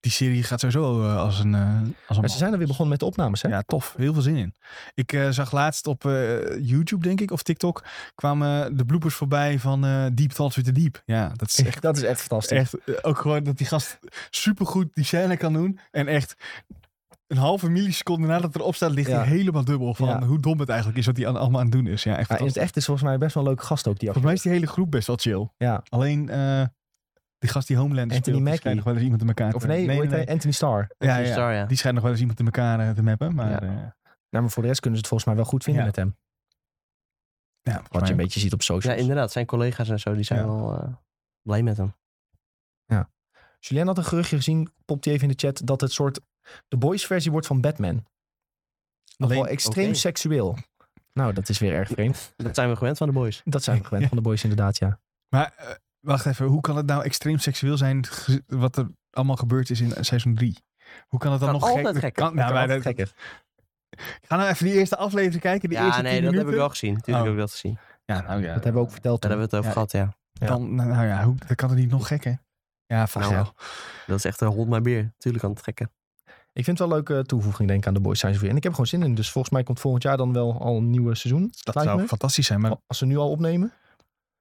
[SPEAKER 2] die serie gaat sowieso eh, als een... eh, als een
[SPEAKER 1] Maar ze zijn er weer begonnen met de opnames, hè?
[SPEAKER 2] Ja, tof. Heel veel zin in. Ik eh, zag laatst op eh, YouTube, denk ik, of TikTok, kwamen de bloopers voorbij van eh, Deep Thoughts with the Deep. Ja, dat is echt...
[SPEAKER 1] dat is echt fantastisch.
[SPEAKER 2] echt eh, ook gewoon dat die gast supergoed die scène kan doen. En echt een halve milliseconde nadat het erop staat, ligt
[SPEAKER 1] Ja.
[SPEAKER 2] hij helemaal dubbel van
[SPEAKER 1] Ja.
[SPEAKER 2] hoe dom het eigenlijk is wat hij aan- allemaal aan het doen is. Ja, echt
[SPEAKER 1] Ja, in het
[SPEAKER 2] fantastisch.
[SPEAKER 1] echt is volgens mij best wel een leuke gast ook, die
[SPEAKER 2] Volgens mij is die hele groep best wel chill.
[SPEAKER 1] Ja.
[SPEAKER 2] Alleen eh, die gast die Homelander
[SPEAKER 1] Anthony
[SPEAKER 2] speelt, die
[SPEAKER 1] Mackie.
[SPEAKER 2] schijnt nog wel eens iemand in elkaar te-
[SPEAKER 1] Of nee, hoe heet hij? Anthony Starr.
[SPEAKER 2] Ja,
[SPEAKER 3] Anthony
[SPEAKER 2] ja.
[SPEAKER 3] Starr, ja.
[SPEAKER 2] Die schijnt nog wel eens iemand in elkaar eh, te mappen. Maar
[SPEAKER 1] Ja.
[SPEAKER 2] eh,
[SPEAKER 1] Nou, maar voor de rest kunnen ze het volgens mij wel goed vinden
[SPEAKER 2] Ja.
[SPEAKER 1] met hem.
[SPEAKER 2] ja, volgens
[SPEAKER 1] Wat je
[SPEAKER 2] mij-
[SPEAKER 1] een beetje ziet op
[SPEAKER 3] Ja,
[SPEAKER 1] socials.
[SPEAKER 3] inderdaad. Zijn collega's en zo, die zijn
[SPEAKER 2] Ja.
[SPEAKER 3] wel eh, blij met hem.
[SPEAKER 1] Julien had een geruchtje gezien, popt hij even in de chat, dat het soort de boys versie wordt van Batman. Nog
[SPEAKER 2] Alleen-
[SPEAKER 1] wel extreem
[SPEAKER 3] oké.
[SPEAKER 1] seksueel. Nou, dat is weer erg vreemd.
[SPEAKER 3] Dat zijn we gewend van de boys.
[SPEAKER 1] [LAUGHS] Dat zijn we gewend van de boys inderdaad, ja.
[SPEAKER 2] Maar eh, wacht even, hoe kan het nou extreem seksueel zijn ge- wat er allemaal gebeurd is in seizoen 3? Hoe kan het dan
[SPEAKER 3] Kan
[SPEAKER 2] nog
[SPEAKER 3] altijd gekker.
[SPEAKER 2] Kan, nou,
[SPEAKER 1] Nou,
[SPEAKER 2] maar
[SPEAKER 1] maar
[SPEAKER 2] dat- Ga nou even die eerste aflevering kijken, die
[SPEAKER 3] ja,
[SPEAKER 2] eerste
[SPEAKER 3] nee,
[SPEAKER 2] 10
[SPEAKER 3] dat heb ik
[SPEAKER 2] minuten.
[SPEAKER 3] wel gezien. Natuurlijk
[SPEAKER 2] Oh.
[SPEAKER 3] heb ik dat gezien. Daar
[SPEAKER 2] Ja, nou ja.
[SPEAKER 1] Dat hebben we ook verteld.
[SPEAKER 3] hebben we het over
[SPEAKER 2] Ja,
[SPEAKER 3] gehad, ja.
[SPEAKER 1] Ja.
[SPEAKER 2] Dan, nou, nou ja, hoe, dat kan het niet nog gekker? Ja, vast
[SPEAKER 3] Nou,
[SPEAKER 2] wel.
[SPEAKER 3] Dat is echt een hond maar beer. Tuurlijk kan het trekken.
[SPEAKER 1] Ik vind het wel een leuke toevoeging, denk ik, aan de Boys Science weer. En ik heb er gewoon zin in. Dus volgens mij komt volgend jaar dan wel al een nieuw seizoen.
[SPEAKER 2] Dat
[SPEAKER 1] lijkt
[SPEAKER 2] zou
[SPEAKER 1] me.
[SPEAKER 2] fantastisch zijn, maar
[SPEAKER 1] Als ze nu al opnemen.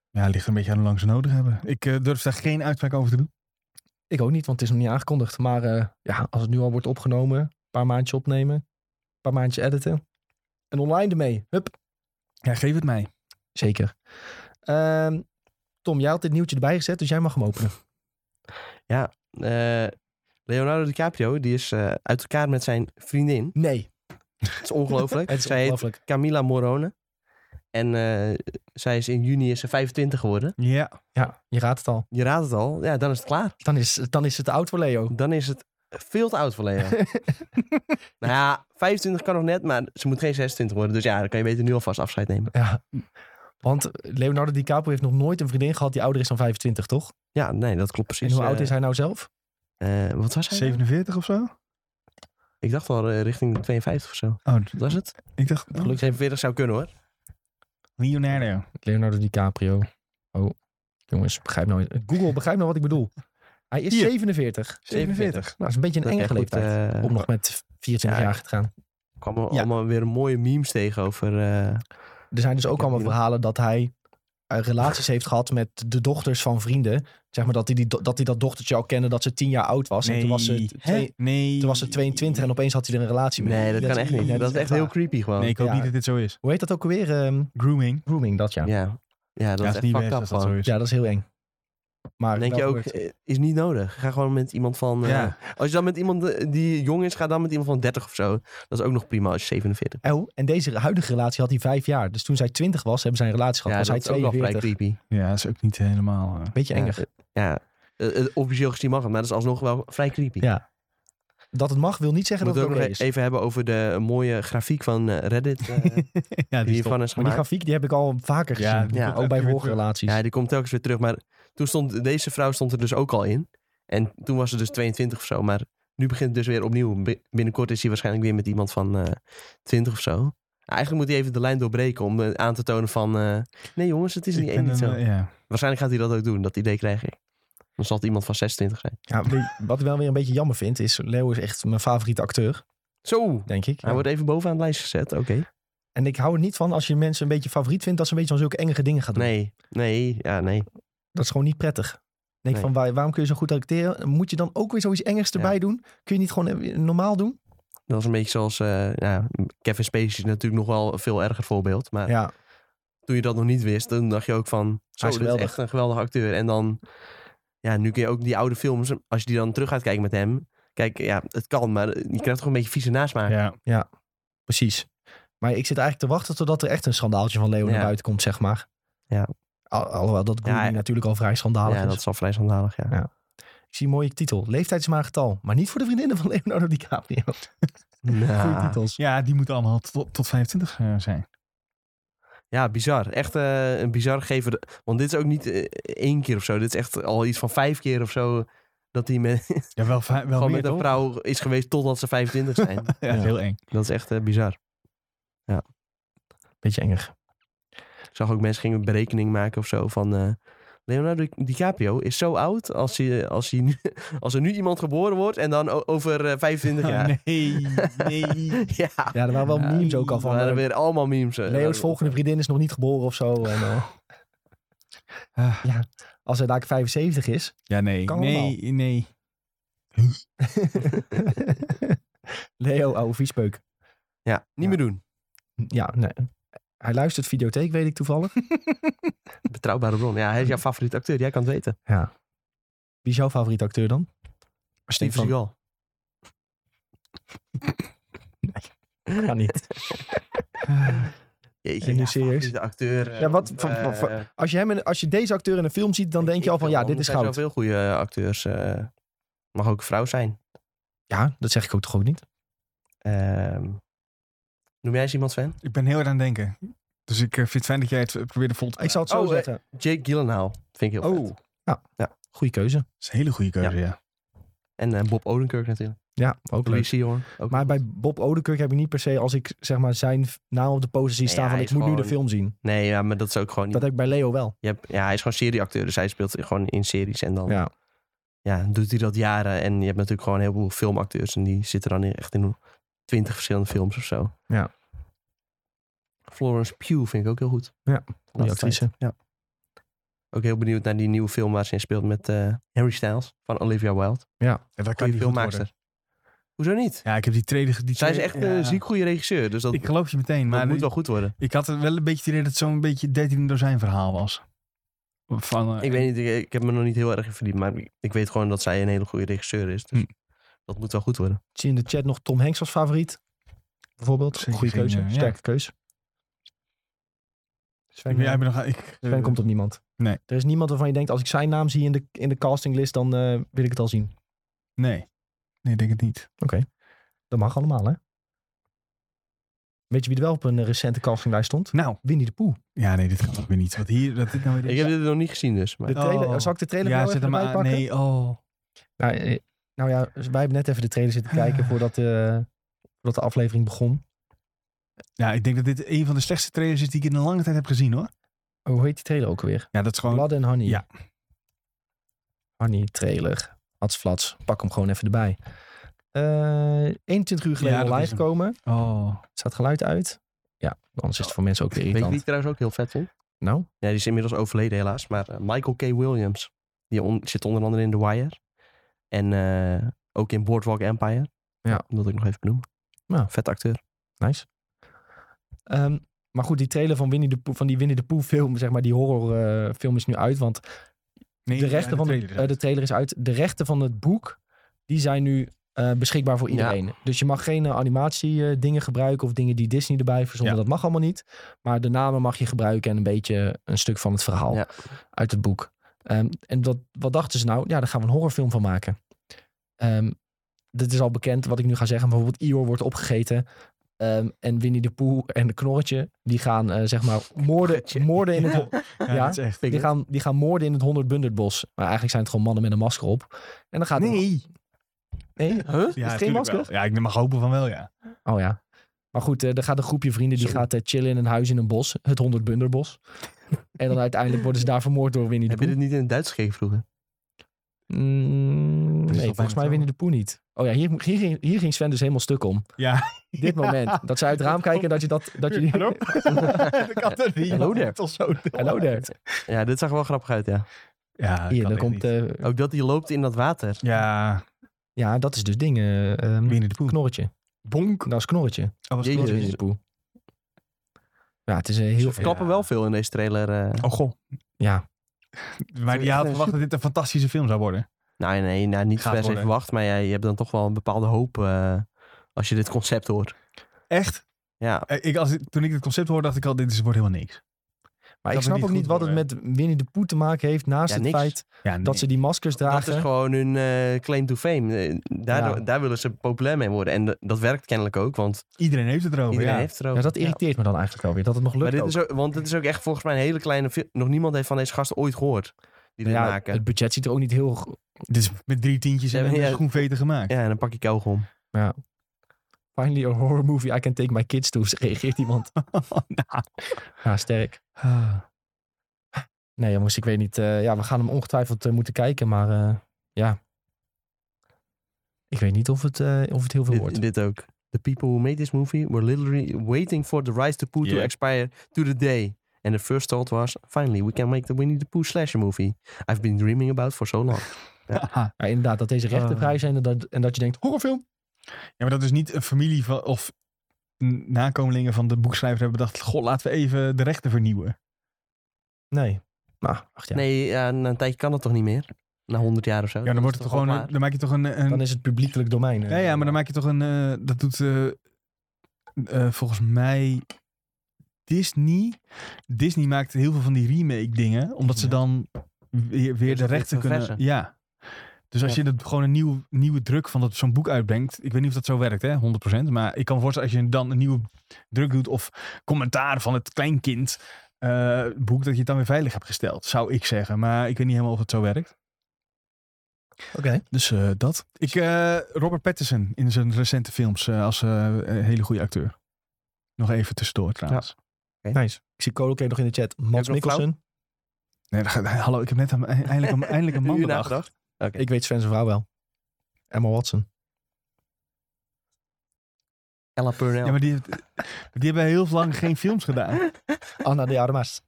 [SPEAKER 2] ja, het ligt een beetje aan hoe lang ze nodig hebben. Ik eh, durf daar geen uitspraak over te doen.
[SPEAKER 1] Ik ook niet, want het is nog niet aangekondigd. Maar eh, ja, als het nu al wordt opgenomen, een paar maandjes opnemen, een paar maandjes editen. En online ermee. Hup,
[SPEAKER 2] Ja, geef het mij.
[SPEAKER 1] zeker. Ehm, Tom, jij had dit nieuwtje erbij gezet, dus jij mag hem openen.
[SPEAKER 3] Eh, Leonardo DiCaprio, die is eh, uit elkaar met zijn vriendin.
[SPEAKER 1] [LAUGHS] Nee,
[SPEAKER 3] Het is
[SPEAKER 2] [LAUGHS]
[SPEAKER 3] ongelooflijk.
[SPEAKER 1] het is
[SPEAKER 3] Zij heet
[SPEAKER 1] ongelooflijk.
[SPEAKER 3] Camila Morone. En eh, zij is in juni is ze 25 geworden.
[SPEAKER 2] Ja.
[SPEAKER 1] Ja, je raadt het al.
[SPEAKER 3] Je raadt het al. Ja, dan is het klaar.
[SPEAKER 1] Dan is, dan is het oud voor Leo.
[SPEAKER 3] Dan is het veel te oud voor Leo. nou ja, 25 kan nog net, maar ze moet geen 26 worden. Dus ja, dan kan je beter nu alvast afscheid nemen.
[SPEAKER 1] Ja. Want Leonardo DiCaprio heeft nog nooit een vriendin gehad die ouder is dan 25, toch?
[SPEAKER 3] Ja, nee, dat klopt precies.
[SPEAKER 1] en hoe oud
[SPEAKER 3] Eh,
[SPEAKER 1] is hij nou zelf?
[SPEAKER 3] eh, wat was hij?
[SPEAKER 2] 47 of zo?
[SPEAKER 3] Ik dacht wel eh, richting de 52 of zo.
[SPEAKER 2] Oh,
[SPEAKER 3] Dat was het.
[SPEAKER 2] ik dacht oh,
[SPEAKER 3] Gelukkig 47 zou kunnen hoor.
[SPEAKER 2] Leonardo.
[SPEAKER 1] Leonardo DiCaprio. Oh, jongens, begrijp nou. Google, begrijp nou wat ik bedoel. Hij is
[SPEAKER 2] Hier.
[SPEAKER 1] 47. Nou,
[SPEAKER 3] 47.
[SPEAKER 1] dat is een beetje een
[SPEAKER 3] Dat
[SPEAKER 1] enge
[SPEAKER 3] echt goed,
[SPEAKER 1] leeftijd.
[SPEAKER 3] eh,
[SPEAKER 1] om nog met 24
[SPEAKER 3] ja.
[SPEAKER 1] jaar te gaan.
[SPEAKER 3] kwamen
[SPEAKER 2] Ja.
[SPEAKER 3] allemaal weer mooie memes tegen over... eh,
[SPEAKER 1] Er zijn dus ook
[SPEAKER 3] Ja,
[SPEAKER 1] allemaal
[SPEAKER 3] moeilijk.
[SPEAKER 1] verhalen dat hij eh, relaties heeft gehad met de dochters van vrienden. Zeg maar dat hij, die, do- dat, hij dat dochtertje al kende dat ze 10 jaar oud was. En toen was, ze t- twee-
[SPEAKER 2] nee.
[SPEAKER 1] toen was ze 22 en opeens had hij er een relatie mee.
[SPEAKER 3] nee, dat kan echt niet.
[SPEAKER 1] Nee,
[SPEAKER 3] dat is echt heel
[SPEAKER 1] waar.
[SPEAKER 3] creepy gewoon.
[SPEAKER 2] Nee, ik hoop
[SPEAKER 1] Ja.
[SPEAKER 2] niet dat dit zo is.
[SPEAKER 1] Hoe heet dat ook alweer? Ehm,
[SPEAKER 2] Grooming.
[SPEAKER 1] grooming, dat ja. ja.
[SPEAKER 3] Ja, ja dat
[SPEAKER 2] ja,
[SPEAKER 3] is echt fucked up
[SPEAKER 2] als dat zo
[SPEAKER 3] gewoon.
[SPEAKER 2] is.
[SPEAKER 1] dat is heel eng. Maar
[SPEAKER 3] Dan denk je
[SPEAKER 1] wel
[SPEAKER 3] ook,
[SPEAKER 1] gebeurd.
[SPEAKER 3] eh, is niet nodig. Ga gewoon met iemand van... eh,
[SPEAKER 2] Ja.
[SPEAKER 3] Als je dan met iemand eh, die jong is, ga dan met iemand van 30 of zo. Dat is ook nog prima als je 47
[SPEAKER 1] Oh, en deze huidige relatie had hij vijf jaar. Dus toen zij 20 was, hebben zij een relatie gehad.
[SPEAKER 3] Ja,
[SPEAKER 1] was
[SPEAKER 3] dat
[SPEAKER 1] hij
[SPEAKER 3] is ook wel vrij
[SPEAKER 1] 42.
[SPEAKER 3] creepy.
[SPEAKER 2] ja, dat is ook niet helemaal... eh,
[SPEAKER 1] Beetje enger.
[SPEAKER 3] Ja, eh, ja. Eh, eh, officieel gezien mag het, maar dat is alsnog wel vrij creepy.
[SPEAKER 1] Ja, dat het mag, wil niet zeggen
[SPEAKER 3] Moeten
[SPEAKER 1] dat
[SPEAKER 3] we
[SPEAKER 1] het
[SPEAKER 3] ook
[SPEAKER 1] oké
[SPEAKER 3] nog
[SPEAKER 1] is.
[SPEAKER 3] even hebben over de mooie grafiek van eh, Reddit. eh,
[SPEAKER 2] ja,
[SPEAKER 3] die
[SPEAKER 2] is top.
[SPEAKER 3] hiervan is
[SPEAKER 1] Maar die
[SPEAKER 3] gemaakt.
[SPEAKER 1] grafiek die heb ik al vaker
[SPEAKER 2] Ja,
[SPEAKER 1] gezien.
[SPEAKER 2] die
[SPEAKER 1] Ja,
[SPEAKER 2] komt
[SPEAKER 1] ook bij
[SPEAKER 2] elke keer
[SPEAKER 1] vorige
[SPEAKER 2] terug.
[SPEAKER 1] relaties.
[SPEAKER 3] Ja, die komt telkens weer terug. Maar toen stond deze vrouw stond er dus ook al in. En toen was ze dus 22 of zo. Maar nu begint het dus weer opnieuw. Bi- Binnenkort is hij waarschijnlijk weer met iemand van eh 20 of zo. Eigenlijk moet hij even de lijn doorbreken om eh, aan te tonen van... eh, nee jongens, het is niet,
[SPEAKER 2] Ik
[SPEAKER 3] één
[SPEAKER 2] ben
[SPEAKER 3] niet zo.
[SPEAKER 2] een, eh, ja.
[SPEAKER 3] Waarschijnlijk gaat hij dat ook doen. Dat idee krijg ik. Dan zal het iemand van 26 zijn.
[SPEAKER 1] Ja, weet- wat ik wel weer een beetje jammer vind, is Leo is echt mijn favoriete acteur,
[SPEAKER 3] Zo!
[SPEAKER 1] denk ik.
[SPEAKER 3] Hij wordt even bovenaan de lijst gezet. Oké.
[SPEAKER 1] En ik hou er niet van als je mensen een beetje favoriet vindt, dat ze een beetje van zulke enge dingen gaan doen.
[SPEAKER 3] Nee. Nee. Ja, nee.
[SPEAKER 1] Dat is gewoon niet prettig. Ik Denk
[SPEAKER 3] Nee.
[SPEAKER 1] van, waar- waarom kun je zo goed acteren? Moet je dan ook weer zoiets engers
[SPEAKER 3] Ja.
[SPEAKER 1] erbij doen? Kun je niet gewoon eh, normaal doen?
[SPEAKER 3] Dat is een beetje zoals... eh, ja, Kevin Spacey is natuurlijk nog wel een veel erger voorbeeld. Maar
[SPEAKER 1] Ja,
[SPEAKER 3] toen je dat nog niet wist, dan dacht je ook van... Zo, dit is
[SPEAKER 1] geweldig.
[SPEAKER 3] echt een geweldige acteur. En dan, ja, nu kun je ook die oude films, als je die dan terug gaat kijken met hem... Kijk, ja, het kan, maar je krijgt toch een beetje vieze nasmaak. Ja,
[SPEAKER 2] Ja.
[SPEAKER 1] precies. Maar ik zit eigenlijk te wachten totdat er echt een schandaaltje van Leo
[SPEAKER 3] Ja.
[SPEAKER 1] naar buiten komt, zeg maar.
[SPEAKER 3] Ja.
[SPEAKER 1] Al- alhoewel dat grooming
[SPEAKER 3] Ja, ja.
[SPEAKER 1] natuurlijk al vrij schandalig is.
[SPEAKER 3] dat is al vrij schandalig, ja.
[SPEAKER 1] Ja. Ik zie een mooie titel. Leeftijd is maar een getal. Maar niet voor de vriendinnen van [LAUGHS] Leonardo DiCaprio. Goeie
[SPEAKER 3] Ja,
[SPEAKER 1] titels.
[SPEAKER 2] ja, die moeten allemaal tot, tot 25 eh, zijn.
[SPEAKER 3] ja bizar. Echt eh, een bizar geven. Want dit is ook niet eh, één keer of zo. Dit is echt al iets van vijf keer of zo... dat hij met,
[SPEAKER 2] Ja, wel, fi- wel
[SPEAKER 3] gewoon
[SPEAKER 2] meer,
[SPEAKER 3] met een
[SPEAKER 2] toch?
[SPEAKER 3] vrouw is geweest totdat ze 25 zijn.
[SPEAKER 2] Ja, dat is heel eng.
[SPEAKER 3] dat is echt eh, bizar.
[SPEAKER 1] Beetje enger.
[SPEAKER 3] Ik zag ook mensen gingen een berekening maken of zo van... eh, Leonardo Di- DiCaprio is zo oud als, hij, als, hij nu, [LAUGHS] als er nu iemand geboren wordt en dan o- over
[SPEAKER 1] [LAUGHS]
[SPEAKER 3] eh,
[SPEAKER 1] Oh,
[SPEAKER 3] 25 jaar.
[SPEAKER 2] Ah, nee, nee.
[SPEAKER 3] [LAUGHS] Ja,
[SPEAKER 1] Ja, er waren wel
[SPEAKER 2] Ja,
[SPEAKER 1] memes ook al
[SPEAKER 3] er
[SPEAKER 1] van.
[SPEAKER 3] waren
[SPEAKER 1] eh,
[SPEAKER 3] weer allemaal memes. eh,
[SPEAKER 1] Leo's
[SPEAKER 3] daarover.
[SPEAKER 1] volgende vriendin is nog niet geboren of
[SPEAKER 3] [LAUGHS]
[SPEAKER 1] zo. En, eh,
[SPEAKER 2] Ah.
[SPEAKER 1] ja, als hij daar 75
[SPEAKER 3] [LAUGHS]
[SPEAKER 1] is.
[SPEAKER 2] Ja, nee.
[SPEAKER 1] Kan
[SPEAKER 2] nee, nee.
[SPEAKER 1] Leo, oude viespeuk.
[SPEAKER 3] Ja, niet meer doen.
[SPEAKER 1] Ja, nee. Hij luistert videotheek, weet ik toevallig.
[SPEAKER 3] Betrouwbare bron. Ja,
[SPEAKER 1] [LAUGHS]
[SPEAKER 3] hij is jouw favoriete acteur. Jij kan het weten.
[SPEAKER 1] Wie is jouw favoriete acteur dan?
[SPEAKER 3] Steven
[SPEAKER 1] van-
[SPEAKER 3] Seagal.
[SPEAKER 1] Kan niet.
[SPEAKER 3] Jeetje,
[SPEAKER 1] En nu
[SPEAKER 3] ja,
[SPEAKER 1] serieus?
[SPEAKER 3] favoriete acteur. eh,
[SPEAKER 1] Ja, wat-
[SPEAKER 3] op,
[SPEAKER 1] van- van-
[SPEAKER 3] eh,
[SPEAKER 1] van- Als, jij hem in- als je deze acteur in een film ziet, dan denk je al van
[SPEAKER 3] weet
[SPEAKER 1] ja,
[SPEAKER 3] veel,
[SPEAKER 1] dit is
[SPEAKER 3] Er zijn
[SPEAKER 1] goud.
[SPEAKER 3] zoveel goede acteurs. eh, mag ook een vrouw zijn.
[SPEAKER 1] Ja, dat zeg ik ook toch ook niet.
[SPEAKER 3] Ehm, Noem jij eens iemand fan?
[SPEAKER 2] Ik ben heel erg aan het denken. Dus ik eh, vind het fijn dat jij het eh, probeerde vol te
[SPEAKER 1] Ik zal het zo
[SPEAKER 3] Oh, eh,
[SPEAKER 1] zetten.
[SPEAKER 3] Jake Gyllenhaal. Vind ik heel
[SPEAKER 2] Oh,
[SPEAKER 3] vet.
[SPEAKER 2] dat
[SPEAKER 1] Goeie keuze.
[SPEAKER 2] is een hele goede keuze, ja.
[SPEAKER 3] En eh, Bob Odenkirk natuurlijk.
[SPEAKER 1] Ja, ook leuk.
[SPEAKER 3] Louis Seahorn. ook
[SPEAKER 1] Maar
[SPEAKER 3] goed.
[SPEAKER 1] bij Bob Odenkirk heb ik niet per se, als ik zeg maar zijn naam op de poster zie
[SPEAKER 3] Nee,
[SPEAKER 1] staan,
[SPEAKER 3] ja,
[SPEAKER 1] van
[SPEAKER 3] hij
[SPEAKER 1] ik
[SPEAKER 3] is
[SPEAKER 1] moet nu de
[SPEAKER 3] gewoon-
[SPEAKER 1] film zien.
[SPEAKER 3] Nee, ja, maar dat is ook gewoon...
[SPEAKER 1] Dat
[SPEAKER 3] Niet...
[SPEAKER 1] heb ik bij Leo wel.
[SPEAKER 3] Je hebt- Ja, hij is gewoon serieacteur, dus hij speelt gewoon in series. En dan
[SPEAKER 1] Ja.
[SPEAKER 3] ja, doet hij dat jaren. En je hebt natuurlijk gewoon een heleboel filmacteurs. En die zitten dan in- echt in twintig verschillende films of zo.
[SPEAKER 1] Ja.
[SPEAKER 3] Florence Pugh vind ik ook heel goed.
[SPEAKER 1] Ja,
[SPEAKER 3] Goeie
[SPEAKER 1] actrice.
[SPEAKER 3] Ja. Ook heel benieuwd naar die nieuwe film waar ze in speelt met eh, Harry Styles van Olivia Wilde.
[SPEAKER 2] En dat kan
[SPEAKER 3] Goeie
[SPEAKER 2] niet goed worden.
[SPEAKER 3] filmmaakster. Hoezo niet?
[SPEAKER 2] Ja, ik heb die trailer... Die
[SPEAKER 3] Zij is
[SPEAKER 2] trailer-
[SPEAKER 3] echt eh, een
[SPEAKER 2] ja.
[SPEAKER 3] ziek goede regisseur, dus dat,
[SPEAKER 2] Ik geloof je meteen,
[SPEAKER 3] dat
[SPEAKER 2] maar
[SPEAKER 3] moet wel goed worden.
[SPEAKER 2] ik had wel een beetje het idee dat het zo'n beetje 13 dozijn verhaal was. Van, eh,
[SPEAKER 3] Ik weet niet, ik, ik heb me nog niet heel erg in verdiept, maar ik, ik weet gewoon dat zij een hele goede regisseur is. Dus
[SPEAKER 2] Hm.
[SPEAKER 3] dat moet wel goed worden.
[SPEAKER 1] Ik zie in de chat nog Tom Hanks als favoriet. Bijvoorbeeld.
[SPEAKER 2] Zeker
[SPEAKER 1] Goeie
[SPEAKER 2] geen,
[SPEAKER 1] keuze.
[SPEAKER 2] eh, ja.
[SPEAKER 1] Sterke keuze. Sven,
[SPEAKER 2] Ik,
[SPEAKER 1] eh,
[SPEAKER 2] ja, ik ben nog... Ik,
[SPEAKER 1] Sven komt op niemand.
[SPEAKER 2] Nee.
[SPEAKER 1] Er is niemand waarvan je denkt, als ik zijn naam zie in de, in de castinglist, dan eh, wil ik het al zien.
[SPEAKER 2] Nee. Nee, ik denk het niet.
[SPEAKER 1] Dat mag allemaal, hè? Weet je wie er wel op een eh, recente castinglijst stond?
[SPEAKER 2] Nou.
[SPEAKER 1] Winnie de Pooh.
[SPEAKER 2] Ja, nee, dit kan ook weer niet. Wat hier... Dat dit nou weer
[SPEAKER 3] Ik heb dit nog niet gezien dus. Maar
[SPEAKER 1] De trailer,
[SPEAKER 2] Oh.
[SPEAKER 1] Zal ik de trailer
[SPEAKER 2] ja,
[SPEAKER 1] wel
[SPEAKER 2] zet
[SPEAKER 1] even
[SPEAKER 2] hem
[SPEAKER 1] erbij
[SPEAKER 2] aan.
[SPEAKER 1] pakken?
[SPEAKER 2] Nee, oh.
[SPEAKER 1] Nou, eh, nou ja, wij hebben net even de trailer
[SPEAKER 2] [SIGHS]
[SPEAKER 1] zitten kijken voordat, eh, voordat de aflevering begon.
[SPEAKER 2] Ja, ik denk dat dit een van de slechtste trailers is die ik in een lange tijd heb gezien, hoor.
[SPEAKER 1] Oh, hoe heet die trailer ook weer?
[SPEAKER 2] Ja, dat is gewoon...
[SPEAKER 1] Blood and Honey.
[SPEAKER 2] Ja.
[SPEAKER 1] Honey trailer. Hatsflats. Pak hem gewoon even erbij. Eh 21 uur geleden
[SPEAKER 2] Ja, dat
[SPEAKER 1] online
[SPEAKER 2] is hem.
[SPEAKER 1] gekomen.
[SPEAKER 2] Oh.
[SPEAKER 1] Staat geluid uit? Ja, anders is het voor mensen ook weer
[SPEAKER 3] weet je wie
[SPEAKER 1] irritant.
[SPEAKER 3] ik trouwens ook heel vet vond?
[SPEAKER 1] Nou,
[SPEAKER 3] Ja, die is inmiddels overleden helaas, maar eh, Michael K. Williams. Die on- zit onder andere in The Wire. En eh, ook in Boardwalk Empire.
[SPEAKER 1] Ja.
[SPEAKER 3] Dat wil ik nog even benoemen.
[SPEAKER 1] Ja.
[SPEAKER 3] Vet acteur.
[SPEAKER 1] nice. Ehm, maar goed, die trailer van, Winnie de Pooh, van die Winnie de Pooh film, zeg maar, die horrorfilm film is nu uit. Want
[SPEAKER 2] Nee,
[SPEAKER 1] de rechten
[SPEAKER 2] ja,
[SPEAKER 1] van de
[SPEAKER 2] trailer.
[SPEAKER 1] trailer, de trailer is uit. De rechten van het boek, die zijn nu eh, beschikbaar voor
[SPEAKER 3] Ja.
[SPEAKER 1] iedereen. Dus je mag geen animatiedingen dingen gebruiken of dingen die Disney erbij verzonnen.
[SPEAKER 2] Ja.
[SPEAKER 1] Dat mag allemaal niet. Maar de namen mag je gebruiken en een beetje eh, een stuk van het verhaal
[SPEAKER 3] Ja.
[SPEAKER 1] uit het boek. Ehm, en dat, wat dachten ze nou? Ja, daar gaan we een horrorfilm van maken. Ehm, dit is al bekend wat ik nu ga zeggen. maar Bijvoorbeeld Ior wordt opgegeten. Ehm, en Winnie de Pooh en de Knorretje, die gaan eh, zeg
[SPEAKER 2] [LAUGHS]
[SPEAKER 1] maar moorden, moorden in het, ho-
[SPEAKER 2] Ja,
[SPEAKER 1] [LAUGHS] ja.
[SPEAKER 2] dat is echt...
[SPEAKER 1] die gaan, die gaan moorden in het 100 bunderbos. Maar eigenlijk zijn het gewoon mannen met een masker op. En dan gaat
[SPEAKER 2] Nee.
[SPEAKER 1] nee.
[SPEAKER 3] Huh?
[SPEAKER 1] Is het geen
[SPEAKER 2] tuurlijk
[SPEAKER 1] masker?
[SPEAKER 2] wel. Ja, ik mag hopen van wel, ja.
[SPEAKER 1] Oh ja. Maar goed, eh, dan gaat een groepje vrienden die
[SPEAKER 3] Zo.
[SPEAKER 1] gaat eh, chillen in een huis in een bos. Het 100 bunderbos. en dan uiteindelijk worden ze daar vermoord door Winnie de
[SPEAKER 3] Heb je
[SPEAKER 1] Pooh.
[SPEAKER 3] dit niet in het Duits gekeken vroeger?
[SPEAKER 1] Mm,
[SPEAKER 2] is al
[SPEAKER 1] nee, volgens
[SPEAKER 2] bijna
[SPEAKER 1] mij
[SPEAKER 2] zo.
[SPEAKER 1] Winnie de Pooh niet. Oh ja, hier, hier, ging- hier ging Sven dus helemaal stuk om.
[SPEAKER 2] [LAUGHS] Ja.
[SPEAKER 1] Dit moment. Dat ze uit het raam kijken en dat je dat... dat je...
[SPEAKER 2] Hallo? [LAUGHS] dat kan toch niet?
[SPEAKER 3] Hallo daar.
[SPEAKER 2] Tot zo.
[SPEAKER 1] Hallo daar.
[SPEAKER 3] Ja, dit zag er wel grappig uit, ja.
[SPEAKER 2] Ja, dat
[SPEAKER 1] Hier,
[SPEAKER 2] kan
[SPEAKER 1] dan
[SPEAKER 2] echt
[SPEAKER 1] komt...
[SPEAKER 2] niet.
[SPEAKER 1] eh,
[SPEAKER 3] Ook dat hij loopt in dat water.
[SPEAKER 2] Ja,
[SPEAKER 1] ja, dat is dus dingen. ehm
[SPEAKER 2] Winnie de Pooh.
[SPEAKER 1] knorretje.
[SPEAKER 2] Bonk.
[SPEAKER 1] Dat is knorretje.
[SPEAKER 2] Oh, was
[SPEAKER 3] Jezus.
[SPEAKER 2] Knorretje.
[SPEAKER 1] Winnie de Pooh. Ja, het is een heel...
[SPEAKER 3] Ze verklappen wel veel in deze trailer. eh.
[SPEAKER 2] Oh, goh.
[SPEAKER 1] Ja,
[SPEAKER 2] Maar die had verwacht dat dit een fantastische film zou worden.
[SPEAKER 3] Nou, nee, nou, niet
[SPEAKER 2] Gaat
[SPEAKER 3] per se
[SPEAKER 2] worden.
[SPEAKER 3] verwacht, maar ja, je hebt dan toch wel een bepaalde hoop eh, als je dit concept hoort.
[SPEAKER 2] Echt?
[SPEAKER 3] Ja,
[SPEAKER 2] Eh, Ik, als, ik- toen ik het concept hoorde, dacht ik al, dit is, wordt helemaal niks.
[SPEAKER 1] Maar ik
[SPEAKER 2] Dat we
[SPEAKER 1] snap
[SPEAKER 2] niet
[SPEAKER 1] ook
[SPEAKER 2] goed
[SPEAKER 1] niet wat het met Winnie de Pooh te maken heeft. Naast
[SPEAKER 3] Ja,
[SPEAKER 1] het
[SPEAKER 3] niks.
[SPEAKER 1] feit
[SPEAKER 2] Ja, nee.
[SPEAKER 1] dat ze die maskers
[SPEAKER 3] dat is
[SPEAKER 1] dragen.
[SPEAKER 3] gewoon hun eh, claim to fame. Eh, daardoor-
[SPEAKER 1] Ja.
[SPEAKER 3] Daar willen ze populair mee worden. En d- dat werkt kennelijk ook, want
[SPEAKER 2] Iedereen heeft het erover,
[SPEAKER 3] iedereen
[SPEAKER 2] ja.
[SPEAKER 3] heeft er ook.
[SPEAKER 1] Ja, dat irriteert me dan eigenlijk alweer. Dat het nog
[SPEAKER 3] Maar
[SPEAKER 1] lukt
[SPEAKER 3] dit
[SPEAKER 1] ook.
[SPEAKER 3] is ook, want dit is ook echt volgens mij een hele kleine film. Nog niemand heeft van deze gasten ooit gehoord. Die dit
[SPEAKER 1] ja,
[SPEAKER 3] maken.
[SPEAKER 1] Het budget ziet er ook niet heel... g-
[SPEAKER 2] Dit is met drie tientjes en
[SPEAKER 3] Ja, maar ja.
[SPEAKER 2] een schoenveten gemaakt.
[SPEAKER 3] Ja, en dan pak je kauwgom.
[SPEAKER 1] Finally a horror movie I can take my kids [LAUGHS] to. Reageert
[SPEAKER 3] [LAUGHS]
[SPEAKER 1] iemand.
[SPEAKER 2] [LAUGHS] Nou.
[SPEAKER 1] Ja, sterk. Nee jongens, ik weet niet. eh, ja, we gaan hem ongetwijfeld eh, moeten kijken. Maar eh, ja. Ik weet niet of het, eh, of het heel veel wordt.
[SPEAKER 3] Dit, dit ook. The people who made this movie were literally waiting for the rights to Pooh to
[SPEAKER 2] Yeah.
[SPEAKER 3] expire to the day. And the first thought was, finally, we can make the Winnie the Pooh slasher movie. I've been dreaming about for so long.
[SPEAKER 1] Ja, inderdaad, dat deze rechten
[SPEAKER 2] Ah.
[SPEAKER 1] vrij zijn. En dat, en dat je denkt, horrorfilm.
[SPEAKER 2] Ja, maar dat is niet een familie van, of n- nakomelingen van de boekschrijver hebben bedacht... Goh, laten we even de rechten vernieuwen.
[SPEAKER 1] Nee. Nou, ach ja.
[SPEAKER 3] Nee, ja, na een tijdje kan dat toch niet meer? Na 100 jaar of zo?
[SPEAKER 2] Ja, dan, wordt
[SPEAKER 3] is
[SPEAKER 2] het
[SPEAKER 3] toch
[SPEAKER 2] gewoon
[SPEAKER 3] al
[SPEAKER 2] een-
[SPEAKER 3] klaar?
[SPEAKER 2] dan maak je toch een... een-
[SPEAKER 1] Dan is het publiekelijk domein. eh,
[SPEAKER 2] ja, ja, maar dan maak je toch een... eh, dat doet eh, eh, volgens mij Disney. Disney maakt heel veel van die remake dingen. Omdat ze
[SPEAKER 1] Ja.
[SPEAKER 2] dan weer, weer de
[SPEAKER 3] weer
[SPEAKER 2] rechten kunnen...
[SPEAKER 3] verversen.
[SPEAKER 2] Ja. Dus als
[SPEAKER 3] Ja.
[SPEAKER 2] je het, gewoon een nieuw, nieuwe druk van dat- zo'n boek uitbrengt. Ik weet niet of dat zo werkt, hè, 100%. Maar ik kan me voorstellen, als je dan een nieuwe druk doet. of commentaar van het kleinkind. eh, boek, dat je het dan weer veilig hebt gesteld. Zou ik zeggen. Maar ik weet niet helemaal of het zo werkt.
[SPEAKER 1] Oké.
[SPEAKER 2] Dus eh, dat. Ik, eh, Robert Pattinson in zijn recente films. eh, als eh, een hele goede acteur. Nog even tussendoor trouwens.
[SPEAKER 1] Nice. Ik zie Coloke nog in de chat. Mats
[SPEAKER 3] nog
[SPEAKER 1] Mikkelsen.
[SPEAKER 2] Nee, dat gaat- hallo, ik heb net aan- eindelijk, een- eindelijk een
[SPEAKER 3] [LAUGHS] Een
[SPEAKER 2] man
[SPEAKER 3] uur
[SPEAKER 2] bedacht.
[SPEAKER 3] nagedacht. Oké.
[SPEAKER 1] Ik weet Sven zijn vrouw wel. Emma
[SPEAKER 3] [LAUGHS]
[SPEAKER 1] Watson.
[SPEAKER 3] Ella Purnell.
[SPEAKER 2] Ja, maar die, heeft- die hebben heel lang geen films gedaan.
[SPEAKER 1] Anna de Armas.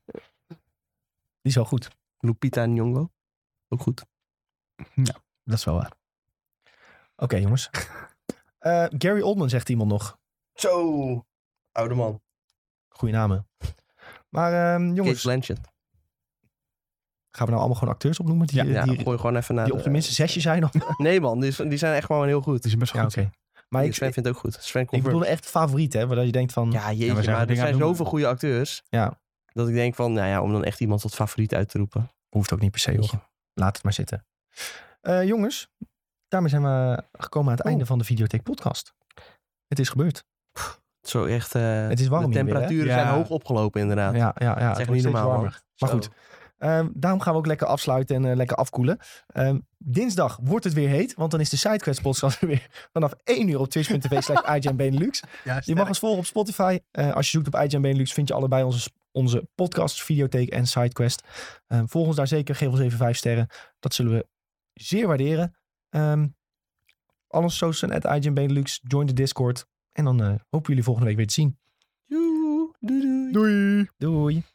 [SPEAKER 1] Die is wel goed.
[SPEAKER 3] Lupita Nyong'o. Ook goed.
[SPEAKER 2] Dat is wel waar.
[SPEAKER 1] Oké,
[SPEAKER 3] [LAUGHS]
[SPEAKER 1] jongens. Eh, Gary Oldman zegt iemand nog.
[SPEAKER 3] Zo. Oude man.
[SPEAKER 1] Goeie namen. Maar ehm, jongens,
[SPEAKER 3] Kate Blanchett.
[SPEAKER 1] gaan we nou allemaal gewoon acteurs opnoemen die,
[SPEAKER 2] Ja,
[SPEAKER 1] eh,
[SPEAKER 3] Ja,
[SPEAKER 1] die,
[SPEAKER 3] gooi gewoon eh, even naar
[SPEAKER 1] die
[SPEAKER 3] de-
[SPEAKER 1] op zijn minst een zesje zijn? Of...
[SPEAKER 3] [LAUGHS] Nee man, die, is- die zijn echt gewoon heel goed.
[SPEAKER 2] Het is best wel
[SPEAKER 1] Ja,
[SPEAKER 2] goed.
[SPEAKER 1] oké. [LAUGHS] Maar ik,
[SPEAKER 3] Sven vindt het ook goed. Sven
[SPEAKER 1] ik
[SPEAKER 3] komt
[SPEAKER 1] bedoel echt favoriet, hè? Waar je denkt van,
[SPEAKER 3] Ja, jeetje,
[SPEAKER 2] maar zijn
[SPEAKER 3] maar er
[SPEAKER 2] dingen aan
[SPEAKER 3] zijn
[SPEAKER 2] het doen.
[SPEAKER 3] zoveel goede acteurs.
[SPEAKER 1] Ja.
[SPEAKER 3] Dat ik denk van, nou ja, om dan echt iemand tot favoriet uit te roepen.
[SPEAKER 1] hoeft ook niet per se, joh. Laat het maar zitten. Eh, jongens, daarmee zijn we gekomen aan het
[SPEAKER 3] Oh.
[SPEAKER 1] einde van de Videotheek podcast. Het is gebeurd.
[SPEAKER 3] Zo echt, eh,
[SPEAKER 1] Het is warm
[SPEAKER 3] de
[SPEAKER 1] hier weer, hè?
[SPEAKER 3] temperaturen zijn
[SPEAKER 2] Ja.
[SPEAKER 3] hoog opgelopen inderdaad.
[SPEAKER 1] Ja, ja, ja.
[SPEAKER 3] echt
[SPEAKER 1] Het wordt
[SPEAKER 3] niet
[SPEAKER 1] steeds
[SPEAKER 3] normaal,
[SPEAKER 1] warmer. Maar
[SPEAKER 3] Zo.
[SPEAKER 1] goed, Ehm, daarom gaan we ook lekker afsluiten en eh, lekker afkoelen. Ehm, dinsdag wordt het weer heet, want dan is de SideQuest [LAUGHS] podcast weer vanaf 1 uur op twitch.tv
[SPEAKER 3] [LAUGHS]
[SPEAKER 1] slash IGN Benelux. Je mag ons volgen op Spotify. Eh, als je zoekt op IGN Benelux vind je allebei onze, onze podcasts, Videotheek en SideQuest. Ehm, volg ons daar zeker, geef ons even 5 sterren. Dat zullen we zeer waarderen. Ehm al onze socials zijn at IGN Benelux. Join de Discord. En dan eh, hopen jullie volgende week weer te zien.
[SPEAKER 3] Joe, doei, doei.
[SPEAKER 1] Doei! Doei!